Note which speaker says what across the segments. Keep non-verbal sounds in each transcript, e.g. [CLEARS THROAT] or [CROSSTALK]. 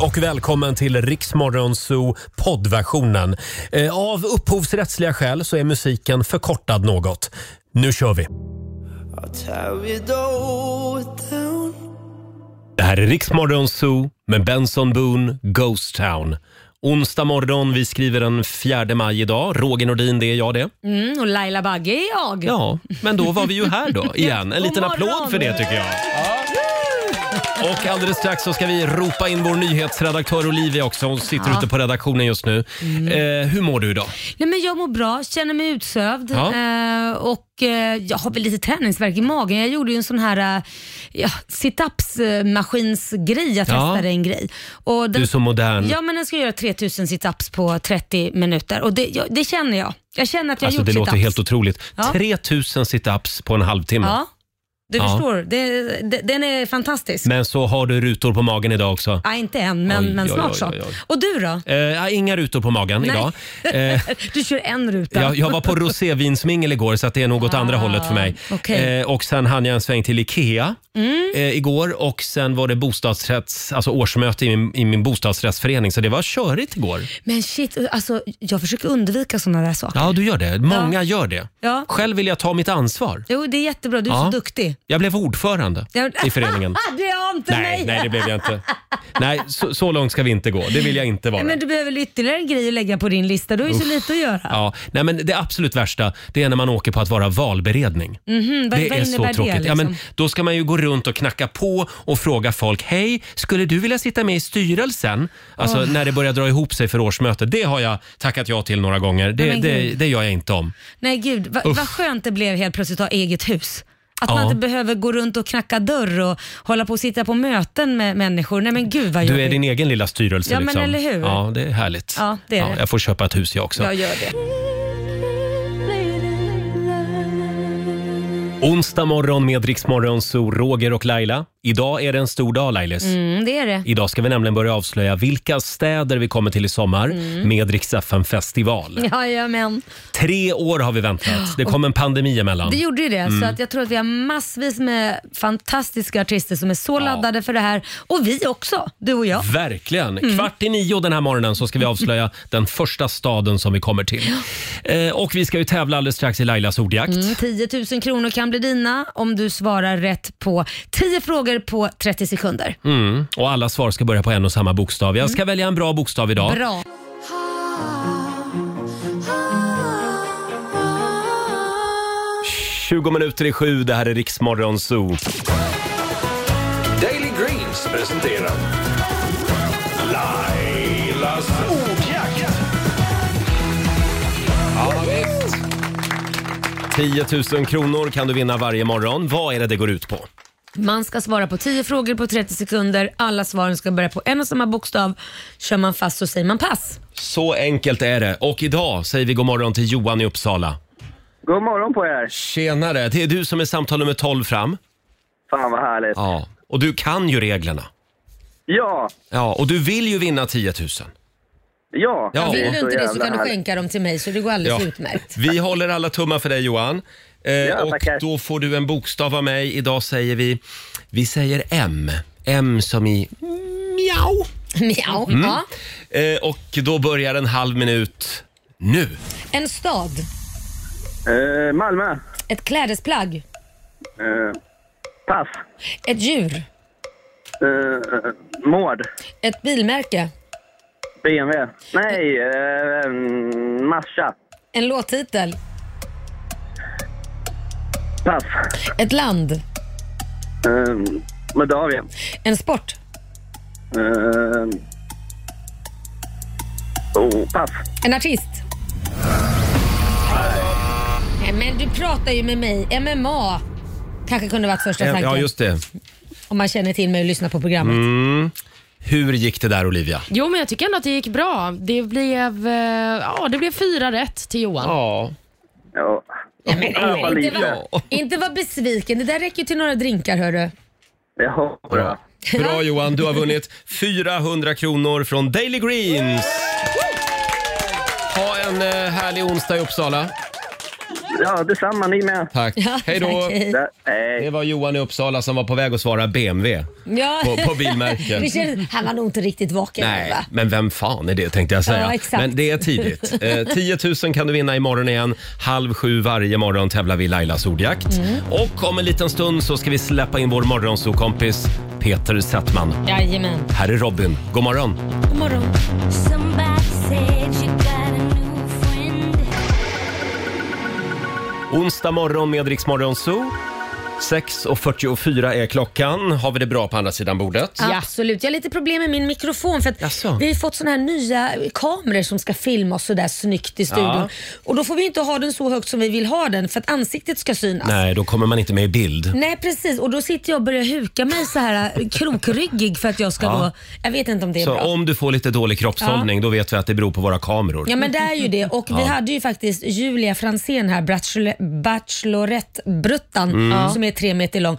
Speaker 1: och välkommen till Riksmorgonzoo poddversionen. Eh, Av upphovsrättsliga skäl så är musiken förkortad något. Nu kör vi! Det här är Riksmorgonzoo med Benson Boone, Ghost Town. Onsdag morgon, vi skriver den 4 maj idag. Roger Nordin, det är jag det.
Speaker 2: Mm, och Laila Bagge är jag.
Speaker 1: Ja, men då var vi ju här
Speaker 2: [LAUGHS]
Speaker 1: då igen. En
Speaker 2: God
Speaker 1: liten applåd
Speaker 2: morgon.
Speaker 1: för det tycker jag. Och alldeles strax så ska vi ropa in vår nyhetsredaktör Olivia också. Hon sitter
Speaker 2: Ja. Mm.
Speaker 1: ute på redaktionen just nu. Eh, hur mår du idag?
Speaker 2: Nej, men jag mår bra, känner mig utsövd
Speaker 1: Ja.
Speaker 2: eh, och eh, jag har väl lite träningsvärk i magen. Jag gjorde ju en sån här eh, ja, sit-ups-maskinsgrej. Jag
Speaker 1: Ja.
Speaker 2: testade en grej. Och
Speaker 1: Du är så modern.
Speaker 2: Ja, men den ska göra 3000 sit-ups på 30 minuter och det, jag, det känner jag. Jag känner att jag
Speaker 1: Alltså
Speaker 2: har
Speaker 1: det
Speaker 2: gjort
Speaker 1: låter
Speaker 2: sit-ups.
Speaker 1: helt otroligt.
Speaker 2: Ja.
Speaker 1: 3000 situps på en halvtimme.
Speaker 2: Ja, du
Speaker 1: Ja.
Speaker 2: förstår. Det, det, den är fantastisk.
Speaker 1: Men så har du rutor på magen idag också.
Speaker 2: Ja, inte än, men,
Speaker 1: Oj,
Speaker 2: men
Speaker 1: oj,
Speaker 2: snart
Speaker 1: oj,
Speaker 2: så.
Speaker 1: oj, oj.
Speaker 2: Och du då?
Speaker 1: Eh, ja, inga rutor på magen idag.
Speaker 2: [LAUGHS]
Speaker 1: Eh,
Speaker 2: du kör en ruta.
Speaker 1: jag, jag var på rosévinsmingel igår så att det är nog åt andra
Speaker 2: Ah,
Speaker 1: hållet för mig.
Speaker 2: okej. Mm.
Speaker 1: Eh, och sen hann jag en sväng till IKEA eh, igår och sen var det bostadsrätts, alltså årsmöte i min, i min bostadsrättsförening så det var körigt igår.
Speaker 2: Men shit, alltså, jag försöker undvika sådana där saker.
Speaker 1: Ja, du gör det. Många gör det.
Speaker 2: Ja.
Speaker 1: Själv vill jag ta mitt ansvar.
Speaker 2: Jo, det är jättebra. Du är
Speaker 1: Ja.
Speaker 2: så duktig.
Speaker 1: Jag blev ordförande
Speaker 2: Jag-
Speaker 1: i föreningen.
Speaker 2: Ah, [LAUGHS] det har inte
Speaker 1: Nej,
Speaker 2: mig.
Speaker 1: nej, det blev jag inte. Nej, så, så långt ska vi inte gå. Det vill jag inte vara.
Speaker 2: Men du behöver väl ytterligare en grej att lägga på din lista. Du har ju så lite att göra.
Speaker 1: Ja, nej, men det absolut värsta det är när man åker på att vara valberedning.
Speaker 2: Mhm, vad,
Speaker 1: det
Speaker 2: vad
Speaker 1: är så
Speaker 2: innebär
Speaker 1: tråkigt.
Speaker 2: det?
Speaker 1: ja,
Speaker 2: Liksom?
Speaker 1: men då ska man ju gå runt och knacka på och fråga folk. Hej, skulle du vilja sitta med i styrelsen? Alltså när det börjar dra ihop sig för årsmöte. Det har jag tackat ja till några gånger. Det,
Speaker 2: Nej, men
Speaker 1: det,
Speaker 2: gud.
Speaker 1: det gör jag inte om.
Speaker 2: Nej, gud. Va,
Speaker 1: Uff.
Speaker 2: vad skönt det blev helt plötsligt att ha eget hus. Att man
Speaker 1: Ja.
Speaker 2: inte behöver gå runt och knacka dörr och hålla på och sitta på möten med människor. Nej men gud vad
Speaker 1: Du är
Speaker 2: jobbigt.
Speaker 1: din egen lilla styrelse.
Speaker 2: Ja, men
Speaker 1: liksom.
Speaker 2: eller hur?
Speaker 1: Ja, det är härligt.
Speaker 2: Ja, det är det.
Speaker 1: Jag får köpa ett hus jag också.
Speaker 2: Jag gör det.
Speaker 1: Onsdag morgon med Riksmorgon, så Roger och Laila. Idag är det en stor dag, Lailis.
Speaker 2: Mm, det är det.
Speaker 1: Idag ska vi nämligen börja avslöja vilka städer vi kommer till i sommar
Speaker 2: Mm.
Speaker 1: med Rix FM festival.
Speaker 2: Jajamän.
Speaker 1: Tre år har vi väntat. Det kom en pandemi emellan.
Speaker 2: Det gjorde ju det,
Speaker 1: Mm.
Speaker 2: så att jag tror att vi har massvis med fantastiska artister som är så laddade för det här. Och vi också, du och jag.
Speaker 1: Verkligen.
Speaker 2: Mm.
Speaker 1: Kvart i nio den här morgonen så ska
Speaker 2: [LAUGHS]
Speaker 1: vi avslöja den första staden som vi kommer till. Eh, och vi ska ju tävla alldeles strax i Lailas ordjakt.
Speaker 2: 10 000 Mm, kronor kan bli dina om du svarar rätt på 10 frågor på 30 sekunder.
Speaker 1: Mm. Och alla svar ska börja på en och samma bokstav. Jag ska välja en bra bokstav idag.
Speaker 2: Mm. Bra.
Speaker 3: Daily
Speaker 1: 20 minuter i sju, det här är Riksmorgon Zoo.
Speaker 3: Greens presenterar Lailas ordjakt.
Speaker 1: 10 000 kronor kan du vinna varje morgon. Vad är det det går ut på?
Speaker 2: Man ska svara på 10 frågor på 30 sekunder. Alla svaren ska börja på en och samma bokstav. Kör man fast så säger man pass.
Speaker 1: Så enkelt är det. Och idag säger vi god morgon till Johan i Uppsala.
Speaker 4: God morgon på er!
Speaker 1: Tjenare, det är du som är samtal nummer 12 fram.
Speaker 4: Fan vad härligt. Ja,
Speaker 1: Ja. Och du kan ju reglerna.
Speaker 4: ja.
Speaker 1: Ja, och du vill ju vinna 10 000.
Speaker 4: ja.
Speaker 1: Ja.
Speaker 2: Vill du
Speaker 4: Så
Speaker 2: inte det så
Speaker 4: jävla
Speaker 2: kan du
Speaker 4: härligt.
Speaker 2: skänka dem till mig så det går alldeles
Speaker 1: Ja.
Speaker 2: utmärkt. [LAUGHS]
Speaker 1: Vi håller alla tummar för dig Johan. Eh, och
Speaker 4: tackar.
Speaker 1: då får du en bokstav av mig. Idag säger vi, vi säger M. M som i miau.
Speaker 2: Mjau.
Speaker 1: Mm.
Speaker 2: Ja.
Speaker 1: Eh, och då börjar en halv minut nu.
Speaker 2: En stad.
Speaker 4: Eh, Malmö.
Speaker 2: Ett klädesplagg.
Speaker 4: Eh, pass.
Speaker 2: Ett djur.
Speaker 4: Eh, eh, Mård.
Speaker 2: Ett bilmärke.
Speaker 4: BMW. Nej, eh, mm, Mascha.
Speaker 2: En låttitel.
Speaker 4: Pass.
Speaker 2: Ett land.
Speaker 4: Eh, Moldavien.
Speaker 2: En sport.
Speaker 4: Eh, oh, pass.
Speaker 2: En artist. Nej, men du pratar ju med mig. MMA kanske kunde varit första
Speaker 1: Eh,
Speaker 2: tanken.
Speaker 1: Ja, just Mm. det.
Speaker 2: Om man känner till mig och lyssnar på programmet.
Speaker 1: Hur gick det där Olivia?
Speaker 5: Jo, men jag tycker ändå att det gick bra. Det blev, eh, ja, det blev fyra rätt till Johan.
Speaker 1: Ja.
Speaker 4: Ja.
Speaker 2: Nej, men,
Speaker 4: Ja, vad
Speaker 2: inte,
Speaker 4: lite.
Speaker 2: var, inte var besviken. Det där räcker ju till några drinkar hörru.
Speaker 4: Ja, bra.
Speaker 1: Bra Johan, du har vunnit 400 kronor från Daily Greens. Ha en eh, härlig onsdag i Uppsala.
Speaker 4: Ja, detsamma ni med.
Speaker 1: Tack. Hej då!
Speaker 2: tack, hej.
Speaker 4: Ja,
Speaker 1: Det
Speaker 4: Nej,
Speaker 1: var Johan i Uppsala som var på väg att svara BMW.
Speaker 2: Ja.
Speaker 1: På- på
Speaker 2: [LAUGHS]
Speaker 1: bilmärken.
Speaker 2: Det känns- han var nog inte riktigt vaken.
Speaker 1: Nej,
Speaker 2: va?
Speaker 1: men vem fan är det tänkte jag säga.
Speaker 2: Ja, exakt.
Speaker 1: Men det är
Speaker 2: [LAUGHS]
Speaker 1: tidigt. Eh, 10 000 kan du vinna imorgon igen. Halv sju varje morgon tävlar vi i Lailas ordjakt.
Speaker 2: Mm.
Speaker 1: Och om en liten stund så ska vi släppa in vår morgonsokompis Peter Settman.
Speaker 2: Jajamän.
Speaker 1: Här är Robin. God morgon!
Speaker 2: God morgon.
Speaker 1: Onsdag morgon med Rix Morgon Zoo. 6.44 är klockan. Har vi det bra på andra sidan bordet?
Speaker 5: Ja.
Speaker 2: Absolut. Jag har lite problem med min mikrofon för att
Speaker 1: Jaså?
Speaker 2: vi har ju fått såna här nya kameror som ska filma oss sådär snyggt i studion.
Speaker 1: Ja.
Speaker 2: Och då får vi inte ha den så högt som vi vill ha den för att ansiktet ska synas.
Speaker 1: Nej, då kommer man inte med i bild.
Speaker 2: Nej precis och då sitter jag och börjar huka mig så här eh, krokryggig för att jag ska
Speaker 1: Ja.
Speaker 2: då... Jag vet inte om det är
Speaker 1: Så
Speaker 2: bra.
Speaker 1: om du får lite dålig kroppshållning, då vet vi att det beror på våra kameror.
Speaker 2: Ja men det är ju det och vi hade ju faktiskt Julia Fransén här, bachelor- Bachelorette-bruttan
Speaker 1: Mm.
Speaker 2: som är tre meter lång.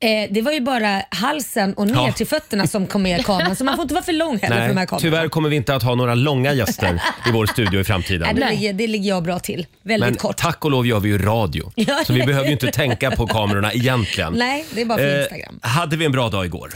Speaker 2: Eh, det var ju bara halsen och ner
Speaker 1: Ja.
Speaker 2: till fötterna som kom med i kameran så man får inte vara för lång heller för de här
Speaker 1: Nej,
Speaker 2: kamerorna.
Speaker 1: tyvärr kommer vi inte att ha några långa gäster
Speaker 2: [LAUGHS]
Speaker 1: i vår studio i
Speaker 2: Nej,
Speaker 1: framtiden.
Speaker 2: det, ligger, det ligger jag bra till. Väldigt
Speaker 1: Men
Speaker 2: kort.
Speaker 1: tack och lov gör vi ju radio,
Speaker 2: Ja,
Speaker 1: så vi
Speaker 2: eller
Speaker 1: behöver ju
Speaker 2: hur?
Speaker 1: inte tänka på kamerorna egentligen.
Speaker 2: Nej, det är bara för Instagram.
Speaker 1: Eh, hade vi en bra dag igår?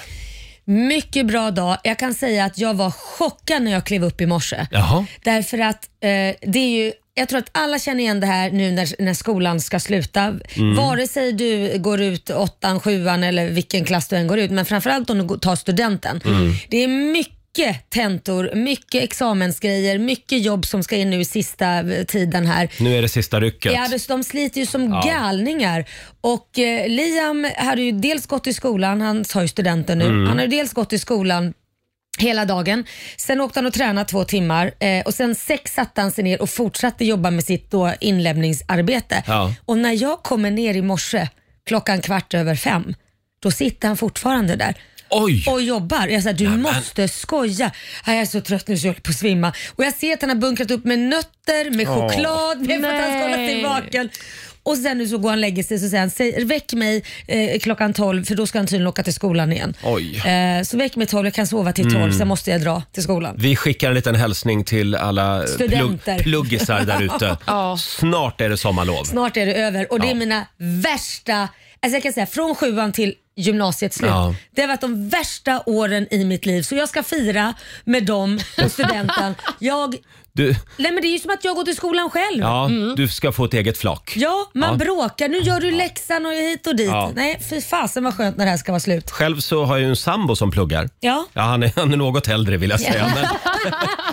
Speaker 2: Mycket bra dag. Jag kan säga att jag var chockad när jag klev upp i morse.
Speaker 1: Jaha.
Speaker 2: Därför att eh, det är ju jag tror att alla känner igen det här nu när, när skolan ska sluta. Vare sig du går ut åttan, sjuan eller vilken klass du än går ut, men framförallt om du går- tar studenten. Det är mycket tentor, mycket examensgrejer, mycket jobb som ska in nu i sista eh, tiden här.
Speaker 1: Nu är det sista rycket.
Speaker 2: Ja, det- de sliter ju som galningar. Och eh, Liam hade ju dels gått i skolan, han tar ju studenten nu, han har ju dels gått i skolan hela dagen. Sen åkte han och tränade två timmar eh, och sen sex satte han sig ner och fortsatte jobba med sitt då inlämningsarbete.
Speaker 1: Ja.
Speaker 2: Och när jag kommer ner i morse klockan kvart över fem, då sitter han fortfarande där
Speaker 1: Oj!
Speaker 2: och jobbar. Jag sa du måste skoja. Ja, Jag är så trött nu så jag håller på att svimma. Och jag ser att han har bunkrat upp med nötter, med choklad, med för att han ska hålla sig
Speaker 5: Nej.
Speaker 2: vaken. Och sen nu så går han och lägger sig så säger han, "Säg- väck mig eh, klockan 12 för då ska han tydligen åka till skolan igen.
Speaker 1: Oj. Mm.
Speaker 2: Eh, så väck mig 12, jag kan sova till 12, sen måste jag dra till skolan.
Speaker 1: Vi skickar en liten hälsning till alla eh,
Speaker 2: Studenter.
Speaker 1: plugg- pluggisar
Speaker 2: [LAUGHS]
Speaker 1: där ute.
Speaker 5: Ja.
Speaker 1: Snart är det sommarlov.
Speaker 2: Snart är det över och det
Speaker 1: Ja.
Speaker 2: är mina värsta, alltså jag kan säga från sjuan till gymnasiets slut.
Speaker 1: Ja.
Speaker 2: Det har varit de värsta åren i mitt liv så jag ska fira med dem och studenten.
Speaker 1: [LAUGHS]
Speaker 2: jag
Speaker 1: Du,
Speaker 2: Nej men det är ju som att jag går till skolan själv. Ja.
Speaker 1: ja, du ska få ett eget flak.
Speaker 2: man
Speaker 1: Ja.
Speaker 2: bråkar. Nu gör du läxan och hit och dit.
Speaker 1: Ja.
Speaker 2: Nej, fy fasen vad skönt när det här ska vara slut.
Speaker 1: Själv så har jag ju en sambo som pluggar.
Speaker 2: Ja,
Speaker 1: Ja, han är, han är något äldre vill jag säga. Men,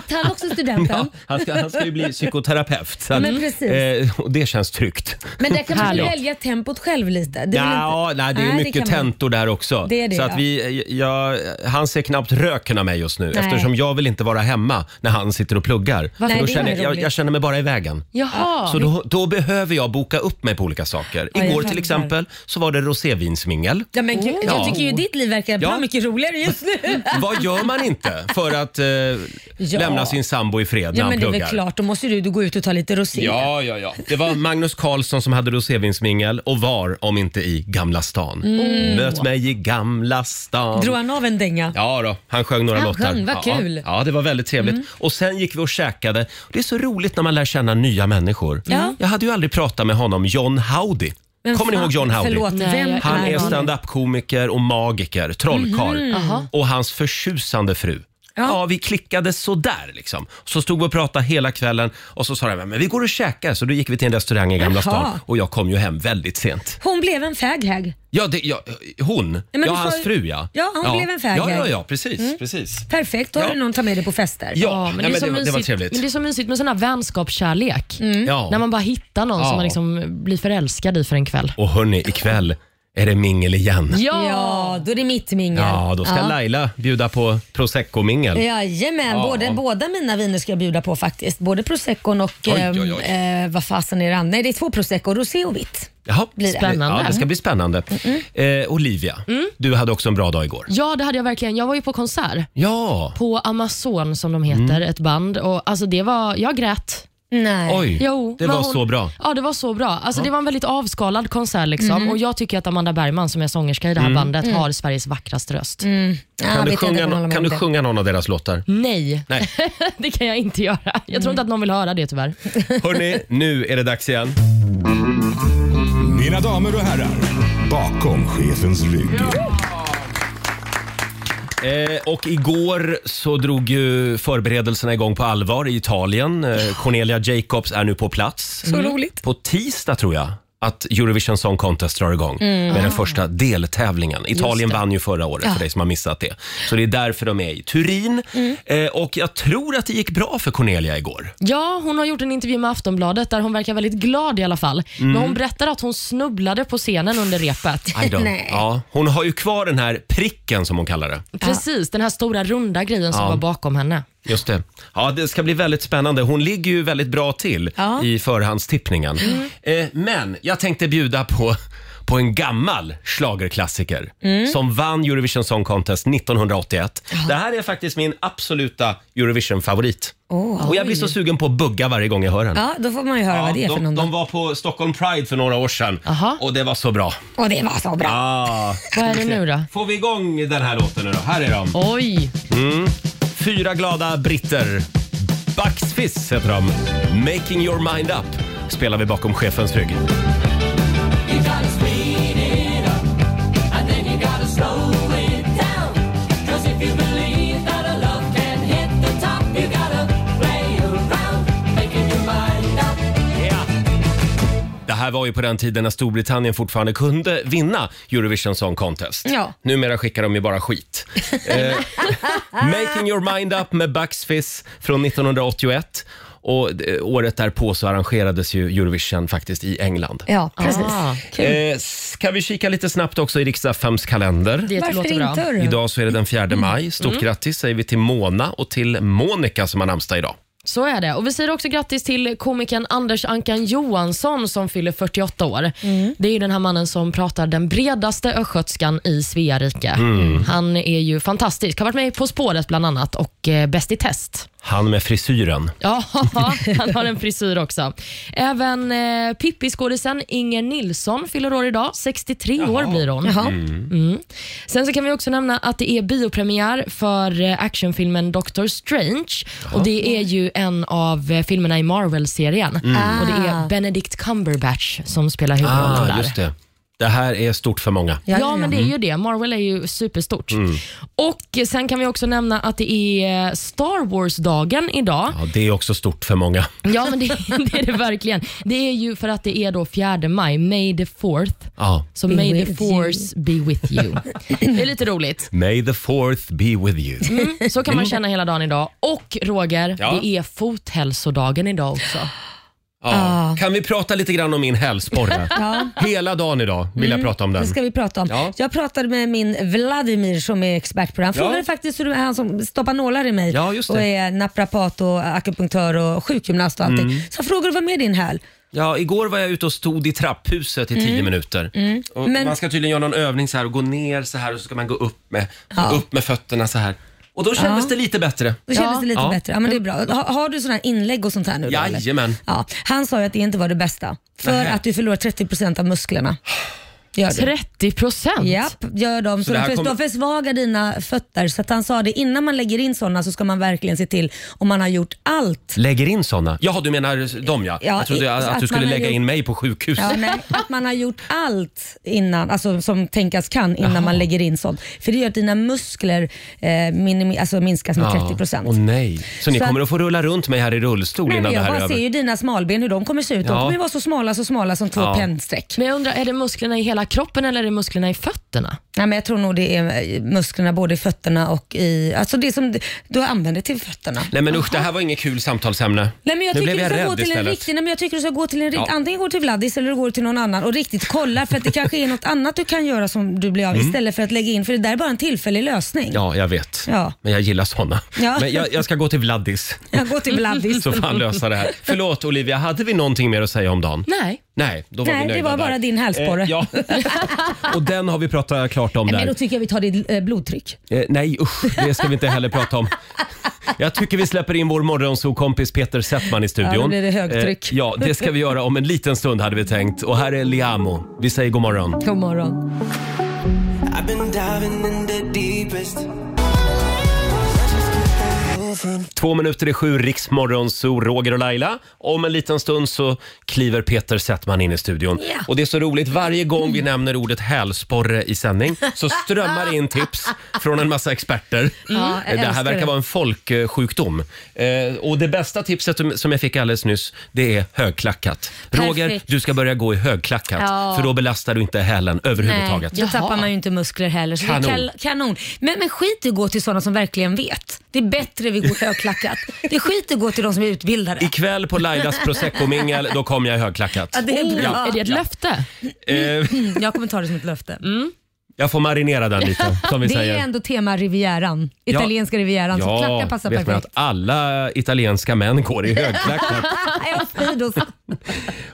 Speaker 2: tar han också studenten?
Speaker 1: ja, han, ska, han ska ju bli psykoterapeut. Så att,
Speaker 2: Men precis.
Speaker 1: eh, och det känns tryggt.
Speaker 2: Men där kan man väl
Speaker 5: Härligt.
Speaker 2: välja tempot själv lite? Det är väl
Speaker 1: Ja,
Speaker 2: inte-
Speaker 1: nej, det är
Speaker 2: Nej,
Speaker 1: mycket
Speaker 2: kan man-
Speaker 1: tentor där också.
Speaker 2: Det är det,
Speaker 1: så att
Speaker 2: ja.
Speaker 1: vi, jag, han ser knappt röken av mig just nu
Speaker 2: Nej.
Speaker 1: eftersom jag vill inte vara hemma när han sitter och pluggar. För
Speaker 2: Nej,
Speaker 1: då
Speaker 2: det
Speaker 1: känner
Speaker 2: är
Speaker 1: jag, jag,
Speaker 2: roligt.
Speaker 1: jag känner mig bara i vägen.
Speaker 5: Jaha.
Speaker 1: Så då, då behöver jag boka upp mig på olika saker.
Speaker 2: jag
Speaker 1: Igår till
Speaker 2: fattar.
Speaker 1: exempel så var det rosévinsmingel.
Speaker 2: Ja, men gud,
Speaker 1: Ja.
Speaker 2: Jag tycker ju ditt liv verkar
Speaker 1: Ja.
Speaker 2: bra mycket roligare just
Speaker 1: [LAUGHS]
Speaker 2: nu.
Speaker 1: Vad gör man inte för att eh, lämna sin sambo i fred när
Speaker 2: Ja
Speaker 1: han
Speaker 2: men det är
Speaker 1: pluggar?
Speaker 2: väl klart, då måste ju du gå ut och ta lite rosé.
Speaker 1: Ja, ja, ja. Det var Magnus Karlsson som hade rosévinsmingel och var, om inte i, Gamla stan.
Speaker 2: Mm.
Speaker 1: Möt mig i Gamla stan.
Speaker 2: Drog han av en dänga?
Speaker 1: Ja då, han sjöng några
Speaker 2: Han
Speaker 1: låtar.
Speaker 2: sjöng, vad
Speaker 1: ja,
Speaker 2: kul. Mm.
Speaker 1: Ja, det var väldigt trevligt. Och sen gick vi och käkade. Det är så roligt när man lär känna nya människor.
Speaker 2: Ja.
Speaker 1: Jag hade ju aldrig pratat med honom, John Howdy.
Speaker 2: Vem
Speaker 1: Kommer ni
Speaker 2: fan-
Speaker 1: ihåg John Howdy?
Speaker 2: Förlåt,
Speaker 5: Nej,
Speaker 2: vem
Speaker 5: jag-
Speaker 1: Han
Speaker 2: är
Speaker 1: är
Speaker 2: han?
Speaker 1: standup-komiker och magiker, trollkarl.
Speaker 2: Mhm.
Speaker 1: Och hans förtjusande fru. Ja. vi klickade sådär liksom. Så stod vi och pratade hela kvällen och så sa jag, men vi går och käkar. Så då gick vi till en restaurang i Gamla
Speaker 2: Jaha.
Speaker 1: stan och jag kom ju hem väldigt sent.
Speaker 2: Hon blev en faghag.
Speaker 1: Ja, det, ja hon.
Speaker 2: men
Speaker 1: ja,
Speaker 2: du sa
Speaker 1: hans
Speaker 2: ju-
Speaker 1: fru ja.
Speaker 2: Ja, hon blev en Mm. fag
Speaker 1: Ja, ja,
Speaker 2: hag.
Speaker 1: ja, precis. precis.
Speaker 2: Perfekt, då har
Speaker 1: Ja.
Speaker 2: du någon att ta med dig på fester.
Speaker 1: Ja,
Speaker 5: Ja, men
Speaker 1: nej,
Speaker 5: det, är
Speaker 1: men
Speaker 5: så
Speaker 1: det, var- det var
Speaker 5: mysigt-
Speaker 1: trevligt.
Speaker 5: Men det är så mysigt med sån här vänskapskärlek.
Speaker 1: Ja.
Speaker 5: När man bara hittar någon
Speaker 1: Ja.
Speaker 5: som man liksom blir förälskad i för en kväll.
Speaker 1: Och hörni, ikväll är det mingel igen.
Speaker 2: Ja, då är det mitt mingel.
Speaker 1: Ja, då ska Laila bjuda på prosecco-mingel.
Speaker 5: Mm.
Speaker 2: Jajamän, både, båda mina viner ska jag bjuda på faktiskt. Både proseccon och
Speaker 1: Oj, oj, oj.
Speaker 2: ehm, eh, vad fasen är det andra? Nej, det är två prosecco, rosé och vitt.
Speaker 1: Jaha,
Speaker 2: Blir det.
Speaker 5: Spännande. Mm.
Speaker 1: Ja, det ska bli spännande. Eh, Olivia, du hade också en bra dag igår.
Speaker 5: Ja, det hade jag verkligen. Jag var ju på konsert
Speaker 1: Ja,
Speaker 5: på Amazon som de heter,
Speaker 1: Mm.
Speaker 5: ett band. Och alltså det var, jag grät.
Speaker 2: Nej.
Speaker 1: oj.
Speaker 5: Jo,
Speaker 1: det
Speaker 5: men
Speaker 1: var
Speaker 5: hon-
Speaker 1: så bra.
Speaker 5: Ja, det var så bra. Alltså, Det var en väldigt avskalad konsert liksom. och jag tycker att Amanda Bergman som är sångerska i det här
Speaker 1: Mm.
Speaker 5: bandet har Sveriges vackraste röst.
Speaker 2: Ah,
Speaker 1: Kan,
Speaker 2: vet
Speaker 1: du
Speaker 2: jag inte
Speaker 1: sjunga,
Speaker 2: om jag håller
Speaker 1: no-
Speaker 2: med
Speaker 1: kan
Speaker 2: om
Speaker 1: du
Speaker 2: det.
Speaker 1: sjunga någon av deras låtar?
Speaker 5: Mm. Nej, [LAUGHS]
Speaker 1: Nej.
Speaker 5: det kan jag inte göra. Jag tror inte att någon vill höra det tyvärr.
Speaker 1: Hörni, nu är det dags igen.
Speaker 6: Mina damer och herrar, bakom chefens rygg.
Speaker 1: Eh, och igår så drog ju förberedelserna igång på allvar i Italien. Eh, Cornelia Jacobs är nu på plats.
Speaker 5: Mm.
Speaker 7: Så roligt.
Speaker 1: På tisdag tror jag att Eurovision Song Contest drar igång med den första deltävlingen. Italien vann ju förra året för dig som har missat det. Så det är därför de är i Turin. Eh, och jag tror att det gick bra för Cornelia igår.
Speaker 5: Ja, hon har gjort en intervju med Aftonbladet där hon verkar väldigt glad i alla fall.
Speaker 1: Mm.
Speaker 5: Men hon berättar att hon snubblade på scenen under repet.
Speaker 1: I don't-
Speaker 2: Nej.
Speaker 1: Ja, hon har ju kvar den här pricken som hon kallar det.
Speaker 5: Precis, den här stora runda grejen som
Speaker 1: Ja.
Speaker 5: var bakom henne.
Speaker 1: Just det. Ja, det ska bli väldigt spännande. Hon ligger ju väldigt bra till
Speaker 2: Ja. Mm.
Speaker 1: i förhandstippningen. Eh, men jag tänkte bjuda på, på en gammal schlagerklassiker
Speaker 2: Mm.
Speaker 1: som vann Eurovision Song Contest 1981. Det här är faktiskt min absoluta Eurovision-favorit.
Speaker 2: Åh,
Speaker 1: Och jag blir så sugen på att bugga varje gång jag hör den.
Speaker 2: Ja, då får man ju höra
Speaker 1: Ja,
Speaker 2: vad det är för
Speaker 1: de,
Speaker 2: någon.
Speaker 1: de
Speaker 2: då.
Speaker 1: var på Stockholm Pride för några år sedan
Speaker 5: Aha.
Speaker 1: och det var så bra.
Speaker 2: Och det var så bra.
Speaker 1: Ah.
Speaker 5: Vad är det nu
Speaker 1: [LAUGHS]
Speaker 5: då?
Speaker 1: Får vi igång den här låten nu då? Här är de.
Speaker 5: Oj!
Speaker 1: Fyra glada britter. Bucksfizz heter de. Making your mind up spelar vi bakom chefens rygg. Det här var ju på den tiden när Storbritannien fortfarande kunde vinna Eurovision Song Contest.
Speaker 2: Ja.
Speaker 1: Numera skickar de ju bara skit. eh,
Speaker 5: Ah.
Speaker 1: Making your mind up med Bucks Fizz från 1981. Och eh, året därpå så arrangerades ju Eurovision faktiskt i England.
Speaker 2: Ja, precis.
Speaker 5: Ah,
Speaker 1: Eh, ska vi kika lite snabbt också i riksdagsfems kalender?
Speaker 5: det Mm.
Speaker 2: Varför
Speaker 5: låter bra.
Speaker 2: inte? hörru?
Speaker 1: Idag så är det den 4 maj. Stort grattis säger vi till Mona och till Monica som har namnsdag idag.
Speaker 5: Så är det. Och Vi säger också grattis till komikern Anders Ankan Johansson som fyller 48 år.
Speaker 2: Mm.
Speaker 5: Det är ju den här mannen som pratar den bredaste östgötskan i Svea rike. Han är ju fantastisk. Har varit med i På spåret bland annat och eh, Bäst i
Speaker 2: [LAUGHS]
Speaker 5: test.
Speaker 1: Han med frisyren.
Speaker 5: Ja, han har en frisyr också. Även eh, Pippi-skådisen Inger Nilsson fyller år idag. 63 år blir hon.
Speaker 2: Jaha.
Speaker 1: Mm.
Speaker 5: Sen så kan vi också nämna att det är biopremiär för eh, actionfilmen Doctor Strange. Och Det är ju en av eh, filmerna i Marvel-serien. Och Det
Speaker 2: Ah.
Speaker 5: är Benedict Cumberbatch som spelar huvudrollen
Speaker 1: Mm. Ah,
Speaker 5: där.
Speaker 1: just det. Det här är stort för många.
Speaker 2: Ja,
Speaker 5: Ja,
Speaker 2: ja,
Speaker 5: men
Speaker 2: ja.
Speaker 5: det är ju det. Marvel är ju superstort.
Speaker 1: Mm.
Speaker 5: Och Sen kan vi också nämna att det är eh, Star Wars-dagen idag.
Speaker 1: Ja, det är också stort för många.
Speaker 5: Ja,
Speaker 1: [LAUGHS]
Speaker 5: men det, det är det verkligen. Det är ju för att det är då 4 maj, May the 4th.
Speaker 1: Ja.
Speaker 5: Så
Speaker 2: Be
Speaker 5: may the
Speaker 2: with
Speaker 5: force be with
Speaker 2: [LAUGHS]
Speaker 5: you. Det är lite roligt.
Speaker 1: May the fourth be with you.
Speaker 5: [LAUGHS] Mm, så kan man känna hela dagen idag. Och Roger,
Speaker 1: Ja.
Speaker 5: det är fothälsodagen idag också.
Speaker 1: Ja. Kan vi prata lite grann om
Speaker 2: [LAUGHS]
Speaker 1: min hälsporre? Hela dagen idag vill jag prata om den.
Speaker 2: Det ska Mm. vi prata om.
Speaker 1: Ja.
Speaker 2: Jag pratade med min Vladimir som är expert på det. Han
Speaker 1: Ja.
Speaker 2: frågade faktiskt hur det är han som stoppar nålar i mig
Speaker 1: Ja, just det.
Speaker 2: och är naprapat och akupunktör och sjukgymnast och
Speaker 1: Mm.
Speaker 2: allting. Så jag frågade vad med din häl?
Speaker 1: Ja, igår var jag ute och stod i trapphuset i tio minuter. Och
Speaker 2: Mm. Men-
Speaker 1: Man ska tydligen göra någon övning så här och gå ner så här och så ska man gå upp med,
Speaker 2: Ja.
Speaker 1: upp med fötterna så här. Och då kändes
Speaker 2: Ja.
Speaker 1: det lite bättre.
Speaker 2: Då kändes det lite
Speaker 1: Ja.
Speaker 2: bättre. Ja, men det är bra. Ha, har du sådana här inlägg och sånt här nu? då, eller?
Speaker 1: Jajamän.
Speaker 2: Ja. Han sa ju att det inte var det bästa för
Speaker 1: Nähä.
Speaker 2: att du förlorar 30% av musklerna. Gör du.
Speaker 5: 30 procent?
Speaker 2: Japp, gör de.
Speaker 1: Så
Speaker 2: Så
Speaker 1: det
Speaker 2: de,
Speaker 1: här
Speaker 2: för,
Speaker 1: kommer-
Speaker 2: de försvagar dina fötter. Så att han sa det, innan man lägger in sådana så ska man verkligen se till om man har gjort allt.
Speaker 1: Lägger in sådana? Jaha, du menar dem ja.
Speaker 2: Ja,
Speaker 1: jag trodde
Speaker 2: i-
Speaker 1: att, att
Speaker 2: att
Speaker 1: du skulle
Speaker 2: man har
Speaker 1: lägga
Speaker 2: gjort-
Speaker 1: in mig på sjukhus.
Speaker 2: Ja, nej, [LAUGHS] att man har gjort allt innan, alltså, som tänkas kan innan man lägger in sånt. För det gör att dina muskler eh, minimi- alltså, minskas med 30 procent.
Speaker 1: Åh nej. Så ni
Speaker 2: Så att-
Speaker 1: kommer att få rulla runt mig här i rullstol
Speaker 2: Jag
Speaker 1: innan det här är
Speaker 2: bara ser
Speaker 1: över?
Speaker 2: ju dina smalben hur de kommer se ut. De
Speaker 1: Ja.
Speaker 2: kommer ju vara så smala, så smala som två
Speaker 1: Ja.
Speaker 2: pennstreck.
Speaker 5: Men jag undrar, är det musklerna i hela kroppen eller är det musklerna i fötterna?
Speaker 2: Nej, men jag tror nog det är eh, musklerna både i fötterna och i... Alltså det som du- du använder till fötterna.
Speaker 1: Nej men usch, det här var inget kul samtalsämne.
Speaker 2: Nej, men jag
Speaker 1: nu
Speaker 2: tycker
Speaker 1: blev jag
Speaker 2: du ska
Speaker 1: rädd
Speaker 2: gå till en
Speaker 1: istället.
Speaker 2: riktig, nej, men jag tycker du ska gå till en
Speaker 1: Ja.
Speaker 2: riktig, antingen går till Vladis eller du går till någon annan och riktigt kolla för att det kanske är något annat du kan göra som du blir av istället för att lägga in, för det där är bara en tillfällig lösning.
Speaker 1: Mm. Ja, jag vet.
Speaker 2: Mm. Ja.
Speaker 1: Men jag gillar såna.
Speaker 2: Ja.
Speaker 1: [LAUGHS] Men jag, jag ska gå till Vladdis
Speaker 2: Jag går till Vladis.
Speaker 1: [LAUGHS] så får han
Speaker 2: [LAUGHS]
Speaker 1: lösa det här. Förlåt Olivia, hade vi någonting mer att säga om dagen?
Speaker 5: Nej.
Speaker 1: Nej, då var
Speaker 2: Nej,
Speaker 1: vi
Speaker 2: det
Speaker 1: nöjda
Speaker 2: var
Speaker 1: där.
Speaker 2: bara din hälsporre.
Speaker 1: Eh,
Speaker 2: [LAUGHS]
Speaker 1: ja. Och den har vi pratat klart om
Speaker 2: Nej, men
Speaker 1: där.
Speaker 2: då tycker jag vi tar ditt eh, blodtryck.
Speaker 1: Eh, nej usch, det ska vi inte heller prata om. Jag tycker vi släpper in vår morgonsokompis Peter Settman i studion.
Speaker 2: Ja, då blir det högtryck.
Speaker 1: Eh, ja, det ska vi göra om en liten stund hade vi tänkt. Och här är Liamo. Vi säger god morgon.
Speaker 2: God morgon.
Speaker 1: Två minuter i sju, Riksmorgon, så Roger och Laila. Om en liten stund så kliver Peter Settman in i studion.
Speaker 8: Ja.
Speaker 1: Och det är så roligt, varje gång vi nämner ordet hälsporre i sändning så strömmar det in tips från en massa experter. Eh,
Speaker 8: Ja, jag
Speaker 1: det här
Speaker 8: älskar
Speaker 1: verkar
Speaker 8: det.
Speaker 1: vara en folksjukdom. Eh, och det bästa tipset som- som jag fick alldeles nyss, det är högklackat. Roger,
Speaker 2: Perfekt.
Speaker 1: du ska börja gå i högklackat
Speaker 2: Ja.
Speaker 1: för då belastar du inte hälen överhuvudtaget.
Speaker 2: Nej, då tappar man ju inte muskler heller. Så Det är
Speaker 1: Kanon.
Speaker 2: kal- kanon. Men, men skit i att gå till sådana som verkligen vet. Det är bättre vi går högklackat. Det är skit i att gå till de som är utbildade.
Speaker 1: Ikväll på Lailas prosecco-mingel, då kommer jag i högklackat.
Speaker 2: Ja, det är bra.
Speaker 5: Är det ett löfte?
Speaker 1: Eh,
Speaker 2: Mm, Jag kommer ta det som ett löfte.
Speaker 1: jag får marinera den
Speaker 2: [LAUGHS]
Speaker 1: lite, som vi
Speaker 2: Det är
Speaker 1: säger.
Speaker 2: ju ändå tema Rivieran.
Speaker 1: Ja.
Speaker 2: Italienska Rivieran. Så klacka passar
Speaker 1: vet man att
Speaker 2: perfekt.
Speaker 1: alla italienska män går i
Speaker 2: [LAUGHS]
Speaker 1: högklackat.
Speaker 2: Ja, fy då.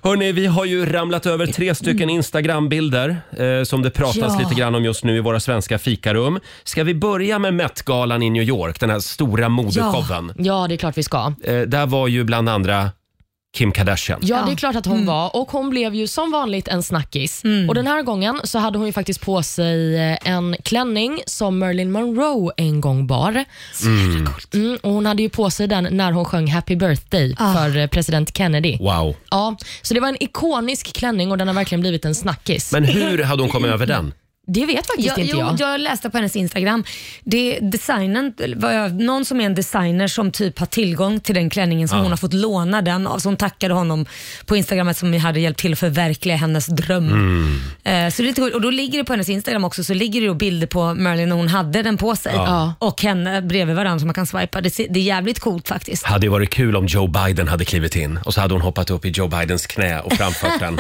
Speaker 1: Hörni, vi har ju ramlat över tre stycken Instagram-bilder eh, som det pratas
Speaker 2: Mm. Ja.
Speaker 1: lite grann om just nu i våra svenska fikarum. Ska vi börja med Met-galan i New York, den här stora modeshowen?
Speaker 5: Ja, det är klart vi ska.
Speaker 1: Eh, där var ju bland andra Kim Kardashian.
Speaker 5: Ja, Mm. det är klart att hon var och hon blev ju som vanligt en snackis. Och Den här gången så hade hon ju faktiskt på sig eh, en klänning som Marilyn Monroe en gång bar. Mm, och hon hade ju på sig den när hon sjöng Happy birthday för eh, president Kennedy.
Speaker 1: Wow.
Speaker 5: Ja, så det var en ikonisk klänning och den har verkligen blivit en snackis.
Speaker 1: Men hur hade hon kommit över den?
Speaker 5: det vet faktiskt
Speaker 2: Ja,
Speaker 5: inte
Speaker 2: jo,
Speaker 5: jag.
Speaker 2: jag läste på hennes Instagram. Det är designen, var jag, någon som är en designer som typ har tillgång till den klänningen som hon har fått låna den av. Så hon tackade honom på Instagram att som hade hjälpt till att förverkliga hennes dröm.
Speaker 5: Mm.
Speaker 2: Eh, så det är lite coolt. och då ligger det på hennes Instagram också så ligger det då bilder på Marilyn när hon hade den på sig
Speaker 5: Ja.
Speaker 2: och henne bredvid varandra som man kan swipa. Det, ser- det är jävligt
Speaker 5: [LAUGHS]
Speaker 2: coolt faktiskt.
Speaker 1: Hade ju varit kul om Joe Biden hade klivit in och så hade hon hoppat upp i Joe Bidens knä och framfört den.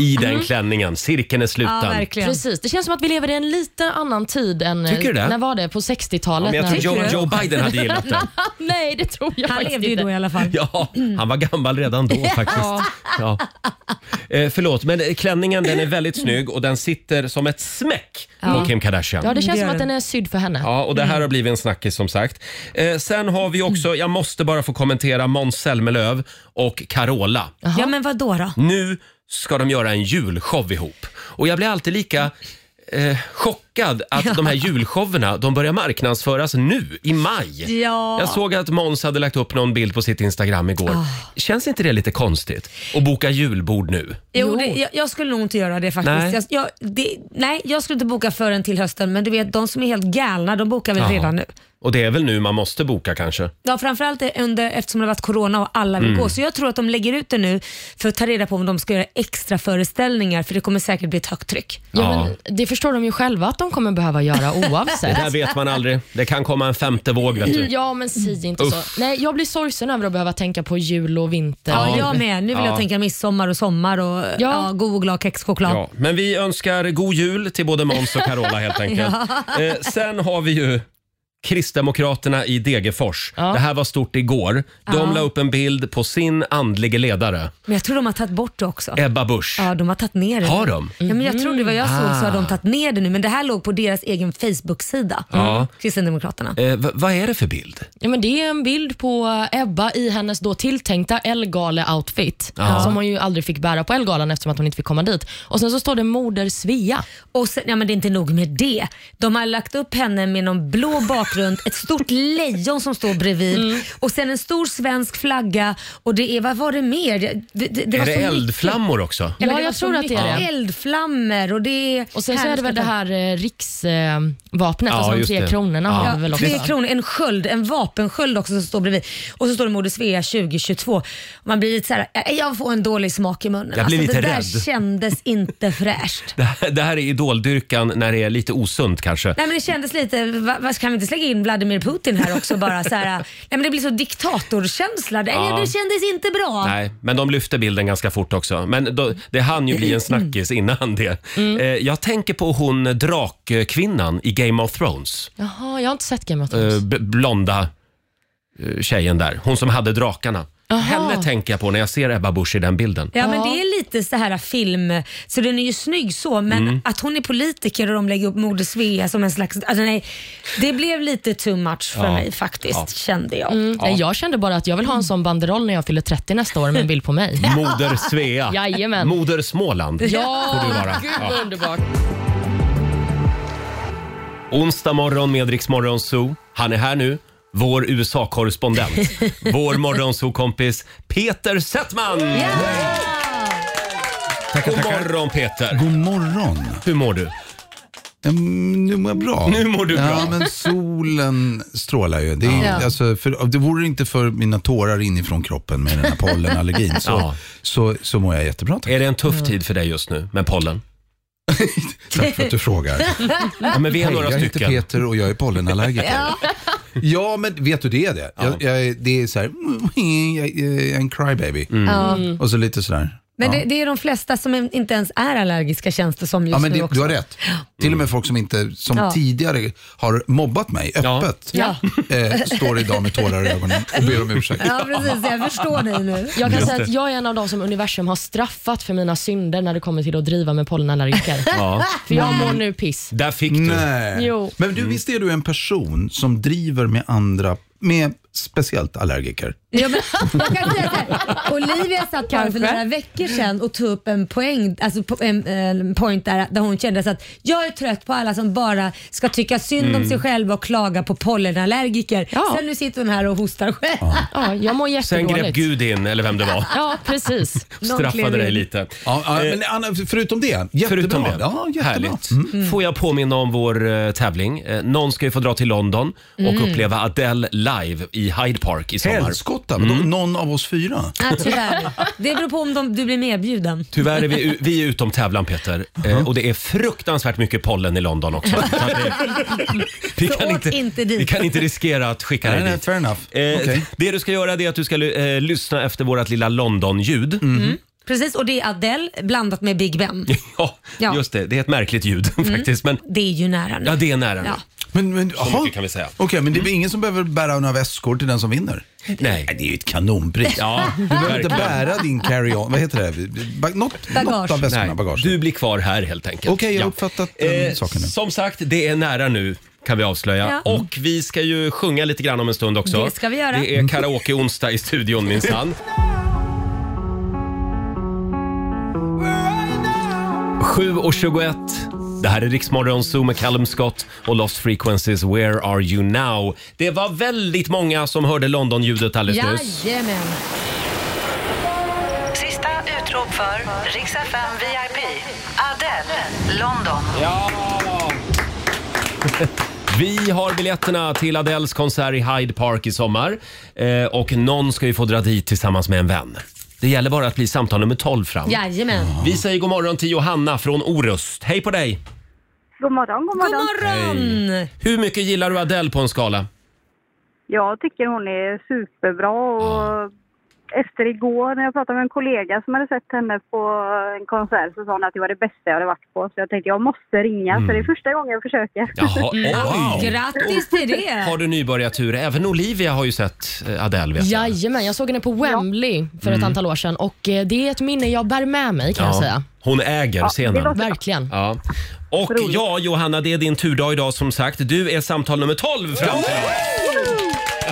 Speaker 1: I den klänningen. Cirkeln är
Speaker 2: Mm. Ja,
Speaker 1: sluten.
Speaker 2: verkligen.
Speaker 5: Precis, det känns som att vi lever i en lite annan tid än... eh,
Speaker 1: Tycker du det?
Speaker 5: När var det? På 60-talet?
Speaker 1: Ja, men jag tror
Speaker 5: när- [LAUGHS]
Speaker 1: Joe, Joe Biden hade gillat den.
Speaker 5: Nej, det tror jag
Speaker 2: Han
Speaker 5: faktiskt
Speaker 2: levde ju
Speaker 5: inte.
Speaker 2: då i alla fall.
Speaker 1: Ja, han var gammal redan då faktiskt. Ja. Eh, förlåt, men eh, klänningen den är väldigt snygg och den sitter som ett smäck på Kim Kardashian.
Speaker 5: Ja, det känns
Speaker 2: Det
Speaker 5: som
Speaker 2: gör
Speaker 5: att
Speaker 2: den.
Speaker 5: den är sydd för henne.
Speaker 1: Ja, och det här har blivit en snackis som sagt. Eh, sen har vi också, jag måste bara få kommentera Måns Zelmerlöw och Carola.
Speaker 2: Ja men vad då? då?
Speaker 1: Nu ska de göra en julshow ihop. Och jag blir alltid lika eh, chockad att de här julshowerna, de börjar marknadsföras nu i maj.
Speaker 2: Ja.
Speaker 1: Jag såg att Måns hade lagt upp någon bild på sitt Instagram igår. Känns inte det lite konstigt? Att boka julbord nu?
Speaker 2: Jo, det, jag, jag skulle nog inte göra det faktiskt.
Speaker 1: Nej.
Speaker 2: Nej. Jag, jag, det, nej, jag skulle inte boka förrän till hösten, men du vet de som är helt galna, de bokar väl
Speaker 1: Jaha.
Speaker 2: redan nu.
Speaker 1: Och det är väl nu man måste boka kanske?
Speaker 2: Ja, framförallt är under, eftersom det har varit corona och alla vill
Speaker 1: Mm.
Speaker 2: gå. Så jag tror att de lägger ut det nu för att ta reda på om de ska göra extra föreställningar för det kommer säkert bli ett högt tryck.
Speaker 5: Ja,
Speaker 1: Ja.
Speaker 5: men det förstår de ju själva att de kommer behöva
Speaker 1: [LAUGHS]
Speaker 5: göra
Speaker 1: Det
Speaker 5: oavsett.
Speaker 1: där vet man aldrig. Det kan komma en femte våg vet du.
Speaker 5: Ja, men säg inte så. Nej, jag blir sorgsen över att behöva tänka på jul och vinter.
Speaker 2: Ja,
Speaker 1: Ja.
Speaker 2: jag med. Nu vill
Speaker 1: Ja.
Speaker 2: jag tänka midsommar och sommar och ja. god och glad kexchoklad.
Speaker 1: Ja, men vi önskar god jul till både Måns och Carola helt enkelt. eh, sen har vi ju Kristdemokraterna i Degerfors.
Speaker 5: Ja.
Speaker 1: Det här var stort igår. De
Speaker 2: Ja.
Speaker 1: la upp en bild på sin andlige ledare,
Speaker 2: Men jag tror de har tagit bort det också.
Speaker 1: Ebba Busch.
Speaker 2: Ja, de har tagit ner det.
Speaker 1: Har de?
Speaker 2: Ja, men jag tror det var jag såg så har
Speaker 1: Ah.
Speaker 2: de tagit ner det nu, men det här låg på deras egen Facebook-sida.
Speaker 1: Ja.
Speaker 2: Kristdemokraterna.
Speaker 1: Eh, v- vad är det för bild?
Speaker 5: Ja, men det är en bild på Ebba i hennes då tilltänkta Elgale-outfit som hon ju aldrig fick bära på Elgalan eftersom att hon inte fick komma dit. Och Sen så står det Moder Svea.
Speaker 2: Och sen, ja, men det är inte nog med det. De har lagt upp henne med någon blå bakgrund, ett stort lejon som står bredvid
Speaker 5: Mm.
Speaker 2: och sen en stor svensk flagga och det är, vad var det mer? Det, det, det var
Speaker 1: är det
Speaker 2: så Alltså, mycket.
Speaker 1: eldflammor också?
Speaker 2: men
Speaker 5: Ja,
Speaker 2: var
Speaker 5: jag
Speaker 2: så
Speaker 5: tror att det är
Speaker 2: mycket
Speaker 5: det.
Speaker 2: Eldflammor och det är...
Speaker 5: Och Sen så är det väl det
Speaker 2: härligt.
Speaker 5: här eh, riksvapnet,
Speaker 1: Ja,
Speaker 5: alltså de
Speaker 1: just
Speaker 5: tre
Speaker 1: det.
Speaker 5: kronorna
Speaker 1: Ja.
Speaker 5: har
Speaker 2: Ja,
Speaker 5: vi väl också.
Speaker 2: tre kronor, en sköld, en vapensköld också som står bredvid. Och så står det Moder Svea 2022. Man blir lite så här, "Äh, jag får en dålig smak i munnen. Alltså,
Speaker 1: Jag blir lite
Speaker 2: det
Speaker 1: rädd.
Speaker 2: där kändes inte fräscht.
Speaker 1: Det här, det här är idoldyrkan när det är lite osunt kanske.
Speaker 2: Nej men det kändes lite, va, va, kan vi inte slänga in Vladimir Putin här också bara
Speaker 9: [LAUGHS]
Speaker 2: så här, nej men det blir så diktatorkänsla. Det,
Speaker 1: Ja.
Speaker 2: det kändes inte bra.
Speaker 1: Nej, men de lyfte bilden ganska fort också. Men då, det hann ju bli en snackis innan det. Eh, jag tänker på hon drakkvinnan i Game of Thrones.
Speaker 5: Jaha, jag har inte sett Game of Thrones.
Speaker 1: Eh, b- blonda eh, tjejen där. Hon som hade drakarna. Henne tänker jag på när jag ser Ebba Busch i den bilden.
Speaker 2: Ja, men det är lite så här film, så den är ju snygg så, men
Speaker 9: Mm.
Speaker 2: att hon är politiker och de lägger upp Moder Svea som en slags, alltså nej, det blev lite too much för
Speaker 1: Ja.
Speaker 2: mig faktiskt,
Speaker 1: Ja.
Speaker 2: kände jag.
Speaker 9: Mm.
Speaker 5: Nej, jag kände bara att jag vill ha en sån banderoll när jag fyller 30 nästa år med en bild på
Speaker 1: [LAUGHS]
Speaker 5: mig.
Speaker 1: Moder Svea.
Speaker 5: Jajamän.
Speaker 1: Moder Småland.
Speaker 5: Ja,
Speaker 1: Får du vara.
Speaker 5: gud vad underbart.
Speaker 1: Onsdag morgon med Rix Morgon Zoo. Han är här nu. vår USA-korrespondent, vår morgonsokompis Peter Settman!
Speaker 9: Tackar,
Speaker 1: God
Speaker 9: tackar.
Speaker 1: morgon Peter!
Speaker 9: God morgon.
Speaker 1: Hur mår du?
Speaker 9: Mm, nu mår jag bra.
Speaker 1: Nu mår du bra.
Speaker 9: Ja, men solen strålar ju. Det, är, alltså, för, det vore inte för mina tårar inifrån kroppen med den
Speaker 1: [LAUGHS]
Speaker 9: här pollenallergin så,
Speaker 1: Ja.
Speaker 9: så, så mår jag jättebra. Tack.
Speaker 1: Är det en tuff tid för dig just nu med pollen?
Speaker 9: Tack för att du frågar.
Speaker 1: Ja, men vi är
Speaker 9: Hej,
Speaker 1: några
Speaker 9: jag heter
Speaker 1: stycken.
Speaker 9: Peter och jag är pollenallergiker. ja. men vet du det är det? Jag, jag, det är så här, mm, [LAUGHS] jag, jag är en crybaby.
Speaker 1: Mm.
Speaker 9: Och så lite sådär.
Speaker 2: Men
Speaker 9: ja.
Speaker 2: det, det är de flesta som en- inte ens är allergiska känns det som just
Speaker 9: Ja, men
Speaker 2: nu
Speaker 9: det,
Speaker 2: också.
Speaker 9: du har rätt. Till och
Speaker 1: Mm.
Speaker 9: med folk som, inte, som
Speaker 2: Ja.
Speaker 9: tidigare har mobbat mig
Speaker 1: Ja.
Speaker 9: öppet Eh, står idag med tårar i ögonen och ber om ursäkt.
Speaker 2: Ja, precis. Jag förstår dig nu.
Speaker 9: [LAUGHS]
Speaker 5: Jag kan
Speaker 1: Just
Speaker 5: säga
Speaker 1: det.
Speaker 5: att jag är en av de som universum har straffat för mina synder när det kommer till att driva med pollenallergiker.
Speaker 1: Ja.
Speaker 5: För jag mår nu piss.
Speaker 1: Där fick du.
Speaker 9: Nej.
Speaker 5: Jo.
Speaker 9: Men
Speaker 1: Mm.
Speaker 9: du, visst är du en person som driver med andra, med speciellt allergiker?
Speaker 2: Ja, men, [LAUGHS] jag kan säga så här. Olivia satt här för några veckor sedan och tog upp en poäng, alltså po- en, en point där, där hon kände så att jag är trött på alla som bara ska tycka synd
Speaker 1: Mm.
Speaker 2: om sig själva och klaga på pollenallergiker.
Speaker 5: Ja.
Speaker 2: Sen nu sitter hon här och hostar själv.
Speaker 5: Ja, Ah, jag mår
Speaker 1: Sen
Speaker 5: jättedåligt.
Speaker 1: grep Gud in, eller vem det var,
Speaker 5: Ja, precis.
Speaker 1: straffade
Speaker 2: klev
Speaker 1: dig
Speaker 2: in.
Speaker 1: lite.
Speaker 9: Ja, ja, men Anna, förutom det, jättebra.
Speaker 1: eh, Förutom det.
Speaker 9: Ja, jättebra.
Speaker 1: Härligt.
Speaker 9: Mm.
Speaker 1: Får jag påminna om vår eh, tävling. Eh, någon ska ju få dra till London och
Speaker 2: Mm.
Speaker 1: uppleva Adele live i Hyde Park i sommar.
Speaker 9: Helskotta, vadå?
Speaker 1: Mm.
Speaker 9: någon av oss fyra?
Speaker 2: [LAUGHS] Ja, tyvärr. Det beror på om de, du blir
Speaker 1: [LAUGHS]
Speaker 2: medbjuden.
Speaker 1: Tyvärr är vi, u- vi är utom tävlan Peter
Speaker 9: Uh-huh.
Speaker 1: eh, och det är fruktansvärt mycket pollen i London
Speaker 2: [LAUGHS]
Speaker 1: också. Så att det, vi,
Speaker 2: Så åk inte dit.
Speaker 1: vi kan inte riskera att skicka
Speaker 9: Nej,
Speaker 1: dig
Speaker 9: nej,
Speaker 1: dit.
Speaker 9: fair enough.
Speaker 1: Eh,
Speaker 9: Okej.
Speaker 1: Det du ska göra det är att du ska ly- eh, lyssna efter vårt lilla London-ljud.
Speaker 9: Mm.
Speaker 2: Precis, och det är Adele blandat med Big Ben.
Speaker 1: [LAUGHS] Ja,
Speaker 2: Ja.
Speaker 1: just det. Det är ett märkligt ljud [LAUGHS] faktiskt. Men
Speaker 2: Det är ju nära nu.
Speaker 1: ja, det är nära
Speaker 2: Ja.
Speaker 9: Men, men,
Speaker 1: Så
Speaker 9: aha.
Speaker 1: mycket kan vi säga. Mm.
Speaker 9: Okej, men det är väl ingen som behöver bära några väskor till den som vinner?
Speaker 1: nu. Nej.
Speaker 9: Det är ju ett kanonpris.
Speaker 1: Ja,
Speaker 9: Du behöver inte
Speaker 1: verkligen.
Speaker 9: bära din carry-on, vad heter det? Ba- Något, något av väskorna,
Speaker 1: Nej,
Speaker 9: bagage.
Speaker 1: Du blir kvar här helt enkelt.
Speaker 9: Okej, jag har uppfattat, eh, saken nu.
Speaker 1: Som sagt, det är nära nu kan vi avslöja.
Speaker 2: Ja.
Speaker 1: Och vi ska ju sjunga lite grann om en stund också.
Speaker 2: Det ska vi göra.
Speaker 1: Det är karaoke-onsdag i studion minsann. Sju och 21. Det här är Riksmorgon Zoo med Callum Scott och Lost Frequencies Where Are You Now. Det var väldigt många som hörde London-ljudet alldeles nyss.
Speaker 2: Jajamän.
Speaker 10: Sista utrop för Rix FM VIP. Adele, London.
Speaker 1: Vi har biljetterna till Adeles konsert i Hyde Park i sommar. Eh, och någon ska ju få dra dit tillsammans med en vän. Det gäller bara att bli samtal nummer 12 fram.
Speaker 2: Jajamän.
Speaker 1: Vi säger god morgon till Johanna från Orust. Hej på dig!
Speaker 11: God morgon, god
Speaker 2: God
Speaker 11: morgon.
Speaker 2: morgon!
Speaker 1: Hur mycket gillar du Adele på en skala?
Speaker 11: Jag tycker hon är superbra och efter igår när jag pratade med en kollega som hade sett henne på en konsert så sa hon att det var det bästa jag hade varit på. Så jag tänkte jag måste ringa för det
Speaker 1: Mm.
Speaker 11: är första gången jag
Speaker 5: [LAUGHS]
Speaker 11: försöker.
Speaker 5: Mm.
Speaker 1: Jaha, oj!
Speaker 2: Grattis till det!
Speaker 1: Har du nybörjartur? Även Olivia har ju sett eh, Adele vet jag.
Speaker 5: Jajamän, jag såg henne på Wembley för ett antal år sedan och eh, det är ett minne jag bär med mig kan jag säga.
Speaker 1: Hon äger
Speaker 11: det
Speaker 1: scenen.
Speaker 11: låter-
Speaker 5: Verkligen.
Speaker 1: Ja. Och ja, Johanna, det är din turdag idag som sagt. Du är samtal nummer 12 fram till oss.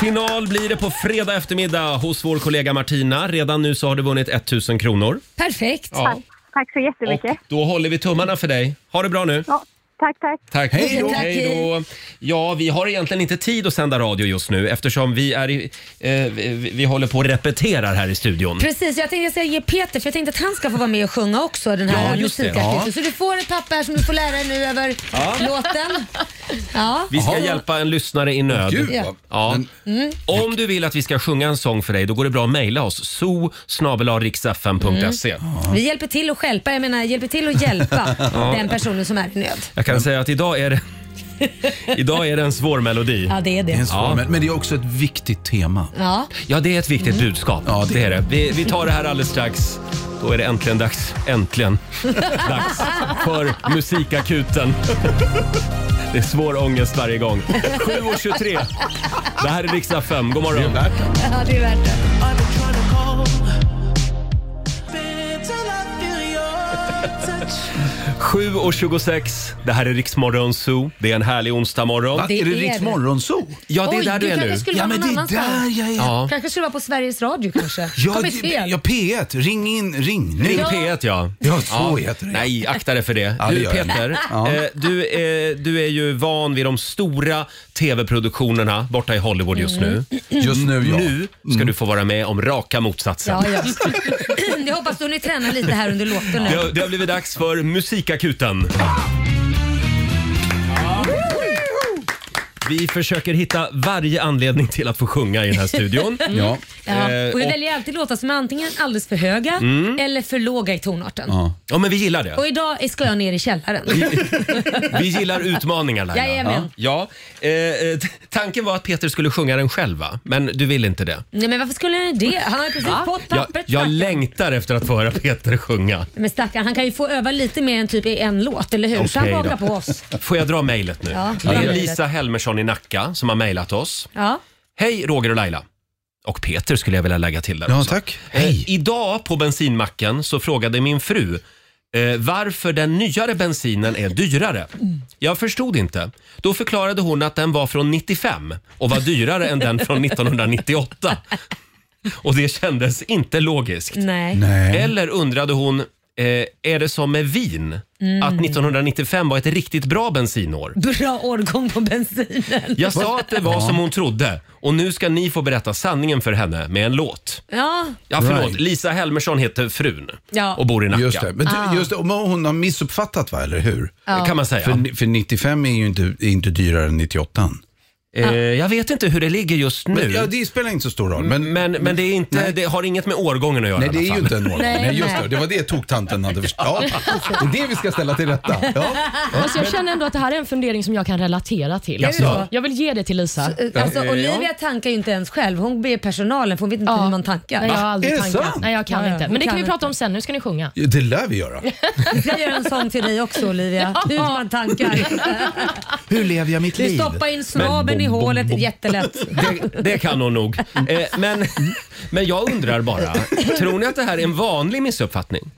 Speaker 1: Final blir det på fredag eftermiddag hos vår kollega Martina. Redan nu så har du vunnit 1000 kronor.
Speaker 2: Perfekt.
Speaker 1: Ja.
Speaker 11: Tack så
Speaker 1: Och
Speaker 11: jättemycket.
Speaker 1: då håller vi tummarna för dig. Ha det bra nu.
Speaker 11: Ja, tack, tack.
Speaker 1: Tack.
Speaker 9: Hej då.
Speaker 2: Tack.
Speaker 1: Hej då. Ja, vi har egentligen inte tid att sända radio just nu eftersom vi, är i, eh, vi, vi håller på och repeterar här i studion.
Speaker 2: Precis, jag tänkte jag ska ge Peter, för jag tänkte att han ska få vara med och sjunga också den här
Speaker 1: Ja, just det.
Speaker 2: musikartisten.
Speaker 1: Ja.
Speaker 2: Så du får ett papper här som du får lära dig nu över
Speaker 1: [LAUGHS]
Speaker 2: låten. Ja.
Speaker 1: Vi ska hjälpa en lyssnare i nöd.
Speaker 9: Gud,
Speaker 2: Ja.
Speaker 9: vad-
Speaker 1: Ja. Mm.
Speaker 9: Men,
Speaker 1: Om du vill att vi ska sjunga en sång för dig, då går det bra att mejla oss. so
Speaker 2: Vi hjälper till att stjälpa, jag menar hjälper till att
Speaker 1: [LAUGHS]
Speaker 2: hjälpa den personen som är i nöd.
Speaker 1: Jag kan säga att idag är det, idag är det en svår melodi.
Speaker 2: Ja, det är
Speaker 9: det är en
Speaker 2: det.
Speaker 9: svår,
Speaker 1: Ja.
Speaker 9: men, men det är också ett viktigt tema.
Speaker 2: Ja.
Speaker 1: Ja, det är ett viktigt budskap.
Speaker 9: Ja, det-
Speaker 1: det är det. Vi, vi tar det här alldeles strax. Då är det äntligen dags, äntligen dags för Musikakuten. Det är svår ångest varje gång. 7.23. Det här är riksdag 5. God morgon.
Speaker 2: ja, det är värt det.
Speaker 1: 7.26, det här är Riksmorgon Zoo. Det är en härlig onsdagmorgon.
Speaker 8: Va? Det Är det är det. Riksmorgon
Speaker 1: Zoo? Ja, det är
Speaker 2: Oj,
Speaker 1: där
Speaker 2: du
Speaker 1: du är
Speaker 2: kanske
Speaker 1: nu.
Speaker 2: skulle
Speaker 8: Ja,
Speaker 2: vara
Speaker 8: men
Speaker 2: någon
Speaker 8: det är
Speaker 2: annanstans.
Speaker 8: där jag är. Ja.
Speaker 2: Kanske skulle vara på Sveriges Radio
Speaker 1: [LAUGHS]
Speaker 2: kanske.
Speaker 8: Ja,
Speaker 2: Kommit
Speaker 8: det-
Speaker 2: fel.
Speaker 8: ja, P1. Ring in, ring nu.
Speaker 1: Ring P1 ja.
Speaker 8: Ja, så heter det.
Speaker 1: Nej, akta dig för det.
Speaker 8: Ja, det
Speaker 1: du
Speaker 8: gör jag.
Speaker 1: Peter,
Speaker 8: Ja.
Speaker 1: eh, du, är, du är ju van vid de stora tv-produktionerna borta i Hollywood just nu.
Speaker 9: Mm.
Speaker 8: Just nu, Mm. ja. Mm.
Speaker 1: Nu ska du få vara med om raka motsatsen. [LAUGHS]
Speaker 2: Ja, [LAUGHS] ja. Jag hoppas du ni tränar lite här under låten
Speaker 1: Det,
Speaker 2: nu.
Speaker 1: har, det har blivit dags för Musikakuten. Vi försöker hitta varje anledning till att få sjunga i den här studion.
Speaker 8: Ja.
Speaker 2: Ja.
Speaker 1: Eh,
Speaker 2: Och vi
Speaker 1: och- Mm.
Speaker 2: väljer alltid låtar som är antingen alldeles för höga eller för låga i tonarten.
Speaker 8: Ja.
Speaker 1: Ja, men vi gillar det.
Speaker 2: Och idag ska jag ner i källaren.
Speaker 1: Vi gillar utmaningar Laila.
Speaker 2: Jajamän.
Speaker 1: Ja. Ja. Eh, eh, t- tanken var att Peter skulle sjunga den själv va? Men du vill inte det?
Speaker 2: Nej men varför skulle han det? Han har ju precis fått
Speaker 1: Jag,
Speaker 2: pappret.
Speaker 1: jag
Speaker 2: stackarn.
Speaker 1: längtar efter att få höra Peter sjunga.
Speaker 2: Men stackarn, han kan ju få öva lite mer än typ i en låt, eller hur? så han
Speaker 1: Okej
Speaker 2: bakar
Speaker 1: då.
Speaker 2: på oss.
Speaker 1: Får jag dra mejlet nu?
Speaker 2: Ja,
Speaker 1: det
Speaker 2: dra
Speaker 1: är
Speaker 2: mejlet.
Speaker 1: Lisa Helmersson i Nacka som har mejlat oss.
Speaker 2: Ja.
Speaker 1: Hej Roger och Laila. Och Peter skulle jag vilja lägga till där
Speaker 8: Ja,
Speaker 1: också.
Speaker 8: tack.
Speaker 1: Eh,
Speaker 8: Hej.
Speaker 1: Idag på bensinmacken så frågade min fru eh, varför den nyare bensinen är dyrare. Jag förstod inte. Då förklarade hon att den var från 95 och var dyrare än den från 1998. Och det kändes inte logiskt.
Speaker 2: Nej.
Speaker 8: Nej.
Speaker 1: Eller undrade hon, eh, är det som med vin?
Speaker 8: Mm.
Speaker 1: Att 1995 var ett riktigt bra bensinår.
Speaker 2: Bra årgång på bensinen.
Speaker 1: Jag sa att det var som hon trodde och nu ska ni få berätta sanningen för henne med en låt.
Speaker 2: Ja,
Speaker 1: Ja, förlåt.
Speaker 8: Right.
Speaker 1: Lisa Helmersson heter frun
Speaker 2: Ja.
Speaker 1: och bor i Nacka.
Speaker 8: Just det. Men du- just det. och Hon har missuppfattat va, eller hur?
Speaker 1: Det kan man säga.
Speaker 8: För, för 95 är ju inte, är inte dyrare än 98.
Speaker 1: Eh, jag vet inte hur det ligger just nu.
Speaker 8: Men,
Speaker 1: Men,
Speaker 8: ja, det spelar inte så stor roll. Men,
Speaker 1: men, det, är inte, det har inget med årgången att göra
Speaker 8: Nej,
Speaker 1: i
Speaker 8: det
Speaker 1: alla
Speaker 8: är ju
Speaker 1: fall.
Speaker 8: inte en norm.
Speaker 2: Nej,
Speaker 8: Nej, just
Speaker 2: nej.
Speaker 8: det. Det var det toktanten hade förstått. Ja, det är det vi ska ställa till rätta. Ja.
Speaker 5: Alltså jag känner ändå att det här är en fundering som jag kan relatera till.
Speaker 1: Jaså?
Speaker 5: Jag vill ge det till Lisa.
Speaker 2: Alltså, Olivia tankar ju inte ens själv. Hon ber personalen för hon vet inte
Speaker 5: Ja.
Speaker 2: hur man tankar.
Speaker 5: Nej, jag har
Speaker 8: Är
Speaker 5: aldrig
Speaker 8: det
Speaker 5: tankat.
Speaker 8: sant?
Speaker 5: Nej, jag kan
Speaker 2: Ja, ja.
Speaker 5: inte.
Speaker 2: Hon
Speaker 5: Men det kan
Speaker 2: kan
Speaker 5: vi prata om sen. Nu ska ni sjunga.
Speaker 8: Det lär vi göra.
Speaker 2: Vi ska göra en sång till dig också Olivia. Hur man tankar.
Speaker 8: Hur lever jag mitt
Speaker 2: Du stoppar in snabeln i hålet, jättelätt.
Speaker 1: Det, det kan hon nog. Eh, men, men jag undrar bara, tror ni att det här är en vanlig missuppfattning?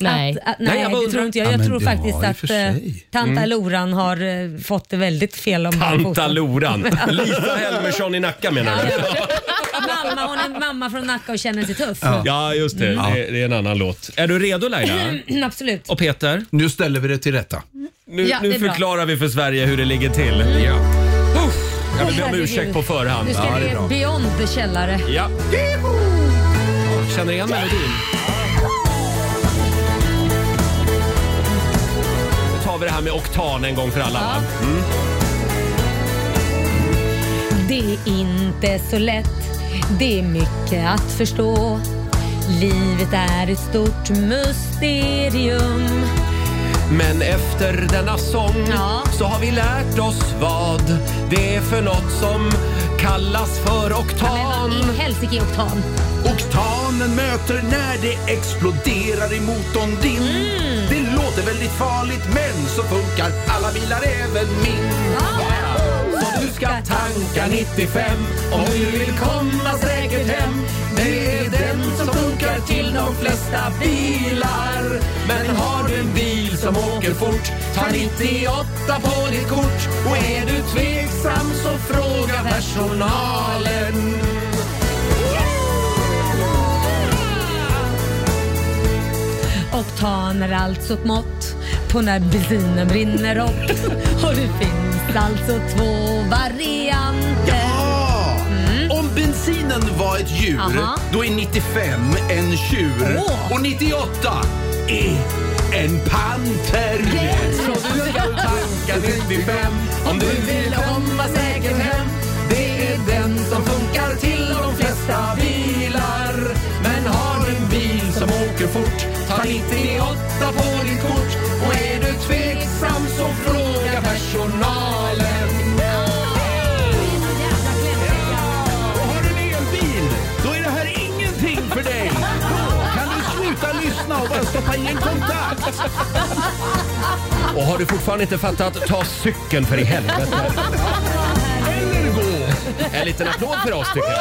Speaker 5: Nej.
Speaker 2: Att, att, nej,
Speaker 1: jag bara
Speaker 2: det
Speaker 1: undrar-
Speaker 2: tror inte jag.
Speaker 8: Ja,
Speaker 2: Jag
Speaker 8: men
Speaker 2: tror
Speaker 8: det
Speaker 2: faktiskt
Speaker 8: var i och
Speaker 2: att
Speaker 8: för
Speaker 2: eh,
Speaker 8: sig.
Speaker 2: tanta Loran har eh, fått det väldigt fel om
Speaker 1: Anta
Speaker 2: barnfoten.
Speaker 1: Loran. Lisa Helmersson i Nacka menar du?
Speaker 2: [LAUGHS] mamma, hon är mamma från Nacka och känner sig tuff.
Speaker 1: Ja, just det. Det, det är en annan låt. Är du redo Laila?
Speaker 2: [CLEARS THROAT] Mm, Absolut.
Speaker 1: Och Peter?
Speaker 8: Nu ställer vi det till rätta.
Speaker 1: Nu,
Speaker 2: Ja, det
Speaker 1: nu
Speaker 2: är bra.
Speaker 1: förklarar vi för Sverige hur det ligger till. Ja. Uff, jag vill be om
Speaker 2: Herregud.
Speaker 1: ursäkt på förhand.
Speaker 2: Nu ska
Speaker 1: Ja, det-
Speaker 2: vi beyond the källare.
Speaker 1: Ja. Känner igen melodin? Nu tar vi det här med oktan en gång för alla. va?
Speaker 2: Det är inte så lätt, det är mycket att förstå. Livet är ett stort mysterium.
Speaker 1: Men efter denna sång
Speaker 2: Ja.
Speaker 1: så har vi lärt oss vad det är för något som kallas för
Speaker 2: Men
Speaker 1: oktan.
Speaker 2: vad i helsike är oktan?
Speaker 8: Oktanen möter när det exploderar i motorn din.
Speaker 2: Mm.
Speaker 8: Det låter väldigt farligt men så funkar alla bilar även min.
Speaker 1: Så du ska tanka 95 om du vill komma säkert hem. Det är den som funkar till de flesta bilar. Men har du en bil som åker fort, ta 98 på ditt kort. Och är du tveksam så fråga personalen.
Speaker 2: Oktan är alltså ett mått på när bensinen brinner
Speaker 1: [LAUGHS]
Speaker 2: upp. Och det finns alltså två varianter.
Speaker 8: Ja! Om bensinen var ett djur,
Speaker 2: Mm. Aha.
Speaker 8: då är 95 en tjur.
Speaker 2: Åh.
Speaker 8: Och 98 är en panter.
Speaker 1: Så du ska tanka 95 om du vill komma säkert hem. Det är den som funkar till de flesta bilar. Men har du en bil som åker fort, ta 98 på ditt kort. Och är du tveksam så fråga personalen.
Speaker 8: Och har du en elbil, då är det här ingenting för dig. Kan du sluta lyssna och bara stoppa in en kontakt?
Speaker 1: Och har du fortfarande inte fattat, ta cykeln för i helvete.
Speaker 8: Eller gå.
Speaker 1: En liten applåd för oss tycker jag.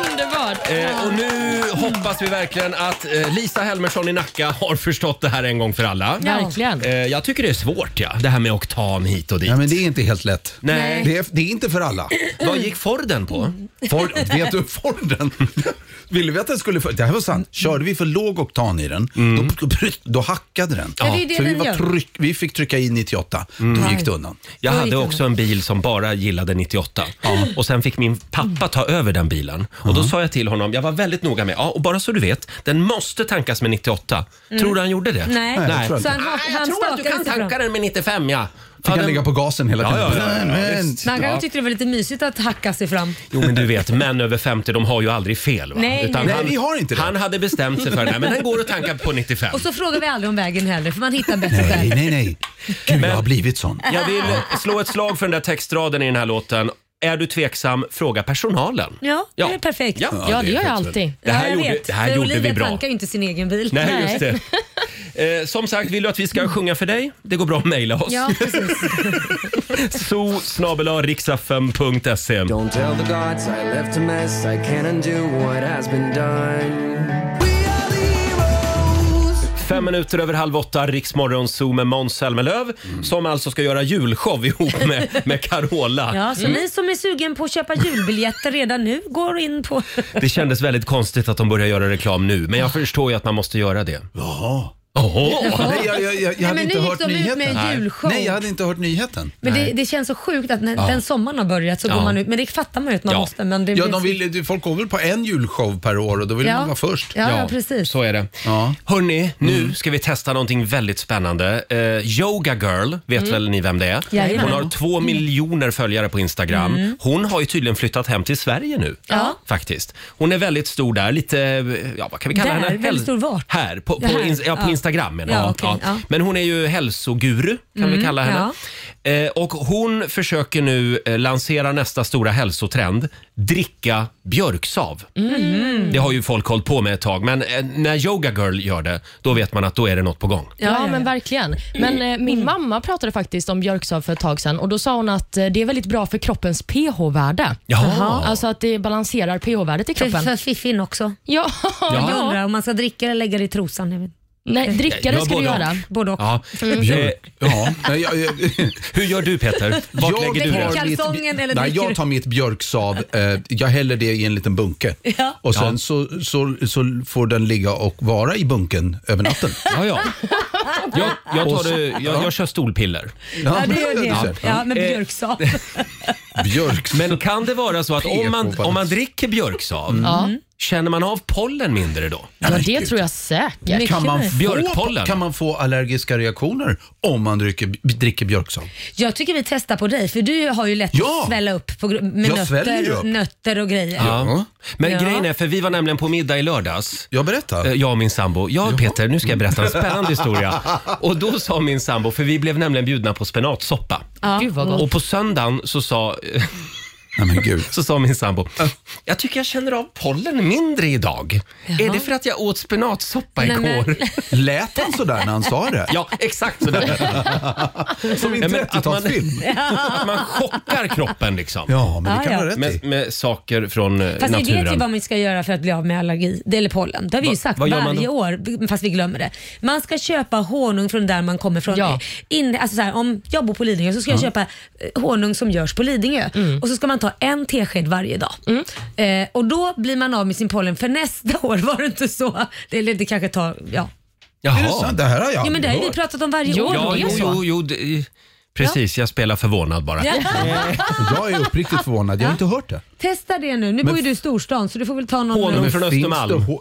Speaker 5: Underbart. underbart.
Speaker 1: Eh, och nu hoppas vi verkligen att eh, Lisa Helmersson i Nacka har förstått det här en gång för alla.
Speaker 5: Ja. Verkligen.
Speaker 1: Eh, jag tycker det är svårt ja, det här med oktan hit och dit.
Speaker 9: Nej, men det är inte helt lätt.
Speaker 1: Nej.
Speaker 9: Det, är, det är inte för alla.
Speaker 1: Vad gick Forden på?
Speaker 9: Ford, vet du Forden? Ville vi att den skulle... för- Det här var sant. Körde vi för låg oktan i den, då, då hackade den. Mm.
Speaker 2: Ja, det är det
Speaker 9: Så vi,
Speaker 2: den
Speaker 9: var
Speaker 2: gör.
Speaker 9: tryck, vi fick trycka i 98. Då gick det undan.
Speaker 1: Jag
Speaker 2: Oj,
Speaker 1: hade
Speaker 2: Kalle.
Speaker 1: också en bil som bara gillade 98 och sen fick min pappa ta över den bilen och då sa jag till honom, jag var väldigt noga med, ja och bara så du vet, den måste tankas med 98. Tror du han gjorde det?
Speaker 2: Nej.
Speaker 9: Nej, jag tror
Speaker 2: Så
Speaker 9: inte.
Speaker 2: han,
Speaker 1: Ah,
Speaker 2: han
Speaker 1: jag tror att du
Speaker 2: stakade
Speaker 1: kan
Speaker 2: sig fram.
Speaker 1: tanka den med 95 ja.
Speaker 9: Fick
Speaker 1: Ja,
Speaker 9: han
Speaker 1: den-
Speaker 9: lägga på gasen hela
Speaker 1: Ja,
Speaker 9: tiden.
Speaker 1: ja, ja, ja,
Speaker 9: Nej, men-
Speaker 1: visst.
Speaker 2: Man kanske
Speaker 1: Ja.
Speaker 2: tyckte det var lite mysigt att hacka sig fram.
Speaker 1: Jo men du vet, män över 50 de har ju aldrig fel. Va?
Speaker 2: Nej, nej.
Speaker 9: Nej, vi har inte det.
Speaker 1: Han hade bestämt sig för att men den går att tanka på 95.
Speaker 2: Och så frågar vi aldrig om vägen heller för man hittar bättre
Speaker 9: Nej,
Speaker 2: själv.
Speaker 9: nej, nej. Gud, jag har blivit sån.
Speaker 1: Jag vill slå ett slag för den där textraden i den här låten. Är du tveksam, fråga personalen.
Speaker 2: Ja, det är perfekt.
Speaker 1: Ja.
Speaker 5: Ja, det
Speaker 9: är
Speaker 5: gör jag
Speaker 9: helt
Speaker 5: alltid.
Speaker 1: Det här
Speaker 2: ja, jag
Speaker 1: gjorde,
Speaker 2: vet.
Speaker 1: det här
Speaker 2: För
Speaker 1: gjorde vi
Speaker 2: Olivia
Speaker 1: bra.
Speaker 2: tankar ju inte sin egen bil.
Speaker 1: Nej, just det. Eh, som sagt, vill du att vi ska sjunga för dig? Det går bra att mejla oss.
Speaker 2: Ja, precis.
Speaker 1: so
Speaker 8: Don't tell the gods I left a mess. I can't undo what has been done.
Speaker 1: Fem minuter över halv åtta, Riksmorgon Zoo med Måns Zelmerlöw som alltså ska göra julshow ihop med, med Carola.
Speaker 2: Ja, så ni som är sugen på att köpa julbiljetter redan nu går in på...
Speaker 1: Det kändes väldigt konstigt att de börjar göra reklam nu, men jag förstår ju att man måste göra det.
Speaker 9: Jaha.
Speaker 1: Oho.
Speaker 9: Nej, jag, jag, jag, jag hade
Speaker 2: men
Speaker 9: inte
Speaker 2: nu gick
Speaker 9: hört
Speaker 2: de ut med
Speaker 9: nyheten.
Speaker 2: en
Speaker 9: Nej.
Speaker 2: julshow.
Speaker 9: Nej, jag hade inte hört nyheten.
Speaker 2: Men det, det känns så sjukt att när den sommaren har börjat så
Speaker 1: Ja.
Speaker 2: går man ut. Men det fattar man ju att man
Speaker 1: Ja.
Speaker 2: måste. Men det
Speaker 9: Ja,
Speaker 2: blir-
Speaker 9: de vill, du- folk går väl på en julshow per år och då vill
Speaker 2: Ja.
Speaker 9: man vara först.
Speaker 2: Ja, ja, precis.
Speaker 1: Så är det.
Speaker 9: Ja.
Speaker 1: Hörni, nu ska vi testa någonting väldigt spännande. Eh, Yoga Girl, vet väl ni vem det är?
Speaker 2: Mm. Jajamän. Mm.
Speaker 1: Hon har två miljoner följare på Instagram. Hon har ju tydligen flyttat hem till Sverige nu.
Speaker 2: Ja.
Speaker 1: Faktiskt. Hon är väldigt stor där, lite, ja vad kan vi kalla
Speaker 2: Där?
Speaker 1: henne?
Speaker 2: Väldigt
Speaker 1: Häl-
Speaker 2: stor vart?
Speaker 1: Här, på, på,
Speaker 2: Här,
Speaker 1: ins- ja, på
Speaker 2: ja.
Speaker 1: Instagram menar jag.
Speaker 2: Ja, okej, ja.
Speaker 1: Men hon är ju hälsoguru, kan vi kalla henne. Eh, och hon försöker nu eh, lansera nästa stora hälsotrend, dricka björksav. Det har ju folk hållit på med ett tag, men eh, när Yoga Girl gör det, då vet man att då är det något på gång.
Speaker 5: Ja, men verkligen. Men eh, min mamma pratade faktiskt om björksav för ett tag sedan och då sa hon att eh, det är väldigt bra för kroppens pH-värde.
Speaker 1: Jaha.
Speaker 5: Alltså att det balanserar pH-värdet i
Speaker 2: För,
Speaker 5: kroppen.
Speaker 2: för fiffin också.
Speaker 5: Ja, [LAUGHS] ja.
Speaker 2: Jag undrar om man ska dricka eller lägga det i trosan. Jag vet.
Speaker 5: Nej, dricka det
Speaker 1: Ja,
Speaker 5: ska du
Speaker 1: både och.
Speaker 5: göra.
Speaker 2: Både och.
Speaker 1: Ja. Eh,
Speaker 9: Ja. Nej, jag, jag,
Speaker 1: hur gör du Peter? Vart
Speaker 9: jag
Speaker 1: lägger du
Speaker 9: tar
Speaker 1: det?
Speaker 2: Lägger
Speaker 9: mitt-
Speaker 2: kalsongen eller
Speaker 9: Nej,
Speaker 2: dricker
Speaker 9: jag
Speaker 2: du?
Speaker 9: tar mitt björksav, eh, jag häller det i en liten bunke.
Speaker 2: Ja.
Speaker 9: Och sen
Speaker 1: Ja.
Speaker 9: så, så, så får den ligga och vara i bunken över natten.
Speaker 1: Ja, ja. Jag, jag, tar det, jag, jag kör stolpiller.
Speaker 2: [LAUGHS] Ja, det gör det. Ja, men
Speaker 1: Eh,
Speaker 2: björksav.
Speaker 9: Björksav.
Speaker 1: Men kan det vara så att om man, om man dricker björksav, känner man av pollen mindre då?
Speaker 5: Ja, det tror jag säkert.
Speaker 9: Kan man, få,
Speaker 1: Björkpollen.
Speaker 9: kan man få allergiska reaktioner om man dricker, dricker björksav?
Speaker 2: Jag tycker vi testar på dig, för du har ju lätt
Speaker 9: Ja.
Speaker 2: att svälla upp på, gr- med
Speaker 9: Jag sväljer ju
Speaker 2: nötter,
Speaker 9: upp.
Speaker 2: nötter och grejer.
Speaker 1: Ja. Men
Speaker 2: Ja.
Speaker 1: grejen är, för vi var nämligen på middag i lördags.
Speaker 9: Jag berättar.
Speaker 1: Eh, Jag och min sambo. Ja, Peter, nu ska jag berätta en spännande historia. Och då sa min sambo, för vi blev nämligen bjudna på spenatsoppa.
Speaker 5: Gud vad gott.
Speaker 1: Och på söndagen så sa, [LAUGHS]
Speaker 9: Nej men gud.
Speaker 1: så sa min sambo, jag tycker jag känner av pollen mindre idag. Är det för att jag åt spenatsoppa
Speaker 2: Nej, men-
Speaker 1: igår?
Speaker 9: Lät han sådär när han sa det?
Speaker 1: Ja,
Speaker 2: [LAUGHS]
Speaker 1: exakt sådär.
Speaker 9: Som i
Speaker 1: Nej, men att man,
Speaker 9: 30-talsfilm.
Speaker 1: [LAUGHS] att man chockar kroppen liksom.
Speaker 9: Ja, men det kan du ha
Speaker 2: Ja, ja.
Speaker 9: rätt i.
Speaker 1: Med, med saker från eh,
Speaker 2: Fast det är det
Speaker 1: naturen.
Speaker 2: typ vad man ska göra för att bli av med allergi det- eller pollen. Det har vi ju
Speaker 1: Va-
Speaker 2: sagt
Speaker 1: vad gör man
Speaker 2: varje
Speaker 1: då?
Speaker 2: år, fast vi glömmer det. Man ska köpa honung från där man kommer från.
Speaker 5: Ja.
Speaker 2: In, alltså så här, om jag bor på Lidingö så ska jag köpa eh, honung som görs på Lidingö
Speaker 1: Mm.
Speaker 2: och så ska man ta en tesked varje dag. Eh, och då blir man av med sin pollen för nästa [LAUGHS] år var det inte så. Det, eller det kanske tar, ja.
Speaker 9: Är det
Speaker 1: Jaha.
Speaker 9: sant? Det här har jag
Speaker 2: ja men det har ju vi
Speaker 9: aldrig hört.
Speaker 2: pratat om varje år.
Speaker 1: Ja,
Speaker 5: det
Speaker 1: jo,
Speaker 5: är så.
Speaker 1: jo, jo, det- precis. Jag spelar förvånad bara.
Speaker 9: Jag är uppriktigt förvånad, jag har inte hört det.
Speaker 2: Testa det nu. Nu bor ju du i storstan så du får väl ta någon
Speaker 1: Honung.
Speaker 2: eh,
Speaker 1: från
Speaker 9: finns
Speaker 1: Östermalm.
Speaker 9: det hå-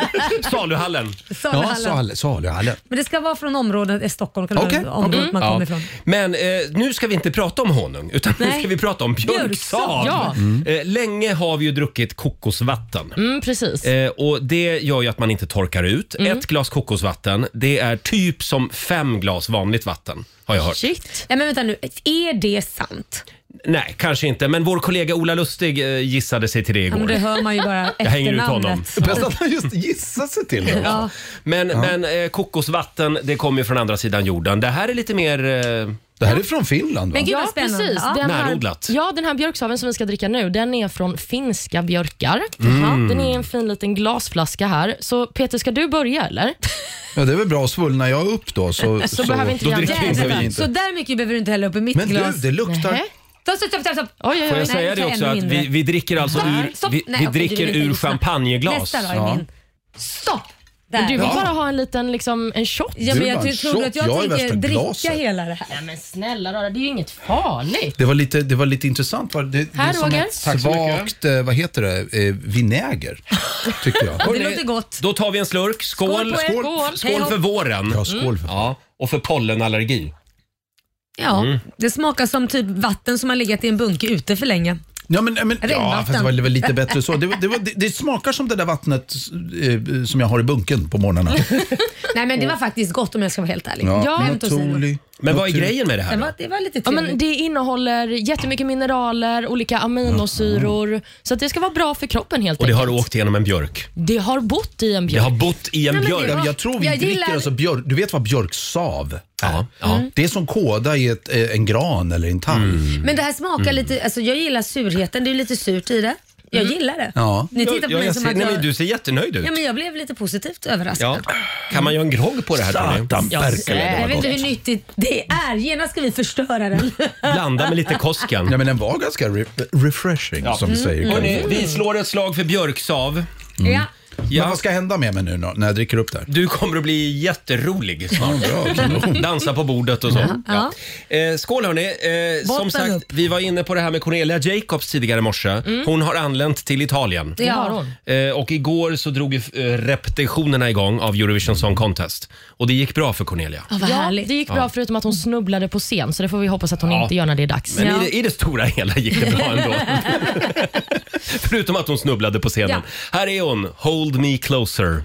Speaker 1: [LAUGHS]
Speaker 9: [LAUGHS]
Speaker 1: Saluhallen.
Speaker 9: ja,
Speaker 2: saluhalla.
Speaker 9: Sal-
Speaker 5: [LAUGHS]
Speaker 9: saluhallen.
Speaker 2: Men det ska vara från området i Stockholm, kan det
Speaker 9: Okej,
Speaker 2: vara området man kommer ifrån.
Speaker 1: Men eh, nu ska vi inte prata om honung, utan nu
Speaker 2: Nej.
Speaker 1: ska vi prata om björksav.
Speaker 2: Björksav,
Speaker 5: ja.
Speaker 1: Eh, länge har vi ju druckit kokosvatten.
Speaker 5: Mm, precis.
Speaker 1: Eh, och Det gör ju att man inte torkar ut.
Speaker 2: Mm.
Speaker 1: Ett glas kokosvatten, det är typ som fem glas vanligt vatten. Har jag hört.
Speaker 5: Shit.
Speaker 2: Nej men vänta nu, är det sant?
Speaker 1: Nej, kanske inte. Men vår kollega Ola Lustig eh, gissade sig till det
Speaker 2: Ja, men
Speaker 1: igår.
Speaker 2: det hör man ju bara
Speaker 1: [LAUGHS] Jag hänger ut honom.
Speaker 2: efternamnet.
Speaker 9: Bäst att han just gissar sig
Speaker 5: [LAUGHS]
Speaker 9: till det.
Speaker 2: Ja.
Speaker 1: Men, men eh, kokosvatten, det kommer ju från andra sidan jorden. Det här är lite mer eh,
Speaker 9: Det här är från Finland va?
Speaker 5: Men gud, vad spännande. Ja. Den här-
Speaker 1: Närodlat.
Speaker 5: Ja, den här björksaveln som vi ska dricka nu, den är från finska björkar.
Speaker 9: Mm.
Speaker 5: Den är i en fin liten glasflaska här. Så Peter, ska du börja eller?
Speaker 9: Ja, det är väl bra. Svullnar jag upp då så,
Speaker 5: [LAUGHS] Så behöver inte
Speaker 9: då
Speaker 5: jag-
Speaker 9: dricker
Speaker 5: Jävlar.
Speaker 9: vi
Speaker 2: Så
Speaker 9: inte.
Speaker 2: där mycket behöver du inte hälla upp i mitt
Speaker 9: Men du,
Speaker 2: glas.
Speaker 9: det luktar- Nähä.
Speaker 2: Stopp, stopp, stopp, stopp, stopp.
Speaker 1: Får jag säga det också att vi, vi dricker alltså
Speaker 2: Stopp,
Speaker 1: ur,
Speaker 2: stopp.
Speaker 1: vi,
Speaker 2: Nej,
Speaker 1: vi
Speaker 2: okej, du
Speaker 1: dricker
Speaker 2: vill inte
Speaker 1: ur
Speaker 2: lyssna.
Speaker 1: champagneglas.
Speaker 2: Nästa då är min. Stopp! Där.
Speaker 5: Du vill bara ha en liten liksom, en shot.
Speaker 2: Ja, men jag tror att jag, tänker dricka hela det här.
Speaker 5: Nej, men snälla rara, det är ju inget farligt.
Speaker 9: Det var lite, det var lite intressant. va? Det, det
Speaker 5: Här,
Speaker 9: är som
Speaker 5: Roger.
Speaker 9: ett
Speaker 5: Tack så mycket.
Speaker 9: svagt, eh, vad heter det, eh,
Speaker 5: [LAUGHS]
Speaker 9: vinäger. Tycker jag.
Speaker 5: Mm.
Speaker 1: Hörrni,
Speaker 2: låter gott.
Speaker 1: Då tar vi en slurk. Skål,
Speaker 2: Skål på er.
Speaker 1: skål,
Speaker 2: Skål.
Speaker 1: skål
Speaker 2: Hej
Speaker 1: för
Speaker 2: då.
Speaker 1: våren.
Speaker 9: Ja, skål för
Speaker 1: ja, och för pollenallergi.
Speaker 2: Ja,
Speaker 1: Mm.
Speaker 2: det smakar som typ vatten som har legat i en bunke ute för länge.
Speaker 9: Ja, men, men, ja
Speaker 2: Regnvatten.
Speaker 9: fast det var väl lite bättre så. Det, var- det, var, det, det smakar som det där vattnet eh, som jag har i bunken på
Speaker 5: [LAUGHS]
Speaker 9: morgnarna.
Speaker 2: Nej men det
Speaker 1: Mm.
Speaker 2: var faktiskt gott om jag ska vara helt ärlig.
Speaker 9: Ja,
Speaker 2: Skämt åsido.
Speaker 9: Natoli,
Speaker 1: Men vad är
Speaker 9: Natoli.
Speaker 1: grejen med det här?
Speaker 2: Det var, det var lite
Speaker 5: Ja,
Speaker 2: trevligt.
Speaker 5: men det innehåller jättemycket mineraler, olika aminosyror. Så att det ska vara bra för kroppen helt
Speaker 1: Mm. Och det
Speaker 5: enkelt.
Speaker 1: har åkt genom en björk.
Speaker 5: Det har bott i en
Speaker 1: Det
Speaker 5: björk.
Speaker 1: har bott i
Speaker 5: Nej,
Speaker 1: en
Speaker 5: men det
Speaker 1: björk.
Speaker 5: var-
Speaker 9: Jag tror vi
Speaker 5: Jag
Speaker 9: dricker
Speaker 5: gillar-
Speaker 9: alltså björk, du vet vad björksav är?
Speaker 1: ja.
Speaker 2: Mm.
Speaker 9: Det är som kåda i ett, eh, en gran eller en tall.
Speaker 1: Mm.
Speaker 2: Men det här smakar lite, alltså jag gillar surheten, det är lite surt i det. Jag gillar det.
Speaker 9: Ja.
Speaker 2: Ni tittar på
Speaker 1: Ja,
Speaker 2: mig
Speaker 1: jag
Speaker 2: som
Speaker 1: ser,
Speaker 2: att
Speaker 1: nej,
Speaker 2: jag...
Speaker 1: men du ser jättenöjd ut.
Speaker 2: Ja, men jag blev lite positivt överraskad.
Speaker 1: Ja. Kan man göra en grogg på det här tror
Speaker 9: Satan,
Speaker 1: ni?
Speaker 9: Berkel, det var
Speaker 2: Jag vet
Speaker 9: gott.
Speaker 2: inte hur nyttigt det är. Genast ska vi förstöra den.
Speaker 1: Mm. Blanda med lite Kosken.
Speaker 9: Ja, men den var ganska re refreshing som
Speaker 1: Mm.
Speaker 9: vi säger. i
Speaker 1: Hörrni,
Speaker 9: Kalifornien.
Speaker 1: vi slår ett slag för björksav.
Speaker 2: Ja.
Speaker 1: Ja.
Speaker 9: Men vad ska hända med mig nu då, när jag dricker upp det här?
Speaker 1: Du kommer att bli jätterolig snart.
Speaker 9: Ja, kanon.
Speaker 1: Mm. Dansa på bordet och så. Ja. Eh, skål hörni. Eh, som
Speaker 2: Botten
Speaker 1: sagt,
Speaker 2: upp.
Speaker 1: vi var inne på det här med Cornelia Jacobs tidigare i morse. Hon har anlänt till Italien.
Speaker 5: Det
Speaker 2: Ja.
Speaker 5: har hon.
Speaker 1: Eh, och igår så drog ju, eh, repetitionerna igång av Eurovision Song Contest. Och det gick bra för Cornelia.
Speaker 2: Ja, Mm. vad
Speaker 5: Ja,
Speaker 2: härligt.
Speaker 5: det gick bra förutom att hon snubblade på scen, så det får vi hoppas att hon
Speaker 1: Ja.
Speaker 5: inte gör när det är dags.
Speaker 1: Men i, det, i det stora hela gick det bra [LAUGHS] ändå. Förutom att hon snubblade på scenen. Här är hon, Hold Me Closer.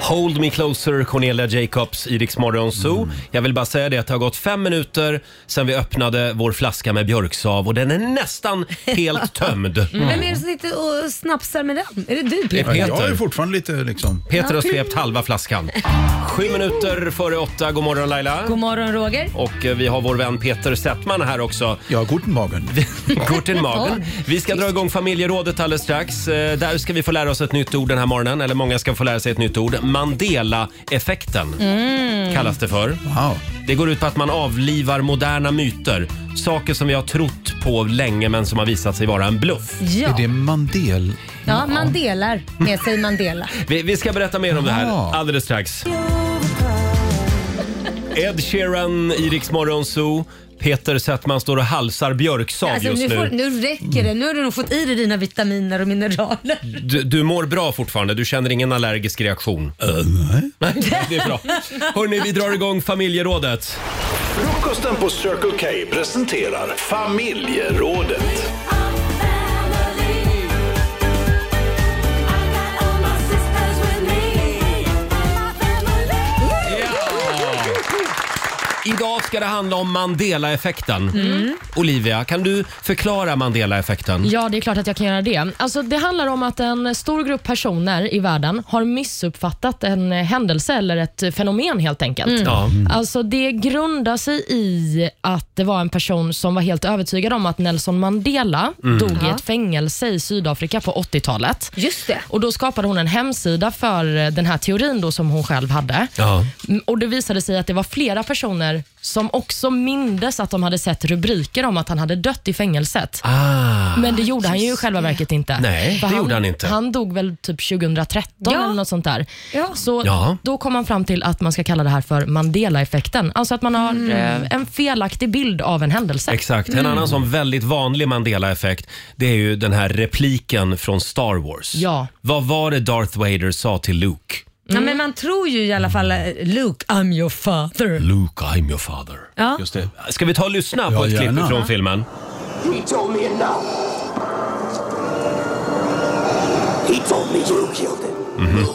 Speaker 1: Hold Me Closer, Cornelia Jacobs, i Rix Morgon Zoo.
Speaker 2: Mm.
Speaker 1: Jag vill bara säga det att det har gått fem minuter sedan vi öppnade vår flaska med björksav och den är
Speaker 2: [LAUGHS]
Speaker 1: nästan helt tömd.
Speaker 2: Vem är det som sitter och snapsar med den? Är det du
Speaker 1: Det
Speaker 2: Peter?
Speaker 1: är Peter.
Speaker 9: Jag är fortfarande lite liksom...
Speaker 1: Peter har svept halva flaskan. Sju minuter före åtta. God morgon Laila.
Speaker 2: God morgon Roger.
Speaker 1: Och eh, vi har vår vän Peter Settman här också.
Speaker 9: Jag har guten magen.
Speaker 1: Guten Morgen. Vi ska dra igång familjerådet alldeles strax. Eh, Där ska vi få lära oss ett nytt ord den här morgonen. Eller många ska få lära sig ett nytt ord. Mandela-effekten
Speaker 2: Mm.
Speaker 1: kallas det för.
Speaker 9: Wow.
Speaker 1: Det går ut på att man avlivar moderna myter. Saker som vi har trott på länge men som har visat sig vara en bluff.
Speaker 9: Är
Speaker 2: Ja.
Speaker 9: det Mandel?
Speaker 2: ja, man delar med sig Mandela.
Speaker 1: Vi, vi ska berätta mer om det här
Speaker 9: Ja.
Speaker 1: alldeles strax. Ed Sheeran, Iriks Morgonzoo. Peter Settman står och halsar björksav
Speaker 2: Alltså,
Speaker 1: just
Speaker 2: nu,
Speaker 1: nu.
Speaker 2: får, nu räcker det. Nu har du nog fått i dig dina vitaminer och mineraler.
Speaker 1: Du, du mår bra fortfarande, du känner ingen allergisk reaktion? nej. [LAUGHS] Nej, det är bra. Hörni, vi drar igång familjerådet.
Speaker 3: Frukosten på Circle K presenterar familjerådet.
Speaker 1: Idag ska det handla om Mandela-effekten. Olivia, kan du förklara Mandela-effekten?
Speaker 5: Ja, det är klart att jag kan göra det. Alltså, det handlar om att en stor grupp personer i världen har missuppfattat en eh, händelse eller ett eh, fenomen helt enkelt.
Speaker 1: Ja.
Speaker 5: Alltså Det grundar sig i att det var en person som var helt övertygad om att Nelson Mandela
Speaker 1: Mm.
Speaker 5: dog i ett fängelse i Sydafrika på 80-talet.
Speaker 2: Just det.
Speaker 5: Och Då skapade hon en hemsida för eh, den här teorin då som hon själv hade.
Speaker 1: Ja.
Speaker 5: Mm, Och Det visade sig att det var flera personer som också mindes att de hade sett rubriker om att han hade dött i fängelset.
Speaker 1: Ah.
Speaker 5: Men det gjorde han ju i själva verket inte.
Speaker 1: Nej,
Speaker 5: För
Speaker 1: det gjorde han inte.
Speaker 5: Han dog väl typ 2013
Speaker 2: Ja.
Speaker 5: eller något sånt där.
Speaker 2: Ja.
Speaker 5: Så
Speaker 1: Ja.
Speaker 5: då kom man fram till att man ska kalla det här för Mandela-effekten. Alltså att man har eh, en felaktig bild av en händelse.
Speaker 1: Exakt. En annan sån väldigt vanlig Mandela-effekt det är ju den här repliken från Star Wars.
Speaker 5: Ja.
Speaker 1: Vad var det Darth Vader sa till Luke?
Speaker 2: Ja,
Speaker 1: Mm.
Speaker 2: men man tror ju i alla fall eh, Luke, I'm your father.
Speaker 1: Luke, I'm your father.
Speaker 2: Ja.
Speaker 1: Just det. Ska vi ta och lyssna på
Speaker 9: Ja,
Speaker 1: ett
Speaker 9: gärna.
Speaker 1: klipp från filmen?
Speaker 3: He told me enough. He told me you killed him.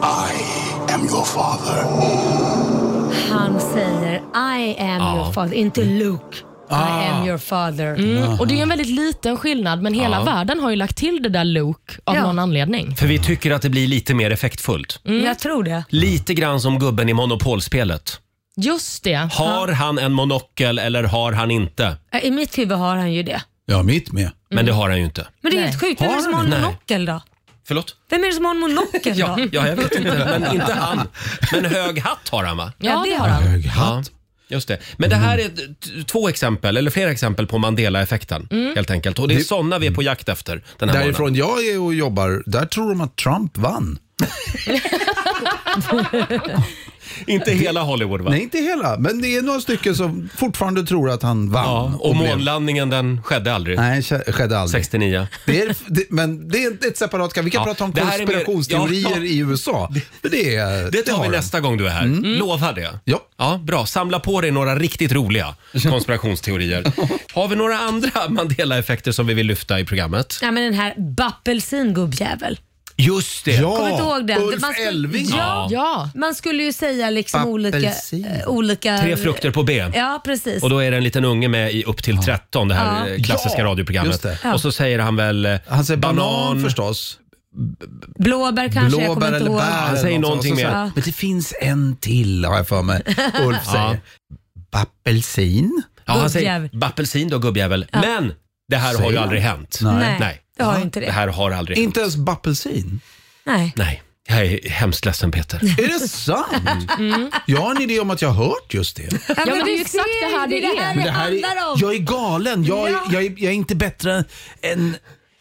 Speaker 3: I am your father.
Speaker 1: Mm.
Speaker 2: Han säger I am your father, inte Luke.
Speaker 9: Ja,
Speaker 1: Ah.
Speaker 2: I am your father.
Speaker 5: Mm, och Det är en väldigt liten skillnad, men hela
Speaker 1: Ja.
Speaker 5: världen har ju lagt till det där Luke av
Speaker 2: Ja.
Speaker 5: någon anledning.
Speaker 1: För vi tycker att det blir lite mer effektfullt.
Speaker 2: Jag tror det.
Speaker 1: Lite grann som gubben i monopolspelet.
Speaker 5: Just det.
Speaker 1: Har han en monokel eller har han inte?
Speaker 2: Ja, I mitt huvud har han ju det.
Speaker 9: Ja, mitt med.
Speaker 1: Men det har han ju inte.
Speaker 2: Men det är helt sjukt. Vem är det
Speaker 1: Har
Speaker 2: som
Speaker 1: du?
Speaker 2: har en
Speaker 1: Nej.
Speaker 2: monokel då?
Speaker 1: Förlåt?
Speaker 2: Vem är det som har en
Speaker 1: [LAUGHS]
Speaker 2: monokel
Speaker 1: Ja,
Speaker 2: då?
Speaker 1: ja, jag vet inte. Men inte han. Men hög hatt har han va?
Speaker 5: Ja, det har han.
Speaker 9: Hög hatt.
Speaker 1: Ja, just det. Men det här är t- t- två exempel, eller flera exempel på Mandela-effekten helt enkelt. Och det är sådana vi är på jakt efter den här morgonen.
Speaker 9: Därifrån jag är och jobbar, där tror de att Trump vann.
Speaker 1: Inte hela Hollywood va?
Speaker 9: Nej, inte hela, men det är några stycken som fortfarande tror att han vann.
Speaker 1: Ja, och
Speaker 9: blev-
Speaker 1: månlandningen den skedde aldrig.
Speaker 9: Nej, ske- skedde aldrig.
Speaker 1: 69.
Speaker 9: Det är, det, men det är ett separat Vi kan
Speaker 1: Ja,
Speaker 9: prata om
Speaker 1: det här är mer-
Speaker 9: konspirationsteorier
Speaker 1: ja, ja.
Speaker 9: i USA. För Det, är-
Speaker 1: Det tar
Speaker 9: har
Speaker 1: vi
Speaker 9: de.
Speaker 1: nästa gång du är här. Lovar det.
Speaker 9: Mm. Ja.
Speaker 1: ja. Bra. Samla på dig några
Speaker 9: [LAUGHS]
Speaker 1: riktigt roliga konspirationsteorier. Har vi några andra Mandela-effekter som vi vill lyfta i programmet?
Speaker 2: Ja, men den här Bappelsin gubbjävel.
Speaker 1: Just det.
Speaker 2: Kommer du inte ihåg den?
Speaker 9: Ulf
Speaker 2: Man skulle-
Speaker 9: Elving.
Speaker 1: Ja.
Speaker 5: Ja.
Speaker 2: Man skulle ju säga liksom olika,
Speaker 9: Apelsin.
Speaker 2: eh, olika...
Speaker 1: Tre frukter på B.
Speaker 2: Ja, precis.
Speaker 1: Och då är det en liten unge med i Upp till 13, det här
Speaker 2: Ja.
Speaker 1: eh, klassiska
Speaker 9: Ja,
Speaker 1: radioprogrammet.
Speaker 9: just det.
Speaker 1: Och så säger han väl eh,
Speaker 9: Han säger banan, förstås.
Speaker 2: Blåbär kanske, jag
Speaker 9: Blåbär
Speaker 2: kommer inte
Speaker 9: eller
Speaker 2: ihåg.
Speaker 9: bär.
Speaker 1: Han
Speaker 9: eller
Speaker 1: säger
Speaker 9: något
Speaker 1: någonting
Speaker 9: sånt.
Speaker 1: mer.
Speaker 9: Så-
Speaker 2: Ja.
Speaker 9: Men det finns en till har jag för
Speaker 2: [LAUGHS]
Speaker 9: mig. Ulf
Speaker 1: Ja.
Speaker 9: säger. Apelsin?
Speaker 1: Ja, han säger
Speaker 2: Gubbjävel.
Speaker 1: bappelsin då, gubbjävel. Men det här har
Speaker 9: Säger
Speaker 1: ju
Speaker 9: han?
Speaker 1: aldrig hänt.
Speaker 2: Nej,
Speaker 1: Nej.
Speaker 2: jag har inte
Speaker 1: Det
Speaker 2: det.
Speaker 1: här har aldrig hänt.
Speaker 9: Inte ens bappelsin?
Speaker 2: Nej.
Speaker 1: Nej, jag är hemskt ledsen Peter.
Speaker 9: Är det sant?
Speaker 2: Mm.
Speaker 9: Jag har en idé om att jag har hört just det.
Speaker 5: Ja, men det är ju
Speaker 2: du
Speaker 5: exakt
Speaker 2: ser,
Speaker 5: det här det är.
Speaker 2: här
Speaker 5: Men
Speaker 2: det handlar om.
Speaker 9: jag är galen. Jag,
Speaker 2: Ja.
Speaker 9: jag, är, jag är inte bättre än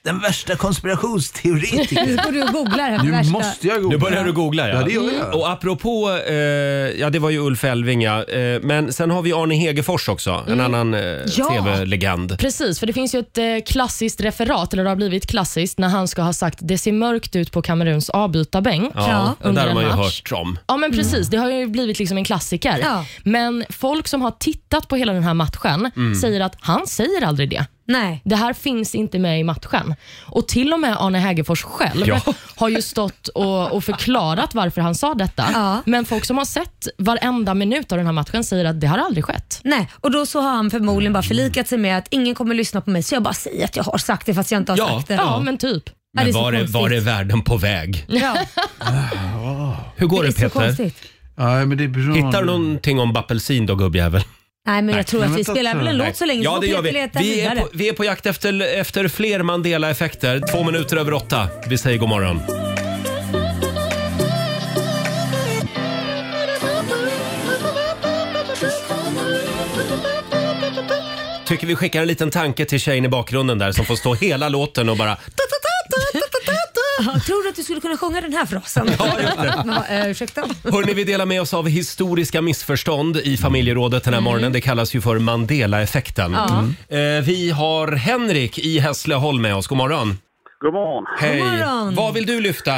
Speaker 9: den värsta
Speaker 2: [LAUGHS]
Speaker 9: konspirationsteoretikern.
Speaker 2: Nu går du och googlar här på
Speaker 9: Nu
Speaker 2: värsta.
Speaker 9: måste jag googla.
Speaker 1: Nu börjar du googla ja.
Speaker 9: Ja, Mm. det gör jag.
Speaker 1: Och apropå, eh, ja det var ju Ulf Elving ja. Eh, men sen har vi Arne Hegerfors också, en annan eh,
Speaker 2: Mm. Ja.
Speaker 1: tv-legend.
Speaker 5: Precis, för det finns ju ett eh, klassiskt referat, eller det har blivit klassiskt, när han ska ha sagt “Det ser mörkt ut på Kameruns avbytarbänk”.
Speaker 1: Ja,
Speaker 2: Ja.
Speaker 1: den där
Speaker 5: Under
Speaker 1: har
Speaker 5: en
Speaker 1: man ju
Speaker 5: match.
Speaker 1: hört om.
Speaker 5: Ja men precis, det har ju blivit liksom en klassiker.
Speaker 2: Ja.
Speaker 5: Men folk som har tittat på hela den här matchen
Speaker 1: Mm.
Speaker 5: säger att han säger aldrig det.
Speaker 2: Nej.
Speaker 5: Det här finns inte med i matchen. Och till och med Arne Hägerfors själv
Speaker 1: Ja.
Speaker 5: har ju stått och, och förklarat varför han sa detta.
Speaker 2: Ja.
Speaker 5: Men folk som har sett varenda minut av den här matchen säger att det har aldrig skett.
Speaker 2: Nej, och då så har han förmodligen bara förlikat sig med att ingen kommer lyssna på mig så jag bara säger att jag har sagt det fast jag inte har
Speaker 1: Ja.
Speaker 2: sagt det.
Speaker 5: Ja, men typ.
Speaker 2: Ja,
Speaker 1: Men
Speaker 2: det är så
Speaker 1: var, är,
Speaker 2: konstigt.
Speaker 1: var är världen på väg?
Speaker 5: [LAUGHS]
Speaker 2: Ja,
Speaker 1: Hur går
Speaker 2: det
Speaker 1: det,
Speaker 2: är så
Speaker 1: Peter?
Speaker 2: konstigt.
Speaker 9: Ja, men det är bra.
Speaker 1: Hittar du någonting om Bappelsin då gubbjävel?
Speaker 2: Nej, men jag tror att
Speaker 9: Men
Speaker 2: vi
Speaker 9: vänta,
Speaker 2: spelar väl en
Speaker 1: Nej.
Speaker 2: låt så länge så
Speaker 1: ja,
Speaker 2: får
Speaker 1: det gör
Speaker 2: Peter
Speaker 1: vi.
Speaker 2: leta
Speaker 1: Vi är,
Speaker 2: vidare.
Speaker 1: på, vi är på jakt efter, efter fler Mandela-effekter. Två minuter över åtta. Vi säger god morgon. Tycker vi skickar en liten tanke till tjejen i bakgrunden där som får stå hela låten och bara...
Speaker 2: Ja, tror du att du skulle kunna sjunga den här frasen? Ja, uh, ursäkta?
Speaker 1: Hörni, vi delar med oss av historiska missförstånd i familjerådet
Speaker 2: Mm.
Speaker 1: den här morgonen. Det kallas ju för Mandela-effekten. Mm. Eh, Vi har Henrik i Hässleholm med oss. God morgon.
Speaker 4: God morgon.
Speaker 1: Hej.
Speaker 2: God morgon.
Speaker 1: Vad vill du lyfta?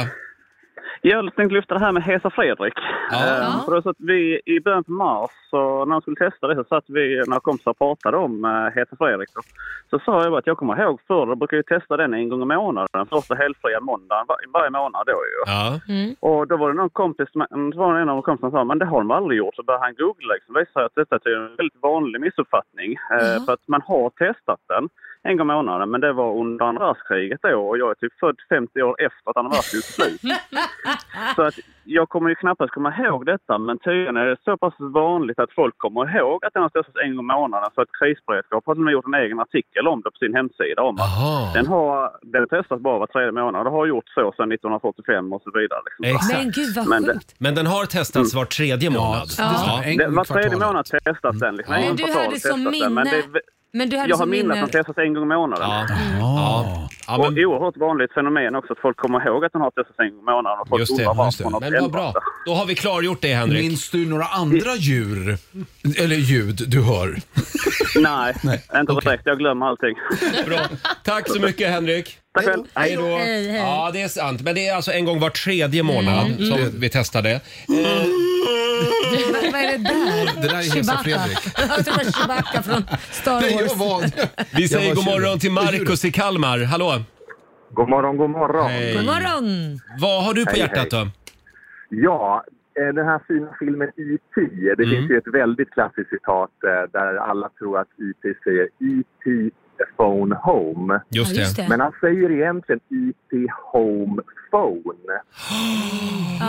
Speaker 4: Jag hade tänkt lyfta det här med Hesa Fredrik.
Speaker 1: Ja.
Speaker 4: Eh, För det var så att vi i början på mars, så när han skulle testa det, så satt vi några kompisar och pratade om eh, Hesa Fredrik. Då. Så sa jag bara att jag kommer ihåg förr, då brukade jag testa den en gång i månaden, den första helgfria måndagen var- varje månad då ju.
Speaker 1: Ja.
Speaker 4: Och då var det någon kompis, som- så var det en av kompisarna som sa men det har de aldrig gjort. Så började han googla liksom, visade att detta är en väldigt vanlig missuppfattning. Eh, för att man har testat den en gång i månaden, men det var under andra världskriget då och jag är typ född 50 år efter att andra världskriget slut. så att jag kommer ju knappast komma ihåg detta, men tydligen är det så pass vanligt att folk kommer ihåg att den har testats en gång i månaden. Så att krisberedskap har till och med gjort en egen artikel om det på sin hemsida om att
Speaker 1: Jaha.
Speaker 4: den har, den testas bara var tredje månad. Det har gjort så sedan 1945 och så vidare. Liksom.
Speaker 2: Mm. Men
Speaker 1: Exakt.
Speaker 2: gud vad
Speaker 4: Men det-
Speaker 2: sjukt.
Speaker 1: Men den har testats var tredje månad.
Speaker 9: Ja.
Speaker 1: Ja.
Speaker 4: Det, var tredje
Speaker 9: Kvartalet.
Speaker 4: månad testas den. Liksom.
Speaker 1: Ja.
Speaker 4: En
Speaker 2: Mm. Men du
Speaker 4: kvartal
Speaker 2: hade som
Speaker 4: testas den,
Speaker 2: minne-
Speaker 4: Men det,
Speaker 2: Men du hade
Speaker 4: jag har
Speaker 2: som
Speaker 4: minne att
Speaker 2: minne...
Speaker 4: den testas en gång i månaden.
Speaker 1: Ja.
Speaker 9: Ah.
Speaker 1: Ja. Ja,
Speaker 4: Och
Speaker 1: men,
Speaker 4: oerhört vanligt fenomen också att folk kommer ihåg att den har testats en gång i månaden och folk
Speaker 1: just det.
Speaker 4: undrar
Speaker 1: Just
Speaker 4: varför
Speaker 1: det.
Speaker 4: den har
Speaker 1: Men vad
Speaker 4: testats.
Speaker 1: bra. Då har vi klargjort det, Henrik.
Speaker 9: Minns du några andra djur? Eller ljud du hör?
Speaker 1: [LAUGHS]
Speaker 4: Nej, inte direkt. Jag glömmer
Speaker 12: [LAUGHS]
Speaker 4: allting.
Speaker 1: Bra. Tack så mycket, Henrik.
Speaker 4: Tack själv.
Speaker 1: Hej då.
Speaker 2: Hej, hej.
Speaker 1: Ja, det är sant. Men det är alltså en gång var tredje månad som vi testar det.
Speaker 2: Vad är det där?
Speaker 9: Det där är Hesa
Speaker 2: Chewbacca.
Speaker 9: Fredrik.
Speaker 2: [LAUGHS] Jag tror det var Chewbacca från
Speaker 9: [LAUGHS]
Speaker 2: Star
Speaker 9: Nej,
Speaker 2: Wars.
Speaker 9: jag var...
Speaker 1: Vi säger
Speaker 9: var
Speaker 1: god morgon
Speaker 9: tjugo.
Speaker 1: till Markus i Kalmar. Hallå!
Speaker 4: God morgon, god morgon.
Speaker 2: God morgon!
Speaker 1: Vad har du på hjärtat då?
Speaker 4: Ja,
Speaker 12: eh, den här fina filmen E.T. Det
Speaker 8: Mm.
Speaker 12: finns ju ett väldigt klassiskt citat eh, där alla tror att E.T. säger E.T. phone home.
Speaker 1: Just
Speaker 8: Ja, just det. det.
Speaker 12: Men han säger egentligen E.T. home phone.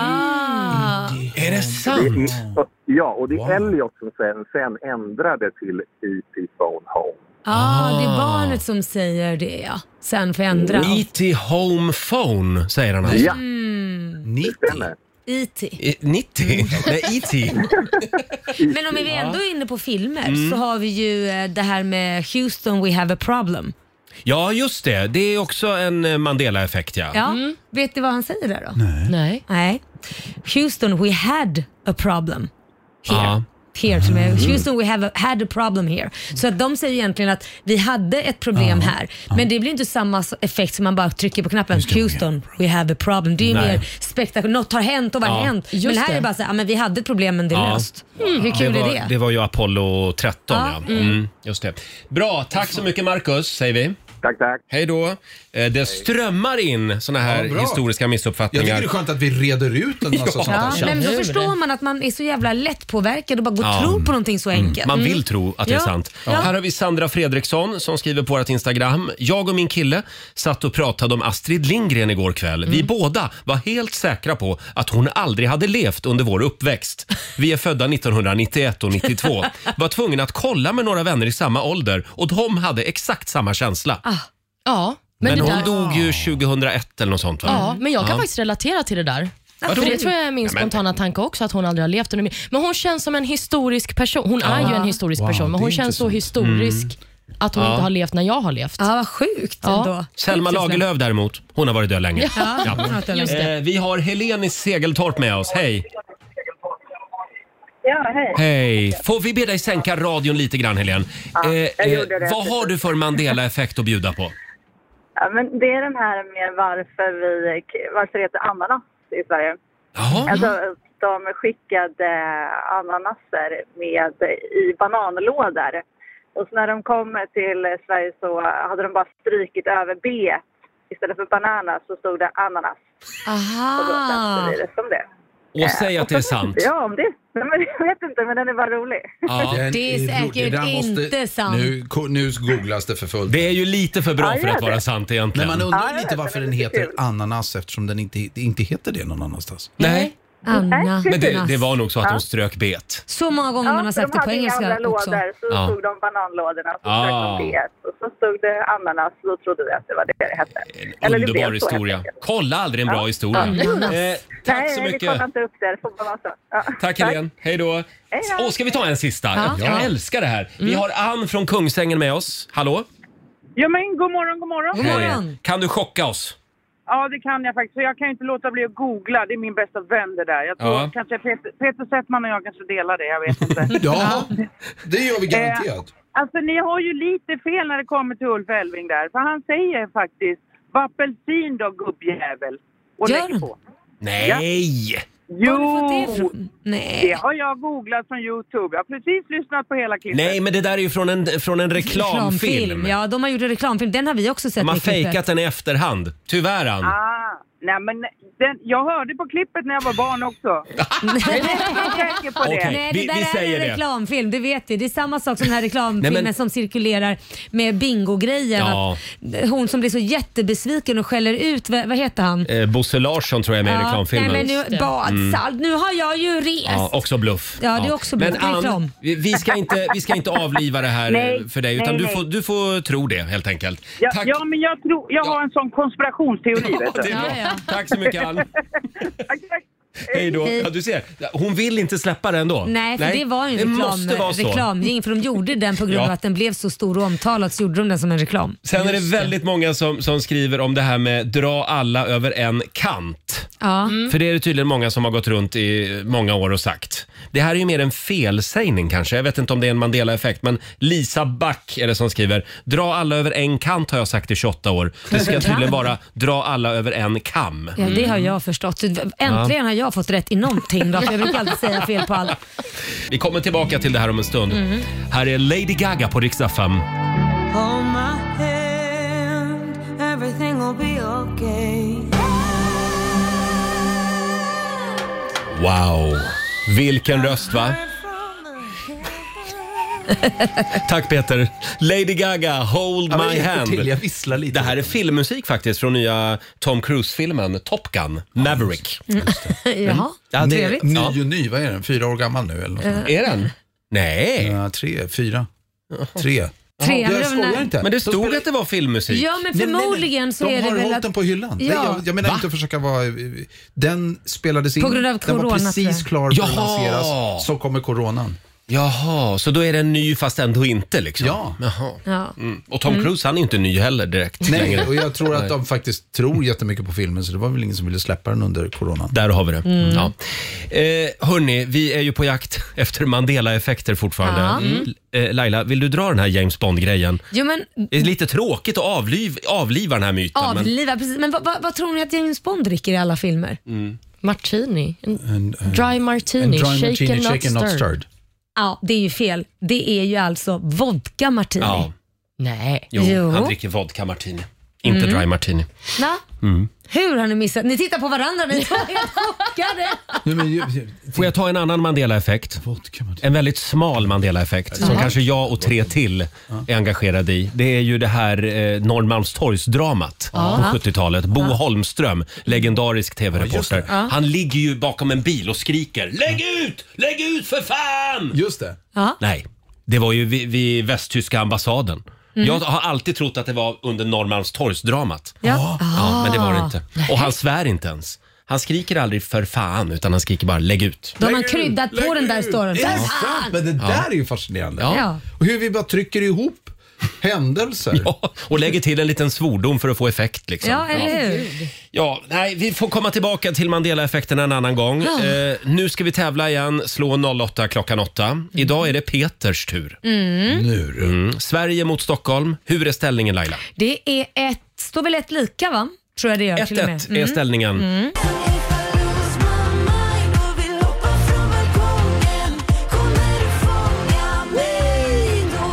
Speaker 8: Ah.
Speaker 1: Är det
Speaker 4: Mm.
Speaker 12: Det är,
Speaker 1: Mm.
Speaker 12: ja, och det är Elliot som sen, sen ändrade till E.T. phone home.
Speaker 2: Ja, Ah, det
Speaker 9: Ah.
Speaker 2: är barnet som säger det ja. Sen får jag ändra.
Speaker 1: E.T. E Home Phone säger han alltså.
Speaker 2: Ja. Mm.
Speaker 1: 90.
Speaker 2: IT.
Speaker 1: Eh, 90? Nej, E E.T.
Speaker 2: Men om vi ändå är inne på filmer
Speaker 1: Mm.
Speaker 2: så har vi ju eh, det här med Houston We Have A Problem.
Speaker 1: Ja, just det. Det är också en eh, Mandela-effekt ja.
Speaker 2: Ja.
Speaker 9: Mm.
Speaker 2: Vet ni vad han säger där då? Nej. Nej. Houston We Had A Problem.
Speaker 1: Ja.
Speaker 2: Here till och med.
Speaker 1: Mm.
Speaker 2: Houston we have a, had a problem here. Så att de säger egentligen att vi hade ett problem här. Men det blir inte samma s- effekt som man bara trycker på knappen. Houston we have a problem. Det är ju
Speaker 1: Nej.
Speaker 2: mer spektakulärt. Något har hänt och vad har
Speaker 1: Ja.
Speaker 2: hänt? men
Speaker 5: Just
Speaker 2: här
Speaker 5: det.
Speaker 2: är det bara så här, ja, men vi hade ett problem men det är
Speaker 1: Ja.
Speaker 2: löst. Mm, Hur kul
Speaker 1: det var,
Speaker 2: är det?
Speaker 1: Det var ju Apollo 13 ja.
Speaker 2: Ja,
Speaker 1: Mm.
Speaker 2: mm.
Speaker 1: just det. Bra, tack så mycket Marcus säger vi.
Speaker 12: Tack, tack.
Speaker 1: Hej då. Eh, Det strömmar in såna här
Speaker 9: Ja, bra.
Speaker 1: historiska
Speaker 9: Jag
Speaker 1: missuppfattningar.
Speaker 9: tycker det är skönt att vi reder ut [LAUGHS] en massa
Speaker 1: Ja.
Speaker 9: sånt här.
Speaker 1: Ja,
Speaker 2: Men då
Speaker 1: Hur?
Speaker 2: förstår man att man är så jävla lättpåverkad och bara går
Speaker 1: Ja.
Speaker 2: och tror på någonting så enkelt.
Speaker 1: Man
Speaker 2: Mm.
Speaker 1: vill tro att det är
Speaker 2: Ja.
Speaker 1: sant.
Speaker 2: Ja.
Speaker 1: Här har vi Sandra Fredriksson som skriver på vårt Instagram. Jag och min kille satt och pratade om Astrid Lindgren igår kväll. Vi
Speaker 2: Mm.
Speaker 1: båda var helt säkra på att hon aldrig hade levt under vår uppväxt. Vi är födda 1991
Speaker 2: [LAUGHS]
Speaker 1: och 92. Var tvungna att kolla med några vänner i samma ålder och de hade exakt samma känsla.
Speaker 5: Ah. Ja, men,
Speaker 1: Men,
Speaker 5: det
Speaker 1: hon
Speaker 5: där,
Speaker 1: dog ju 2001 eller något sånt va?
Speaker 5: Ja, men jag kan
Speaker 1: Ja.
Speaker 5: faktiskt relatera till det där.
Speaker 1: Vadå?
Speaker 5: För det tror jag är min
Speaker 1: Ja, men-
Speaker 5: spontana tanke också, att hon aldrig har levt under min... Men hon känns som en historisk person. Hon är
Speaker 1: Ja.
Speaker 5: ju en historisk
Speaker 1: Wow,
Speaker 5: person, men
Speaker 1: det
Speaker 5: hon
Speaker 1: är
Speaker 5: känns så
Speaker 1: intressant.
Speaker 5: historisk att hon
Speaker 1: Ja.
Speaker 5: inte har levt när jag har levt.
Speaker 2: Ja, vad sjukt ändå.
Speaker 1: Selma Lagerlöf däremot, hon har varit död länge.
Speaker 2: Ja, hon har varit död
Speaker 1: Eh,
Speaker 2: länge.
Speaker 1: Vi har Helene i Segeltorp med oss. Hej!
Speaker 11: Ja, hej.
Speaker 1: Hej! Får vi be dig sänka radion lite grann, Helene? Eh,
Speaker 11: Ja, jag gjorde det.
Speaker 1: vad har du för Mandela-effekt att bjuda på?
Speaker 11: Ja, men det är den här med varför vi varför det heter ananas i Sverige.
Speaker 1: Jaha.
Speaker 11: Alltså, de skickade ananaser med, i bananlådor. Och så när de kom till Sverige så hade de bara strykit över B. Istället för bananas så stod det ananas.
Speaker 2: Aha.
Speaker 11: Och då döpte vi det som det.
Speaker 1: Och säg att Ah. det är sant.
Speaker 11: Ja, om det. Nej, men [LAUGHS] jag vet inte, men den är bara rolig.
Speaker 1: Ja.
Speaker 9: Den
Speaker 2: Det är
Speaker 9: rolig.
Speaker 2: säkert
Speaker 9: Den
Speaker 2: inte sant.
Speaker 9: Nu, ko- nu googlas det för fullt.
Speaker 1: Det är ju lite för
Speaker 9: Ja,
Speaker 1: bra
Speaker 9: jag
Speaker 1: för att
Speaker 9: vet
Speaker 1: vara
Speaker 9: det.
Speaker 1: sant egentligen.
Speaker 9: Men man undrar ju lite varför den heter ananas eftersom den inte, inte heter det någon annanstans.
Speaker 1: Nej.
Speaker 2: Anna.
Speaker 1: Men det, det var nog så att
Speaker 11: Ja.
Speaker 1: hon strök bet.
Speaker 2: Så många gånger man har sagt det på
Speaker 11: De
Speaker 2: engelska
Speaker 11: hade i andra
Speaker 2: också.
Speaker 11: lådor, så
Speaker 1: Ja.
Speaker 11: stod de bananlådorna och så
Speaker 1: Ah.
Speaker 11: ah. de det. Och så stod det ananas, då trodde vi att det var det det hette. Eller det blev
Speaker 1: Underbar
Speaker 11: så
Speaker 1: historia.
Speaker 11: helt enkelt.
Speaker 1: Kolla aldrig en bra historia. Eh, tack
Speaker 11: Nej,
Speaker 1: så
Speaker 11: Nej, vi kollar
Speaker 1: mycket.
Speaker 11: inte upp det. Det får bara vara så. Ja.
Speaker 1: Tack Helene. Hej då. Åh, ska vi ta en sista?
Speaker 11: Ja.
Speaker 1: Jag, jag
Speaker 11: Ja.
Speaker 1: älskar det här.
Speaker 2: Mm.
Speaker 1: Vi har Ann från Kungsängen med oss. Hallå?
Speaker 13: Ja men god morgon, god morgon.
Speaker 1: Hej. Kan du chocka oss?
Speaker 13: Ja det kan jag faktiskt. För Jag kan ju inte låta bli att googla. Det är min bästa vän det där. Jag tror
Speaker 1: Ja.
Speaker 13: kanske Peter, Peter Settman och jag kanske delar det. Jag vet inte.
Speaker 1: [LAUGHS]
Speaker 9: Ja, det gör vi
Speaker 13: Eh,
Speaker 9: garanterat.
Speaker 13: alltså ni har ju lite fel när det kommer till Ulf Elving där. För han säger faktiskt “Vappelsin då gubbjävel” och
Speaker 1: Gör
Speaker 13: lägger på.
Speaker 1: Nej!
Speaker 13: Jo!
Speaker 2: Nej.
Speaker 13: Det har jag googlat från Youtube. Jag har precis lyssnat på hela klippet.
Speaker 1: Nej, men det där är ju från en, från en reklamfilm.
Speaker 2: Ja, de har gjort en reklamfilm. Den har vi också sett
Speaker 1: De har
Speaker 2: i klippet. [LAUGHS]
Speaker 1: fejkat den i efterhand. Tyvärr Ann.
Speaker 13: Ah, nej men den, jag hörde på klippet när jag var barn
Speaker 1: [LAUGHS]
Speaker 13: också. Jag är inte säker på det.
Speaker 1: Okej,
Speaker 2: Nej, det
Speaker 1: vi-
Speaker 2: där
Speaker 1: vi
Speaker 2: är
Speaker 1: säger
Speaker 2: en
Speaker 1: det.
Speaker 2: reklamfilm, det vet vi. Det är samma sak som den här reklamfilmen
Speaker 1: Nej, men-
Speaker 2: som cirkulerar med bingo-grejen.
Speaker 1: Ja.
Speaker 2: Att Hon som blir så jättebesviken och skäller ut, vad, vad heter han?
Speaker 1: Eh, Bosse Larsson tror jag är med i
Speaker 2: Ja,
Speaker 1: reklamfilmen.
Speaker 2: Nej, men nu, badsalt. Nu har jag ju rest.
Speaker 1: Ja, också bluff.
Speaker 2: Ja, det är också
Speaker 1: men
Speaker 2: bluff. Det är
Speaker 1: Ann,
Speaker 2: reklam.
Speaker 1: vi- vi ska, inte, vi ska inte avliva det
Speaker 13: [LAUGHS]
Speaker 1: här
Speaker 13: Nej,
Speaker 1: eh, för dig utan
Speaker 13: nej,
Speaker 1: du,
Speaker 13: nej.
Speaker 1: får, du får tro det helt enkelt.
Speaker 13: Ja,
Speaker 1: Tack.
Speaker 13: ja, men jag tror, jag har en sån konspirationsteori.
Speaker 1: Ja,
Speaker 13: vet du.
Speaker 1: det är bra. Tack
Speaker 2: [LAUGHS]
Speaker 1: så mycket Ann. Hej då. Ja, du ser, hon vill inte släppa det ändå.
Speaker 2: Nej, för det var ju
Speaker 1: det
Speaker 2: en
Speaker 1: måste vara
Speaker 2: reklam,
Speaker 1: så.
Speaker 2: reklamring för de gjorde den på grund av
Speaker 1: Ja.
Speaker 2: att den blev så stor och omtalad så gjorde de den som en reklam.
Speaker 1: Sen är det väldigt många som, som skriver om det här med dra alla över en kant.
Speaker 2: Ja.
Speaker 1: För det är det tydligen många som har gått runt i många år och sagt. Det här är ju mer en felsägning kanske. Jag vet inte om det är en Mandela-effekt, men Lisa Back är det som skriver. Dra alla över en kant har jag sagt i 28 år.
Speaker 2: [LAUGHS]
Speaker 1: Det ska tydligen vara dra alla över en kam.
Speaker 2: Ja, det har jag förstått. Äntligen har jag fått rätt i någonting då, för jag brukar alltid säga fel på allt.
Speaker 1: Vi kommer tillbaka till det här om en stund. Här är Lady Gaga på riksdag 5.
Speaker 8: Hold my hand, everything will be okay.
Speaker 1: Wow! Vilken
Speaker 9: [LAUGHS]
Speaker 1: röst va? Tack Peter. Lady Gaga, Hold
Speaker 9: Ja, men
Speaker 1: My
Speaker 9: jag hjälper
Speaker 1: Hand.
Speaker 9: till, jag
Speaker 1: visslar lite. Det här är filmmusik faktiskt från nya Tom Cruise-filmen Top Gun, Maverick.
Speaker 7: Jaha,
Speaker 1: [LAUGHS] Ja,
Speaker 7: trevligt.
Speaker 9: Ny och ny, vad är den? Fyra år gammal nu eller något sånt.
Speaker 1: Är den? Nej.
Speaker 9: Ja, tre, fyra. Tre.
Speaker 7: Tre,
Speaker 9: jag
Speaker 7: men
Speaker 9: skojar
Speaker 7: när-
Speaker 9: inte.
Speaker 1: Men det stod att det var filmmusik.
Speaker 7: Ja, men förmodligen så
Speaker 9: De
Speaker 7: är det
Speaker 9: har
Speaker 7: väl
Speaker 9: hållit
Speaker 7: att-
Speaker 9: den på hyllan.
Speaker 7: Ja.
Speaker 9: Ja. Jag, jag menar
Speaker 7: Va?
Speaker 9: inte att försöka vara... Den spelades in.
Speaker 7: På grund av
Speaker 9: Den
Speaker 7: corona,
Speaker 9: var
Speaker 7: tror
Speaker 9: precis
Speaker 7: jag.
Speaker 9: klar för att
Speaker 1: Jaha.
Speaker 9: lanseras. Så kommer coronan.
Speaker 1: Jaha, så då är den ny fast ändå inte liksom? Ja. Jaha.
Speaker 7: Ja.
Speaker 1: Mm. Och Tom Cruise han är ju inte ny heller direkt.
Speaker 9: Nej,
Speaker 1: längre.
Speaker 9: och jag tror
Speaker 1: Nej.
Speaker 9: att de faktiskt tror jättemycket på filmen så det var väl ingen som ville släppa den under coronan.
Speaker 1: Där har vi det. Mm. Ja. Eh, hörni, vi är ju på jakt [LAUGHS] efter Mandela-effekter fortfarande.
Speaker 7: Ja.
Speaker 1: Mm. Eh, Laila, vill du dra den här James Bond-grejen?
Speaker 7: Jo, men,
Speaker 1: Det är lite tråkigt att avliv, avliva den här myten.
Speaker 7: avliva, precis. Men vad, vad, vad tror ni att James Bond dricker i alla filmer?
Speaker 1: Men, mm.
Speaker 5: Martini. En
Speaker 9: en
Speaker 5: dry martini,
Speaker 9: dry
Speaker 5: shaken,
Speaker 9: martini,
Speaker 5: not,
Speaker 9: shaken, not [LAUGHS]
Speaker 5: stirred.
Speaker 9: stirred.
Speaker 7: Ja, det är ju fel. Det är ju alltså vodka martini.
Speaker 1: Ja.
Speaker 5: Nej.
Speaker 1: Jo,
Speaker 7: Jo.
Speaker 1: han dricker vodka martini. Inte
Speaker 7: Mm.
Speaker 1: dry martini.
Speaker 7: Va?
Speaker 1: Mm.
Speaker 7: Hur har ni missat? Ni tittar på varandra, ni två är [LAUGHS] helt chockade.
Speaker 1: Får jag ta en annan Mandela-effekt? En väldigt smal Mandela-effekt som
Speaker 7: Jaha.
Speaker 1: kanske jag och tre till är engagerade i. Det är ju det här eh, Norrmalmstorgsdramat
Speaker 7: Ja.
Speaker 1: på 70-talet. Bo
Speaker 7: Ja.
Speaker 1: Holmström, legendarisk tv-reporter.
Speaker 7: det. Ja.
Speaker 1: Han ligger ju bakom en bil och skriker “Lägg ut! Lägg ut för fan!”
Speaker 9: Just det.
Speaker 7: Ja.
Speaker 1: Nej, det var ju vid, vid västtyska ambassaden.
Speaker 7: Mm.
Speaker 1: Jag har alltid trott att det var under Norrmalmstorgsdramat.
Speaker 7: Ja. Ah.
Speaker 1: Ja, men det var det inte.
Speaker 7: Nej.
Speaker 1: Och han svär inte ens. Han skriker aldrig för fan, utan han skriker bara lägg ut.
Speaker 7: Då har man kryddat på den där storyn.
Speaker 9: Det är
Speaker 7: För
Speaker 9: sant,
Speaker 7: fan!
Speaker 9: men det
Speaker 1: Ja.
Speaker 9: där är ju fascinerande.
Speaker 1: Ja.
Speaker 7: Ja.
Speaker 9: Och hur vi bara trycker ihop händelser.
Speaker 1: Ja, och lägger till en liten svordom för att få effekt. Liksom.
Speaker 7: Ja, eller
Speaker 1: Ja.
Speaker 7: hur?
Speaker 1: Ja, nej, vi får komma tillbaka till Mandela-effekten en annan gång.
Speaker 7: Ja.
Speaker 1: Eh, nu ska vi tävla igen, slå 08 klockan 8. Idag är det Peters tur.
Speaker 7: Mm.
Speaker 9: Nu
Speaker 1: Mm. Sverige mot Stockholm. Hur är ställningen Laila?
Speaker 7: Det är ett, står väl ett lika va? Tror jag det gör till och med.
Speaker 1: 1-1 är ställningen.
Speaker 7: Mm.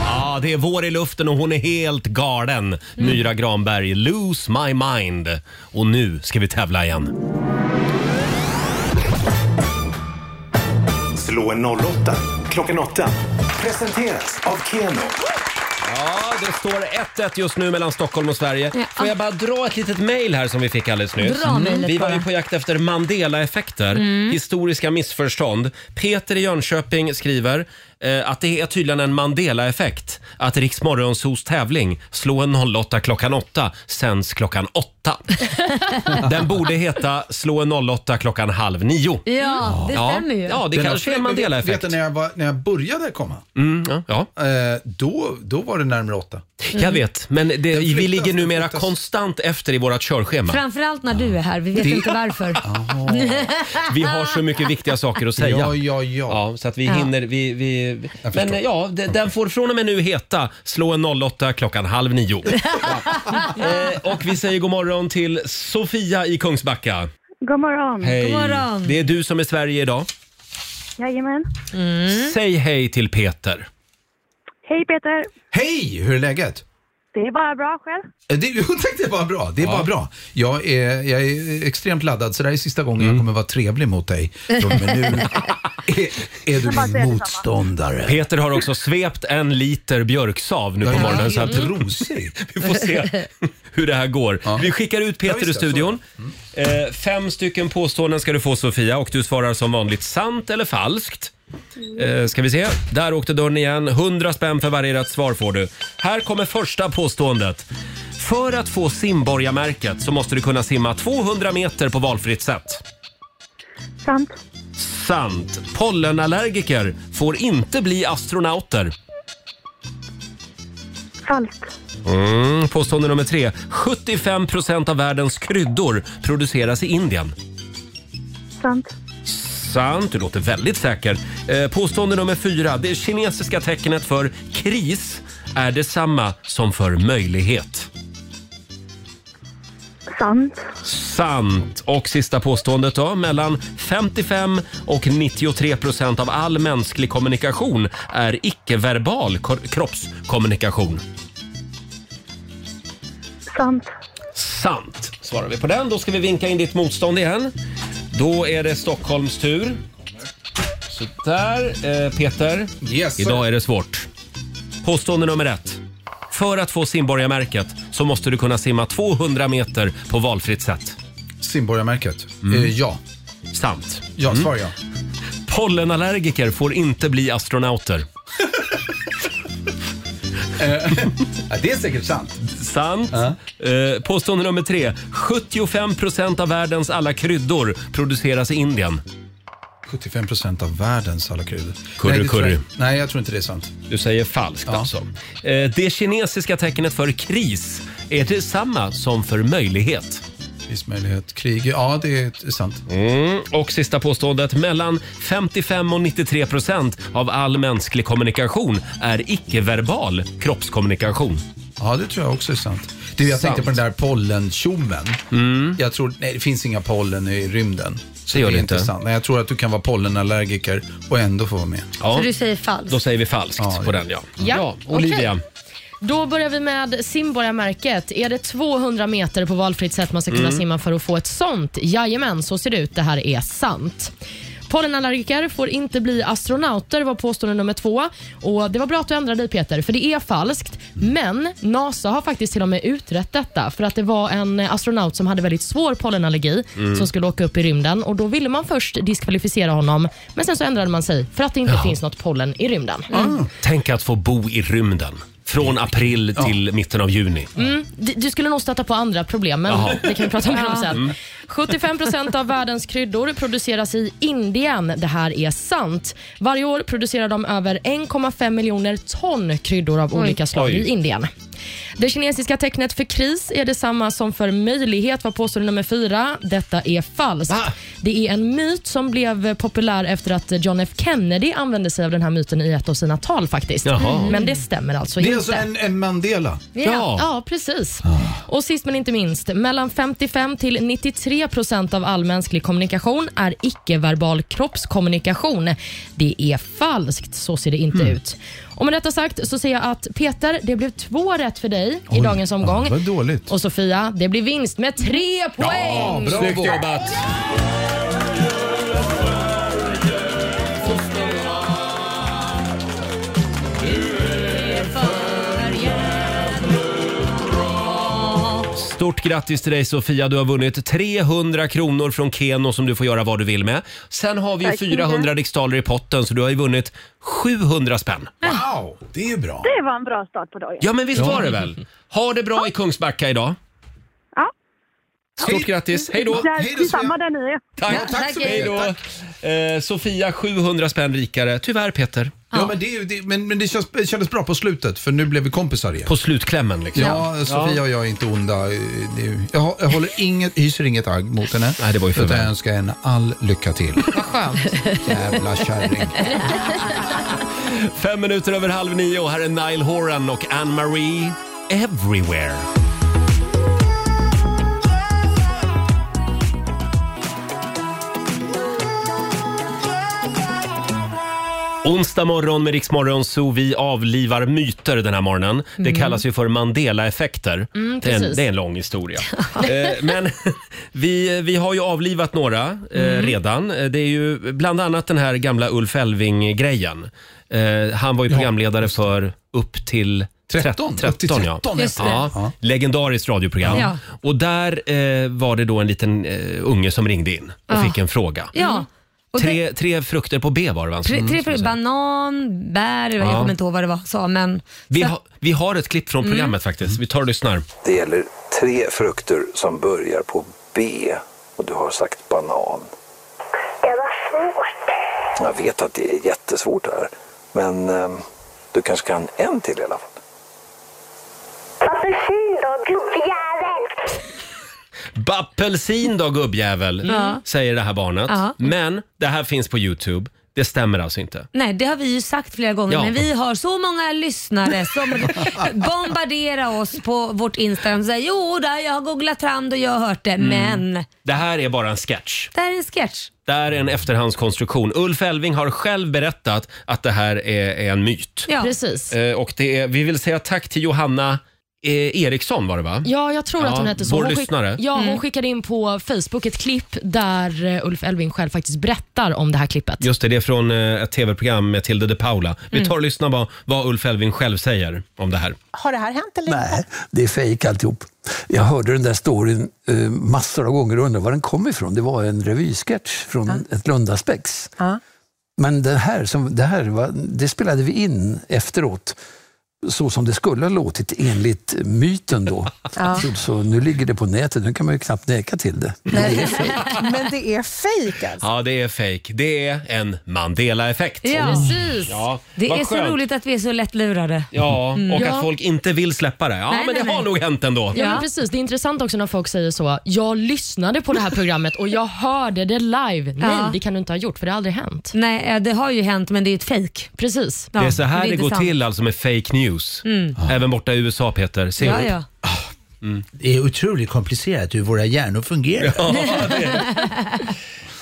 Speaker 1: Ja, det är vår i luften och hon är helt galen.
Speaker 7: Mm.
Speaker 1: Myra Granberg, Lose My Mind. Och nu ska vi tävla igen.
Speaker 3: Slå en 08 klockan 8. Presenteras av Keno.
Speaker 1: Ja, det står 1-1 just nu mellan Stockholm och Sverige. Får jag bara dra ett litet mejl här som vi fick alldeles nyss. Mm.
Speaker 7: Dra mejlet
Speaker 1: vi var ju
Speaker 7: bara.
Speaker 1: på jakt efter Mandela-effekter,
Speaker 7: Mm.
Speaker 1: historiska missförstånd. Peter i Jönköping skriver eh, att det är tydligen en Mandela-effekt att Riks Morgonzoos tävling Slå en 08 klockan 8 sänds klockan
Speaker 7: [LAUGHS]
Speaker 1: 8. Den borde heta Slå en 08 klockan halv nio.
Speaker 7: Ja, det stämmer ju.
Speaker 1: Ja, det
Speaker 9: Den
Speaker 1: kanske
Speaker 9: har-
Speaker 1: är
Speaker 9: Vet
Speaker 1: en Mandela-effekt.
Speaker 9: du när jag, var, när jag började komma?
Speaker 1: Mm, ja, ja.
Speaker 9: Eh, då, då var det närmare åtta.
Speaker 1: Jag vet, men det, vi ligger numera konstant efter i vårt körschema.
Speaker 7: Framförallt när du är här, vi vet
Speaker 1: Det-
Speaker 7: inte varför.
Speaker 1: Vi har så mycket viktiga saker att säga.
Speaker 9: Ja,
Speaker 1: ja. så att vi
Speaker 7: Ja.
Speaker 1: hinner. Vi, vi... Men
Speaker 9: förstår.
Speaker 1: ja, d- den får från och med nu heta Slå en 08 klockan halv nio. Eh, och vi säger god morgon till Sofia i Kungsbacka.
Speaker 14: God morgon.
Speaker 1: Hej. Det är du som är Sverige idag.
Speaker 14: Jajamän. Mm.
Speaker 1: Säg hej till Peter.
Speaker 14: Hej Peter.
Speaker 9: Hej, hur är läget?
Speaker 14: Det är bara bra själv.
Speaker 9: Eh, Det, [LAUGHS] jo, tack, det är bara bra. Det är bara bra. Jag är, jag är extremt laddad, så det här är sista gången
Speaker 1: Mm.
Speaker 9: jag kommer vara trevlig mot dig. Från och
Speaker 1: [LAUGHS]
Speaker 9: med nu är, är du min
Speaker 1: Jag bara säger detsamma.
Speaker 9: motståndare.
Speaker 1: Peter har också svept en liter björksav nu på
Speaker 9: Ja,
Speaker 1: morgonen.
Speaker 9: ja,
Speaker 1: Så att
Speaker 9: ja.
Speaker 1: [LAUGHS]
Speaker 9: Rosig.
Speaker 1: Vi får
Speaker 9: [LAUGHS]
Speaker 1: se hur det här går. Vi skickar ut Peter
Speaker 9: Ja, Mm. visst,
Speaker 1: ur
Speaker 9: jag såg
Speaker 1: studion. Eh, fem stycken påståenden ska du få Sofia och du svarar som vanligt sant eller falskt. Eh, ska vi se. Där åkte dörren igen. 100 spänn för varje rätt svar får du. Här kommer första påståendet. För att få simborgarmärket så måste du kunna simma 200 meter på valfritt sätt.
Speaker 14: Sant.
Speaker 1: Sant. Pollenallergiker får inte bli astronauter.
Speaker 14: Falskt.
Speaker 1: Mm, påstående nummer tre. 75 procent av världens kryddor produceras i Indien.
Speaker 14: Sant.
Speaker 1: Sant, du låter väldigt säker. Eh, påstående nummer fyra. Det kinesiska tecknet för kris är detsamma som för möjlighet.
Speaker 14: Sant.
Speaker 1: Sant. Och sista påståendet då. Mellan 55 och 93 procent av all mänsklig kommunikation är icke-verbal kor- kroppskommunikation.
Speaker 14: Sant.
Speaker 1: Sant svarar vi på den. Då ska vi vinka in ditt motstånd igen. Då är det Stockholms tur. Så där, eh, Peter.
Speaker 9: Yes.
Speaker 1: Idag är det svårt. Påstående nummer ett. För att få simborgarmärket så måste du kunna simma 200 meter på valfritt sätt.
Speaker 9: Simborgarmärket?
Speaker 1: Mm.
Speaker 9: Eh, ja.
Speaker 1: Sant.
Speaker 9: Ja, svar ja.
Speaker 1: Pollenallergiker får inte bli astronauter.
Speaker 9: det är säkert sant.
Speaker 1: Sant. Eh, påstående nummer tre. 75 procent av världens alla kryddor produceras i Indien.
Speaker 9: 75 procent av världens alla kryddor.
Speaker 1: Curry,
Speaker 9: nej, det tror jag-
Speaker 1: curry.
Speaker 9: nej, jag tror inte det är sant.
Speaker 1: Du säger falskt alltså. Eh, det kinesiska tecknet för kris är detsamma som för möjlighet.
Speaker 9: Krismöjlighet, krig. Ja, det är sant.
Speaker 1: Mm. Och sista påståendet. Mellan 55 och 93 procent av all mänsklig kommunikation är icke-verbal kroppskommunikation.
Speaker 9: Ja, det tror jag också är sant. Du, jag tänkte
Speaker 1: Sant.
Speaker 9: på den där pollentjommen. Jag tror, nej det finns inga pollen i rymden. Så
Speaker 1: Mm. Det gör det
Speaker 9: är
Speaker 1: inte.
Speaker 9: sant. Nej, jag tror att du kan vara pollenallergiker och ändå få vara med.
Speaker 1: Ja,
Speaker 2: Så du säger falskt?
Speaker 1: då säger vi falskt på den ja.
Speaker 5: Ja,
Speaker 1: Olivia.
Speaker 5: okej. Då börjar vi med simborgarmärket. Är det 200 meter på valfritt sätt man ska kunna
Speaker 1: Mm.
Speaker 5: simma för att få ett sånt? Jajamän, så ser det ut. Det här är sant. Pollenallergiker får inte bli astronauter var påstående nummer två. Och Det var bra att du ändrade dig Peter, för det är falskt. Men NASA har faktiskt till och med utrett detta för att det var en astronaut som hade väldigt svår pollenallergi
Speaker 15: Mm.
Speaker 5: som skulle åka upp i rymden och då ville man först diskvalificera honom men sen så ändrade man sig för att det inte
Speaker 1: Jaha.
Speaker 5: finns något pollen i rymden.
Speaker 1: Tänk att få bo i rymden. Från april till mitten av juni.
Speaker 5: Mm, d- du skulle nog stöta på andra problem, men
Speaker 1: Jaha.
Speaker 5: det kan vi prata mer om
Speaker 1: Ja.
Speaker 5: sen.
Speaker 1: Mm.
Speaker 5: 75 procent av världens kryddor produceras i Indien. Det här är sant. Varje år producerar de över 1,5 miljoner ton kryddor av
Speaker 15: Oj.
Speaker 5: olika slag
Speaker 15: Oj.
Speaker 5: i Indien. Det kinesiska tecknet för kris är detsamma som för möjlighet, var påstående nummer fyra. Detta är falskt. Det är en myt som blev populär efter att John F Kennedy använde sig av den här myten i ett av sina tal faktiskt.
Speaker 9: Jaha.
Speaker 5: Men det stämmer alltså
Speaker 9: det är
Speaker 5: inte.
Speaker 9: alltså en, en Mandela.
Speaker 5: Ja, ja precis. Och sist men inte minst, mellan 55 till 93 procent av all mänsklig kommunikation är icke-verbal kroppskommunikation. Det är falskt, så ser det inte ut. Och med detta sagt så ser jag att Peter, det blev två rätt för dig i dagens omgång.
Speaker 9: Ja, vad dåligt.
Speaker 5: Och Sofia, det blir vinst med tre poäng.
Speaker 1: Snyggt jobbat! Stort grattis till dig Sofia, du har vunnit 300 kronor från Keno som du får göra vad du vill med. Sen har vi ju
Speaker 14: Tack så mycket.
Speaker 1: 400 riksdaler i potten så du har ju vunnit 700 spänn.
Speaker 9: Wow, det är ju bra.
Speaker 14: Det var en bra start på dagen.
Speaker 1: Ja men visst var det väl? Ha det bra i Kungsbacka idag.
Speaker 14: Ja.
Speaker 1: Stort grattis, hej då!
Speaker 14: Ja, Detsamma där ni är.
Speaker 1: Tack. Hej då. Eh, Sofia 700 spänn rikare. Tyvärr Peter.
Speaker 9: Ja, men det, är ju- det, men, men det känns, det kändes bra på slutet för nu blev vi kompisar igen.
Speaker 1: På slutklämmen liksom.
Speaker 9: Ja,
Speaker 1: Ja.
Speaker 9: Sofia och jag är inte onda. Eh, det är ju- Jag, hå- jag håller inget, hyser inget agg mot henne. Nej, det var ju
Speaker 1: för
Speaker 9: utan
Speaker 1: väl.
Speaker 9: jag önskar henne all lycka
Speaker 1: [LAUGHS]
Speaker 9: till.
Speaker 5: Vad skönt.
Speaker 9: Jävla kärring.
Speaker 1: Fem minuter över halv nio och här är Nile Horan och Anne-Marie Everywhere. Onsdag morgon med Riksmorgon så vi avlivar myter den här morgonen. Det
Speaker 5: Mm.
Speaker 1: kallas ju för Mandela-effekter.
Speaker 5: Mm,
Speaker 1: det, är en,
Speaker 5: precis.
Speaker 1: det är en lång historia. Eh, Men [LAUGHS] vi, vi har ju avlivat några eh,
Speaker 5: Mm.
Speaker 1: redan. Eh, Det är ju bland annat den här gamla Ulf Elving-grejen. Eh, han var ju programledare för upp till
Speaker 9: 13,
Speaker 1: 13,
Speaker 9: upp till
Speaker 1: 13 ja.
Speaker 9: 13, Just det.
Speaker 1: ja. Legendariskt radioprogram.
Speaker 2: Ja.
Speaker 1: Och där eh, var det då en liten eh, unge som ringde in och
Speaker 2: Ja.
Speaker 1: fick en fråga.
Speaker 2: Ja. Och det-
Speaker 1: Tre, tre frukter på B var det va?
Speaker 2: Tre,
Speaker 1: Mm,
Speaker 2: tre
Speaker 1: som
Speaker 2: frö-
Speaker 1: jag sa.
Speaker 2: banan, bär, jag
Speaker 1: Ja.
Speaker 2: kommer inte ihåg vad det var sa, men...
Speaker 1: vi, har- vi har ett klipp från
Speaker 2: Mm.
Speaker 1: programmet faktiskt. Vi tar och lyssnar.
Speaker 16: Det gäller tre frukter som börjar på B och du har sagt banan. Det var svårt. Jag vet att det är jättesvårt det här. Men eh, du kanske kan en till i alla fall.
Speaker 1: Bappelsin då gubbjävel,
Speaker 2: Ja.
Speaker 1: säger det här barnet.
Speaker 2: Ja.
Speaker 1: Men det här finns på Youtube. Det stämmer alltså inte.
Speaker 2: Nej, det har vi ju sagt flera gånger,
Speaker 1: Ja.
Speaker 2: men vi har så många lyssnare
Speaker 1: [LAUGHS]
Speaker 2: som bombarderar oss på vårt Instagram och säger jo, där, jag har googlat fram det och jag har hört det,
Speaker 1: Mm.
Speaker 2: men
Speaker 1: Det här är bara en sketch.
Speaker 2: det här är en sketch.
Speaker 1: Det här är en efterhandskonstruktion. Ulf Elving har själv berättat att det här är, är en myt.
Speaker 5: [LAUGHS] Precis.
Speaker 1: Eh, och det är, vi vill säga tack till Johanna eh, Eriksson var det va?
Speaker 5: Ja, jag tror att hon hette så.
Speaker 1: Vår
Speaker 5: Hon skick-
Speaker 1: lyssnare.
Speaker 5: ja, hon
Speaker 1: Mm.
Speaker 5: skickade in på Facebook ett klipp där eh, Ulf Elving själv faktiskt berättar om det här klippet.
Speaker 1: Just det, det är från eh, ett tv-program med Tilde de Paula. Vi
Speaker 5: Mm.
Speaker 1: tar och lyssnar på vad Ulf Elving själv säger om det här.
Speaker 15: Har det här hänt eller
Speaker 17: Nej, det är fejk alltihop. Jag hörde den där storyn eh, massor av gånger och undrade var den kom ifrån. Det var en revysketch från ett Lundaspex. Men det här, som, det här var, det spelade vi in efteråt så som det skulle ha låtit enligt myten då.
Speaker 18: Ja.
Speaker 17: Så, så nu ligger det på nätet, nu kan man ju knappt neka till det.
Speaker 18: Nej, men det är fejk alltså.
Speaker 1: Ja, det är fake. Det är en Mandela-effekt.
Speaker 2: Ja. Precis.
Speaker 1: Ja,
Speaker 2: Det
Speaker 1: vad
Speaker 2: är så
Speaker 1: skönt.
Speaker 2: roligt att vi är så lätt lurade.
Speaker 1: Ja, och
Speaker 5: Mm.
Speaker 1: att
Speaker 5: Ja.
Speaker 1: folk inte vill släppa det. Ja,
Speaker 5: Nej,
Speaker 1: men det
Speaker 5: nej,
Speaker 1: har
Speaker 5: nej.
Speaker 1: nog hänt ändå.
Speaker 5: Ja, men precis. Det är intressant också när folk säger så. Jag lyssnade på det här programmet och jag hörde det live. Nej,
Speaker 2: Ja.
Speaker 5: det kan du inte ha gjort för det har aldrig hänt.
Speaker 2: Nej, eh, det har ju hänt men det är ett fejk.
Speaker 5: Precis.
Speaker 1: det är så här det, går
Speaker 2: sant.
Speaker 1: till alltså med fake news.
Speaker 2: Mm.
Speaker 1: Även borta i USA, Peter. Se
Speaker 2: Ja,
Speaker 1: upp.
Speaker 2: ja.
Speaker 19: Det är otroligt komplicerat hur våra hjärnor fungerar.
Speaker 1: [LAUGHS] Ja,
Speaker 2: [LAUGHS]
Speaker 1: det är det.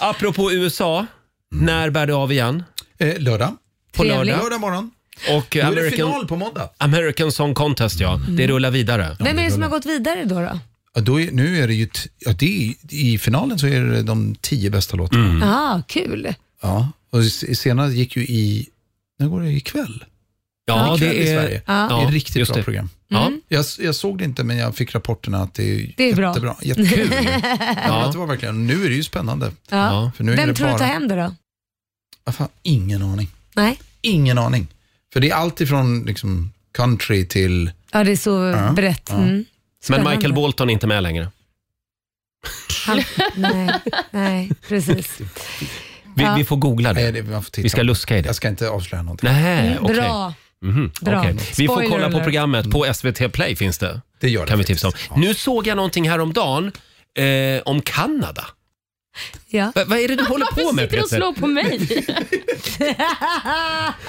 Speaker 1: Apropå USA, när bär det av igen?
Speaker 9: lördag.
Speaker 1: På
Speaker 9: Trevligt.
Speaker 1: lördag.
Speaker 9: Lördag morgon.
Speaker 1: Och
Speaker 9: Då är det
Speaker 1: American,
Speaker 9: final på måndag.
Speaker 1: American Song Contest, ja.
Speaker 2: Mm.
Speaker 1: Det rullar vidare.
Speaker 2: Vem är det som har gått vidare då? då?
Speaker 9: Ja, då är, nu är det ju, t- ja, det är, i finalen så är det de tio bästa låtarna.
Speaker 17: Mm.
Speaker 1: Mm.
Speaker 2: Ah, kul.
Speaker 9: Ja, och s- senast gick ju i, när går det ikväll?
Speaker 1: Ja,
Speaker 9: ikväll
Speaker 1: det
Speaker 9: i
Speaker 1: är-
Speaker 9: Sverige.
Speaker 1: ja.
Speaker 9: det är ett riktigt
Speaker 1: Just
Speaker 9: bra
Speaker 1: det.
Speaker 9: program.
Speaker 1: Mm.
Speaker 9: Jag, jag såg det inte men jag fick rapporterna att det är,
Speaker 2: Det är bra.
Speaker 9: jättebra.
Speaker 1: [LAUGHS]
Speaker 9: Jättekul. ja.
Speaker 2: Ja.
Speaker 9: det var verkligen, nu är det ju spännande.
Speaker 2: Ja.
Speaker 9: För nu är
Speaker 2: Vem
Speaker 9: det
Speaker 2: tror du
Speaker 9: bara,
Speaker 2: tar hem det då?
Speaker 9: Ah, fan, ingen aning.
Speaker 2: Nej.
Speaker 9: Ingen aning. För det är allt ifrån liksom, country till...
Speaker 2: Ja, det är så
Speaker 9: Ja.
Speaker 2: brett.
Speaker 9: Ja.
Speaker 2: Mm.
Speaker 1: Men
Speaker 2: Spännande.
Speaker 1: Michael Bolton är inte med längre.
Speaker 2: Han, nej, nej,
Speaker 9: [LAUGHS]
Speaker 2: precis.
Speaker 1: Vi,
Speaker 2: Ja.
Speaker 1: vi får googla det.
Speaker 9: Nej, det Mm, man får titta.
Speaker 1: Vi ska luska i det.
Speaker 9: Jag ska inte avslöja någonting.
Speaker 1: Nej,
Speaker 9: Eh,
Speaker 1: okej.
Speaker 2: Bra.
Speaker 1: Mhm,
Speaker 2: Bra.
Speaker 1: okej. Vi får
Speaker 2: Spoiler
Speaker 1: kolla på
Speaker 2: alert.
Speaker 1: programmet. På SVT Play finns det.
Speaker 9: Det gör det
Speaker 1: kan vi tipsa om. Nu såg jag någonting häromdagen eh, om Kanada.
Speaker 2: Ja.
Speaker 1: Va- vad är det [LAUGHS] du håller på med,
Speaker 5: [LAUGHS]
Speaker 1: Peter?
Speaker 5: mig?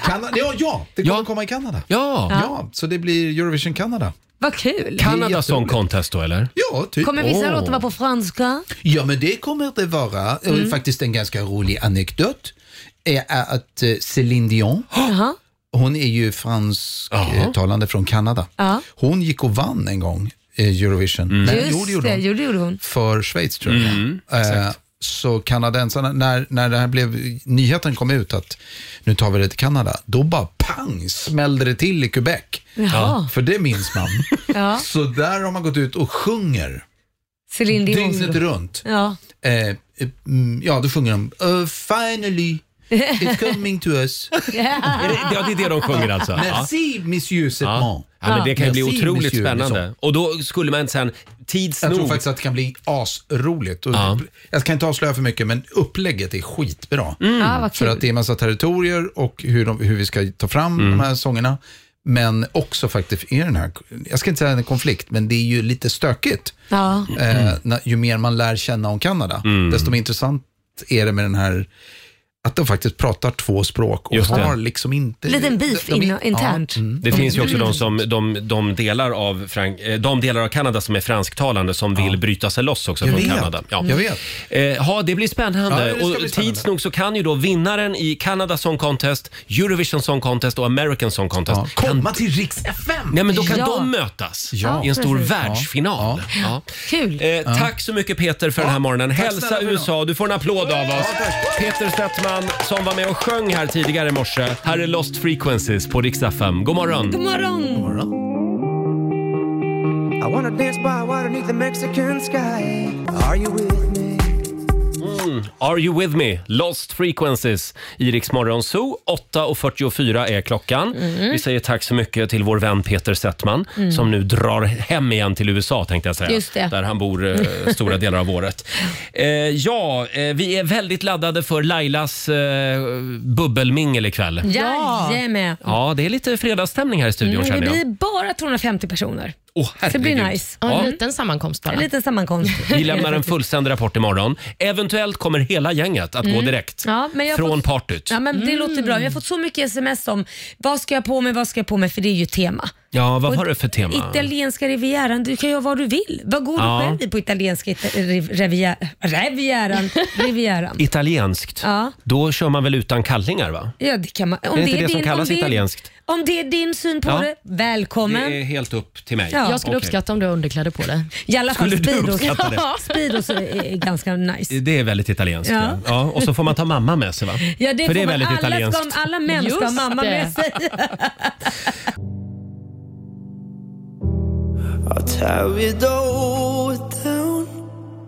Speaker 9: Kanada, ja, ja, det kommer komma i Kanada.
Speaker 1: Ja.
Speaker 9: ja, så det blir Eurovision Kanada.
Speaker 2: Vad kul.
Speaker 1: Kanada Song Contest då eller?
Speaker 9: Ja, typ.
Speaker 2: Kommer vissa låtar vara på franska?
Speaker 9: Ja, men det kommer det vara. Och
Speaker 2: Mm.
Speaker 9: Faktiskt en ganska rolig anekdot är att eh, Céline Dion, hon är ju fransktalande från Kanada.
Speaker 2: Ja. Mm.
Speaker 9: Hon gick och vann en gång eh, Eurovision. Nej,
Speaker 2: Just
Speaker 9: jo, det gjorde
Speaker 2: det,
Speaker 9: hon.
Speaker 2: jo, det gjorde hon.
Speaker 9: för Schweiz tror jag.
Speaker 2: Mm,
Speaker 9: eh, så kanadensarna, när, när det här blev, nyheten kom ut att nu tar vi det till Kanada, då bara pang smällde det till i Quebec.
Speaker 2: Jaha.
Speaker 9: För det minns man.
Speaker 2: [LAUGHS] Ja.
Speaker 9: Så där har man gått ut och sjunger
Speaker 2: Céline Dion.
Speaker 9: dygnet runt.
Speaker 2: Ja.
Speaker 9: Eh, eh, mm, ja, då sjunger de uh, “Finally, it's coming to
Speaker 1: [LAUGHS]
Speaker 9: us”.
Speaker 1: Är det- Ja, det är det de sjunger alltså. Ja.
Speaker 9: Merci, monsieur
Speaker 1: Ja.
Speaker 9: Sedman.
Speaker 1: ja, men det kan ju bli
Speaker 9: Merci,
Speaker 1: otroligt
Speaker 9: monsieur
Speaker 1: spännande.
Speaker 9: Besson.
Speaker 1: Och då skulle man sen, tids
Speaker 9: Jag tror
Speaker 1: nog-
Speaker 9: faktiskt att det kan bli asroligt. Och
Speaker 1: Ja.
Speaker 9: Jag kan inte avslöja för mycket, men upplägget är skitbra.
Speaker 1: Mm.
Speaker 2: Ah,
Speaker 1: Ja, vad kul.
Speaker 9: För att det är massa territorier och hur, de, hur vi ska ta fram
Speaker 1: Mm.
Speaker 9: de här sångerna. Men också faktiskt i den här, jag ska inte säga en konflikt, men det är ju lite stökigt.
Speaker 2: Ja.
Speaker 9: Eh, när, ju mer man lär känna om Kanada, desto mer intressant är det med den här att de faktiskt pratar två språk och
Speaker 1: Just det.
Speaker 9: har liksom inte...
Speaker 2: Liten beef
Speaker 9: de- de-
Speaker 2: in, internt.
Speaker 9: Ja, mm.
Speaker 1: Det
Speaker 9: De-
Speaker 1: finns ju också
Speaker 9: Mm.
Speaker 1: de, som, de, de, delar av Frank, eh, de delar av Kanada som är fransktalande som vill bryta sig loss också
Speaker 9: Jag
Speaker 1: från
Speaker 9: vet.
Speaker 1: Kanada.
Speaker 9: Jag vet.
Speaker 1: Eh, ja, det blir
Speaker 9: Ja,
Speaker 1: spännande.
Speaker 9: det ska
Speaker 1: och
Speaker 9: bli spännande.
Speaker 1: tids nog så kan ju då vinnaren i Canada Song Contest, Eurovision Song Contest och American Song Contest
Speaker 9: Komma till Riks FM!
Speaker 1: Nej, men då kan
Speaker 9: Ja.
Speaker 1: de mötas
Speaker 9: Ja.
Speaker 1: i en stor
Speaker 9: Precis.
Speaker 1: världsfinal. Ja.
Speaker 2: Kul.
Speaker 1: Eh, Tack så mycket Peter för den här morgonen. Hälsa USA. Du får en applåd av oss. Peter Settman som var med och sjöng här tidigare i morse. Här är Lost Frequencies på Rix FM. God morgon.
Speaker 2: God morgon.
Speaker 20: I wanna dance by water beneath the Mexican sky. Are you with me?
Speaker 1: Mm. Are you with me? Lost Frequencies i Rix Morgon Zoo. 8.44 är klockan.
Speaker 20: Mm.
Speaker 1: Vi säger tack så mycket till vår vän Peter Settman
Speaker 20: Mm.
Speaker 1: som nu drar hem igen till USA tänkte jag säga.
Speaker 20: Just det.
Speaker 1: Där han bor eh,
Speaker 2: [LAUGHS]
Speaker 1: stora delar av året. Eh, ja, eh, vi är väldigt laddade för Lailas eh, bubbelmingel ikväll.
Speaker 2: Jajamän.
Speaker 1: Ja, det är lite fredagsstämning här i studion
Speaker 2: Mm, det
Speaker 1: känner jag.
Speaker 2: blir bara 250 personer.
Speaker 1: Åh,
Speaker 2: det blir
Speaker 1: herregud.
Speaker 2: nice.
Speaker 1: Ja, en Ja.
Speaker 2: liten sammankomst bara. En liten
Speaker 1: [LAUGHS]
Speaker 2: sammankomst.
Speaker 1: Vi lämnar en fullständig rapport imorgon. Eventuellt kommer hela gänget att gå
Speaker 2: Mm.
Speaker 1: direkt
Speaker 2: Ja, men jag har
Speaker 1: från
Speaker 2: fått-
Speaker 1: partyt.
Speaker 2: Ja, men det låter bra. Jag har fått så mycket sms om vad ska jag på mig, vad ska jag på mig, för det är ju tema.
Speaker 1: Ja, vad
Speaker 2: Och
Speaker 1: var det för tema?
Speaker 2: Italienska rivieran, du kan göra vad du vill. Vad går
Speaker 1: Ja.
Speaker 2: du själv i på italienska ita- riv- rivieran?
Speaker 1: [LAUGHS]
Speaker 2: Rivieran? rivieran.
Speaker 1: Italienskt.
Speaker 2: Ja.
Speaker 1: Då kör man väl utan kallingar va?
Speaker 2: Ja, det kan man. Om
Speaker 1: Är det inte det som
Speaker 2: om
Speaker 1: kallas
Speaker 2: det är-
Speaker 1: italienskt?
Speaker 2: Om det är din syn på
Speaker 1: Ja.
Speaker 2: det, välkommen.
Speaker 1: Det är helt upp till mig.
Speaker 2: Ja.
Speaker 5: Jag skulle
Speaker 1: Okej.
Speaker 5: uppskatta om du har underkläder på dig.
Speaker 2: I alla fall
Speaker 1: Skulle du
Speaker 2: Speedos.
Speaker 1: uppskatta
Speaker 2: [LAUGHS]
Speaker 1: det?
Speaker 2: Speedos är är ganska nice.
Speaker 1: Det är väldigt italienskt. Ja.
Speaker 2: Ja.
Speaker 1: Ja. och så får man ta mamma med sig va?
Speaker 2: [LAUGHS] Ja, det
Speaker 1: För det är
Speaker 2: får man-
Speaker 1: väldigt
Speaker 2: alla,
Speaker 1: italienskt.
Speaker 2: Ska, alla män ska ha
Speaker 5: Just
Speaker 2: mamma
Speaker 5: det.
Speaker 2: med sig.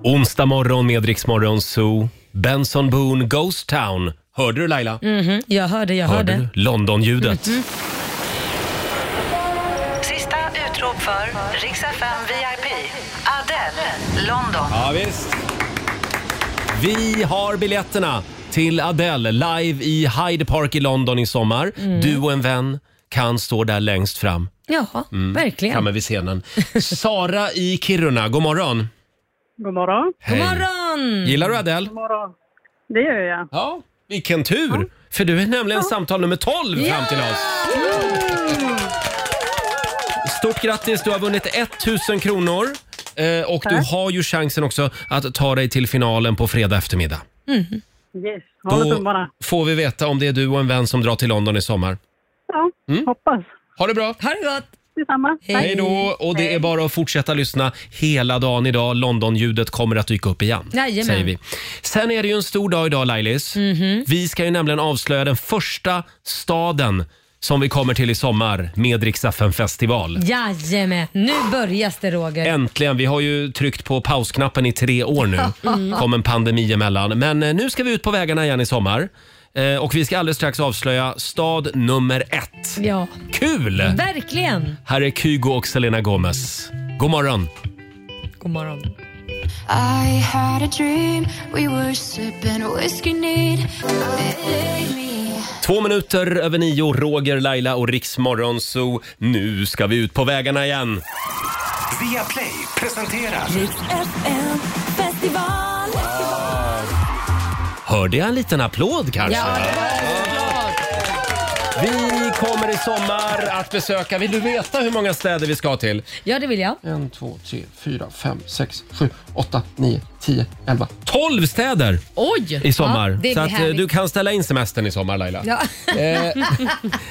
Speaker 1: Onsdag morgon med Rix Morgon Zoo. Benson Boone, Ghost Town. Hörde du Laila?
Speaker 2: Mhm, Jag hörde, jag hörde. Mhm.
Speaker 1: Hörde du London-ljudet?
Speaker 10: Sista utrop för Rix FM VIP. Adele, London.
Speaker 1: Ja, visst. Vi har biljetterna till Adele live i Hyde Park i London i sommar.
Speaker 2: Mm.
Speaker 1: Du och en vän kan stå där längst fram.
Speaker 2: Jaha,
Speaker 1: Mm,
Speaker 2: verkligen.
Speaker 1: Framme vid scenen. Sara i Kiruna, god morgon.
Speaker 11: God morgon.
Speaker 1: Hej. God
Speaker 2: morgon!
Speaker 1: Gillar du Adele?
Speaker 11: God morgon. Det gör jag.
Speaker 1: Ja. Vilken tur! För du är nämligen samtal nummer 12 fram till oss. Stort grattis, du har vunnit 1000 kronor. Eh, och du
Speaker 11: Tack.
Speaker 1: har ju chansen också att ta dig till finalen på fredag eftermiddag.
Speaker 11: Mm. Yes, håller
Speaker 1: Då
Speaker 11: tummarna.
Speaker 1: får vi veta om det är du och en vän som drar till London i sommar.
Speaker 11: Ja, hoppas.
Speaker 1: Ha det bra!
Speaker 2: Ha det gott!
Speaker 11: Detsamma. Tack.
Speaker 1: Mm. Hej då! Och det är bara att fortsätta lyssna hela dagen idag. Londonljudet kommer att dyka upp igen.
Speaker 2: Jajamän. Mhm.
Speaker 1: Säger vi. Sen är det ju en stor dag idag Lailis. Vi ska ju nämligen avslöja den första staden som vi kommer till i sommar med Rix FM festival.
Speaker 2: Jajamän, nu börjas det Roger.
Speaker 1: Äntligen! Vi har ju tryckt på pausknappen i tre år nu.
Speaker 2: [LAUGHS] Mm.
Speaker 1: kom en pandemi emellan. Men eh, nu ska vi ut på vägarna igen i sommar. Eh, Och vi ska alldeles strax avslöja stad nummer ett.
Speaker 2: Ja,
Speaker 1: Kul!
Speaker 2: verkligen.
Speaker 1: Här är Kygo och Selena Gomez. God morgon!
Speaker 2: God morgon.
Speaker 15: I had a dream we were sipping whiskey neat.
Speaker 1: Två minuter över nio, Roger, Laila och Riksmorgon Zoo. Nu ska vi ut på vägarna igen.
Speaker 3: Via Play presenterar...
Speaker 15: Festival.
Speaker 1: Hörde jag en liten applåd kanske?
Speaker 15: Ja, det
Speaker 1: Vi kommer i sommar att besöka... Vill du veta hur många städer vi ska till?
Speaker 2: Ja, det vill jag.
Speaker 1: En, två, tre, fyra, fem, sex, sju, åtta, nio, tio, elva. Tolv städer
Speaker 5: Oj!
Speaker 1: i sommar.
Speaker 5: Ja, det
Speaker 1: Så
Speaker 5: blir
Speaker 1: att eh,
Speaker 5: härligt.
Speaker 1: du kan ställa in semestern i sommar Laila. Eh,
Speaker 5: Ja.
Speaker 1: [LAUGHS]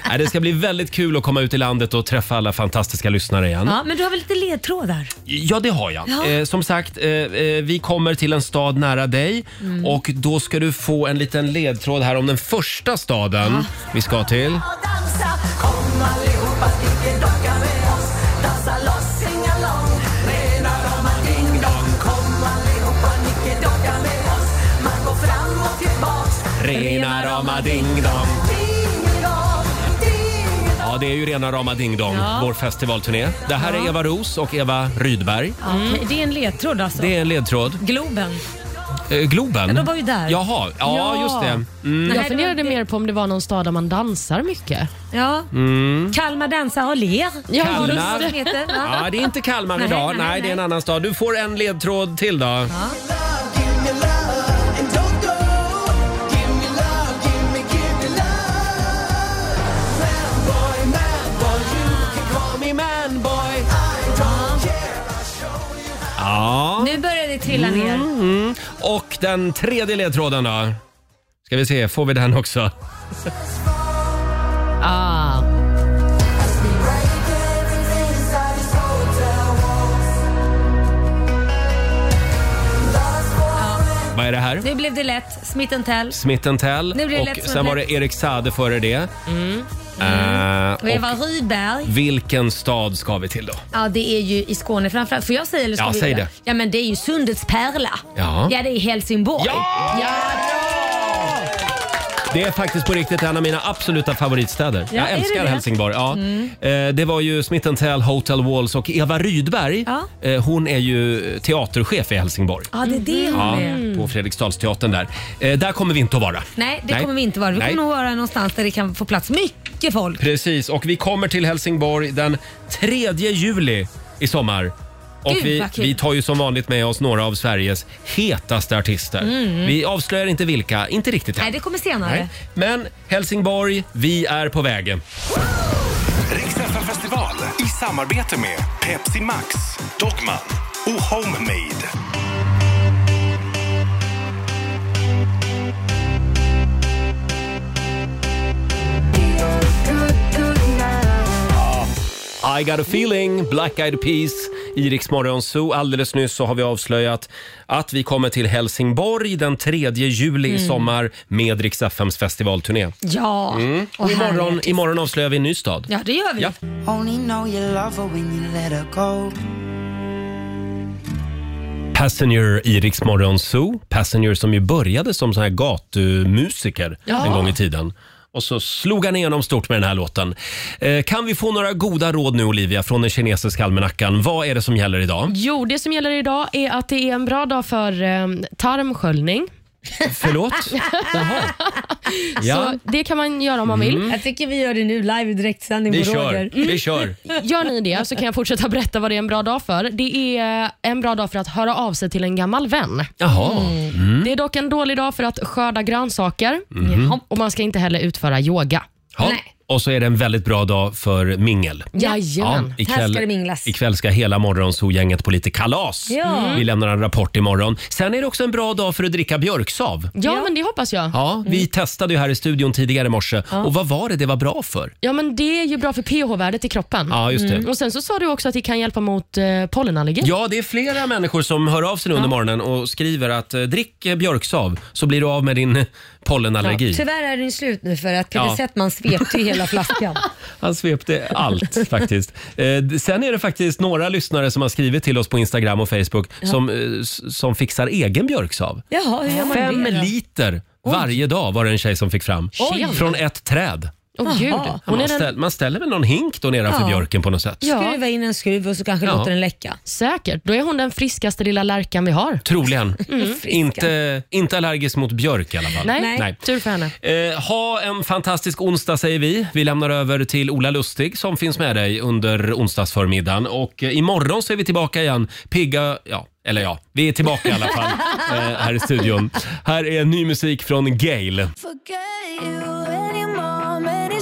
Speaker 1: Nej, det ska bli väldigt kul att komma ut i landet och träffa alla fantastiska lyssnare igen.
Speaker 2: [LAUGHS] Ja, men du har väl lite ledtrådar?
Speaker 1: Ja, det har jag.
Speaker 2: Ja.
Speaker 1: Eh, som sagt, eh, eh, vi kommer till en stad nära dig
Speaker 2: Mm.
Speaker 1: och då ska du få en liten ledtråd här om den första staden vi ska till.
Speaker 15: Kom allihopa, stick en docka med oss. Dansa loss, singa lång. Rena rama ding dong. Kom allihopa, nicke docka med oss. Man går fram och tillbaks.
Speaker 1: Rena rama ding dong.
Speaker 15: Ding dong, ding
Speaker 1: Ja, det är ju rena rama ding dong,
Speaker 2: Ja.
Speaker 1: vår festivalturné. Det här är
Speaker 2: Ja.
Speaker 1: Eva Ros och Eva Rydberg.
Speaker 2: Ja, okej, Det är en ledtråd alltså.
Speaker 1: Det är en ledtråd.
Speaker 2: Globen.
Speaker 1: Eh, Globen?
Speaker 2: Ja, de var ju där.
Speaker 1: Jaha, ja,
Speaker 5: Ja.
Speaker 1: just det. Mm.
Speaker 5: Jag funderade mer på om det var någon stad där man dansar mycket.
Speaker 2: Ja.
Speaker 1: Mm.
Speaker 2: Kalmar dansa och ler.
Speaker 1: Kalmar.
Speaker 2: Vad den heter, va?
Speaker 1: Ja, det är inte Kalmar
Speaker 2: Nej,
Speaker 1: idag.
Speaker 2: nej,
Speaker 1: Nej, det är en annan stad. Du får en ledtråd till då. Ja.
Speaker 2: Nu börjar det trilla ner.
Speaker 1: Mm, mm. Och den tredje ledtråden då? Ska vi se, får vi den också?
Speaker 5: Ah.
Speaker 1: Vad är det här?
Speaker 2: Nu blev det lätt. Smith Tell.
Speaker 1: Smith Tell.
Speaker 2: Nu blir det lätt
Speaker 1: Och
Speaker 2: som
Speaker 1: sen
Speaker 2: en
Speaker 1: var
Speaker 2: plätt.
Speaker 1: det Erik Sade före det. Eh,
Speaker 2: Och Eva
Speaker 1: och
Speaker 2: Rydberg.
Speaker 1: vilken stad ska vi till då?
Speaker 2: Ja, det är ju i Skåne framförallt. Får jag säga eller ska
Speaker 1: Ja,
Speaker 2: vi
Speaker 1: säg
Speaker 2: göra?
Speaker 1: det.
Speaker 2: Ja, men det är ju Sundets pärla.
Speaker 1: Ja.
Speaker 2: det är Helsingborg.
Speaker 1: Ja! Det är faktiskt på riktigt en av mina absoluta favoritstäder.
Speaker 2: Ja,
Speaker 1: Jag
Speaker 2: är det
Speaker 1: älskar
Speaker 2: det?
Speaker 1: Helsingborg. Ja.
Speaker 2: Mm.
Speaker 1: Eh, Det var ju Smith Tell, Hotel Walls och Eva Rydberg. eh, Hon är ju teaterchef i Helsingborg.
Speaker 2: Ja, det är det hon
Speaker 1: Mm. Ja,
Speaker 2: är.
Speaker 1: på Fredriksdalsteatern där. Eh, Där kommer vi inte att vara.
Speaker 2: Mm. Nej, det kommer vi inte vara. Vi
Speaker 1: Nej.
Speaker 2: kommer nog vara någonstans där det kan få plats mycket folk.
Speaker 1: Precis, och vi kommer till Helsingborg den 3 juli i sommar. Och
Speaker 2: Gud,
Speaker 1: vi,
Speaker 2: vad kul.
Speaker 1: vi tar ju som vanligt med oss några av Sveriges hetaste artister.
Speaker 2: Mm.
Speaker 1: Vi avslöjar inte vilka, inte riktigt än.
Speaker 2: Nej, det kommer senare.
Speaker 1: Nej. Men Helsingborg, vi är på väg.
Speaker 21: Riksfn festival i samarbete med Pepsi Max, Dogman och Homemade.
Speaker 1: I got a feeling, Black Eyed Peas i Rix Morgon Zoo. Alldeles nyss så har vi avslöjat att vi kommer till Helsingborg den 3 juli i
Speaker 2: Mm.
Speaker 1: sommar med Rix FMs festivalturné.
Speaker 2: Ja,
Speaker 1: Mm.
Speaker 2: och
Speaker 1: Och imorgon,
Speaker 2: härligt.
Speaker 1: imorgon avslöjar vi en ny stad.
Speaker 2: Ja, det gör vi.
Speaker 1: Ja.
Speaker 20: Only know you love her when you let her go.
Speaker 1: Passenger i Rix Morgon Zoo. Passenger som ju började som sån här gatumusiker
Speaker 15: Ja.
Speaker 1: en gång i tiden. Och så slog han igenom stort med den här låten. Eh, kan vi få några goda råd nu Olivia från den kinesiska almanackan? Vad är det som gäller idag?
Speaker 5: Jo, det som gäller idag är att det är en bra dag för eh, tarmsköljning. [LAUGHS]
Speaker 1: Förlåt? Ja.
Speaker 5: Så det kan man göra om man vill.
Speaker 1: Mm. Jag
Speaker 5: tycker vi gör det nu live i direktsändning
Speaker 1: Vi på kör, Mm. Roger. vi
Speaker 5: Mm.
Speaker 1: kör.
Speaker 5: Gör ni det så kan jag fortsätta [LAUGHS] berätta vad det är en bra dag för. Det är en bra dag för att höra av sig till en gammal vän.
Speaker 1: Jaha. Mm.
Speaker 5: Det är dock en dålig dag för att skörda grönsaker
Speaker 1: Mhm. Jaha.
Speaker 5: och man ska inte heller utföra yoga.
Speaker 1: Ja. Och så är det en väldigt bra dag för mingel.
Speaker 5: Jajamän. Här ska det minglas.
Speaker 1: Ikväll ska hela Morgonzoo-gänget på lite kalas.
Speaker 5: Ja. Mm.
Speaker 1: Vi lämnar en rapport imorgon. Sen är det också en bra dag för att dricka björksav.
Speaker 5: Ja, men det hoppas jag.
Speaker 1: Ja, vi testade ju här i studion tidigare i morse.
Speaker 5: Mm. Ja.
Speaker 1: Och vad var det det var bra för?
Speaker 5: Ja, men det är ju bra för pH-värdet i kroppen.
Speaker 1: Ja, just det. Mm.
Speaker 5: Och Sen så sa du också att det kan hjälpa mot eh, pollenallergi.
Speaker 1: Ja, det är flera människor som hör av sig nu under
Speaker 5: Ja.
Speaker 1: morgonen och skriver att eh, drick eh, björksav så blir du av med din eh, pollenallergi.
Speaker 2: Ja, tyvärr är den ju slut nu för att Peter
Speaker 1: Ja.
Speaker 2: Settman svepte ju hela
Speaker 1: [LAUGHS]
Speaker 2: flaskan.
Speaker 1: Han svepte allt faktiskt. Eh, d- sen är det faktiskt några lyssnare som har skrivit till oss på Instagram och Facebook
Speaker 2: Ja.
Speaker 1: som, eh, s- som fixar egen björksav.
Speaker 2: Jaha, hur gör man
Speaker 1: Fem
Speaker 2: det då?
Speaker 1: liter varje dag var det en tjej som fick fram.
Speaker 2: Oj.
Speaker 1: Från ett träd.
Speaker 2: Åh, gud.
Speaker 1: Ja,
Speaker 2: Hon
Speaker 1: Man,
Speaker 2: är den-
Speaker 1: ställ, man ställer väl någon hink då nedanför
Speaker 5: Ja.
Speaker 1: björken på något sätt.
Speaker 5: Skruva
Speaker 2: in en skruv och så kanske
Speaker 1: Ja. låter den
Speaker 2: läcka.
Speaker 5: Säkert. Då är hon den friskaste lilla lärkan vi har.
Speaker 1: Troligen.
Speaker 5: Mm.
Speaker 1: Inte, inte allergisk mot björk i alla fall.
Speaker 5: Nej, tur för henne.
Speaker 1: Eh, ha en fantastisk onsdag säger vi. Vi lämnar över till Ola Lustig som finns med dig under onsdagsförmiddagen. Och eh, imorgon så är vi tillbaka igen. Pigga, ja, eller ja, vi är tillbaka i alla fall eh, här i studion. Här är ny musik från Gail.
Speaker 15: Forget you, any mom, any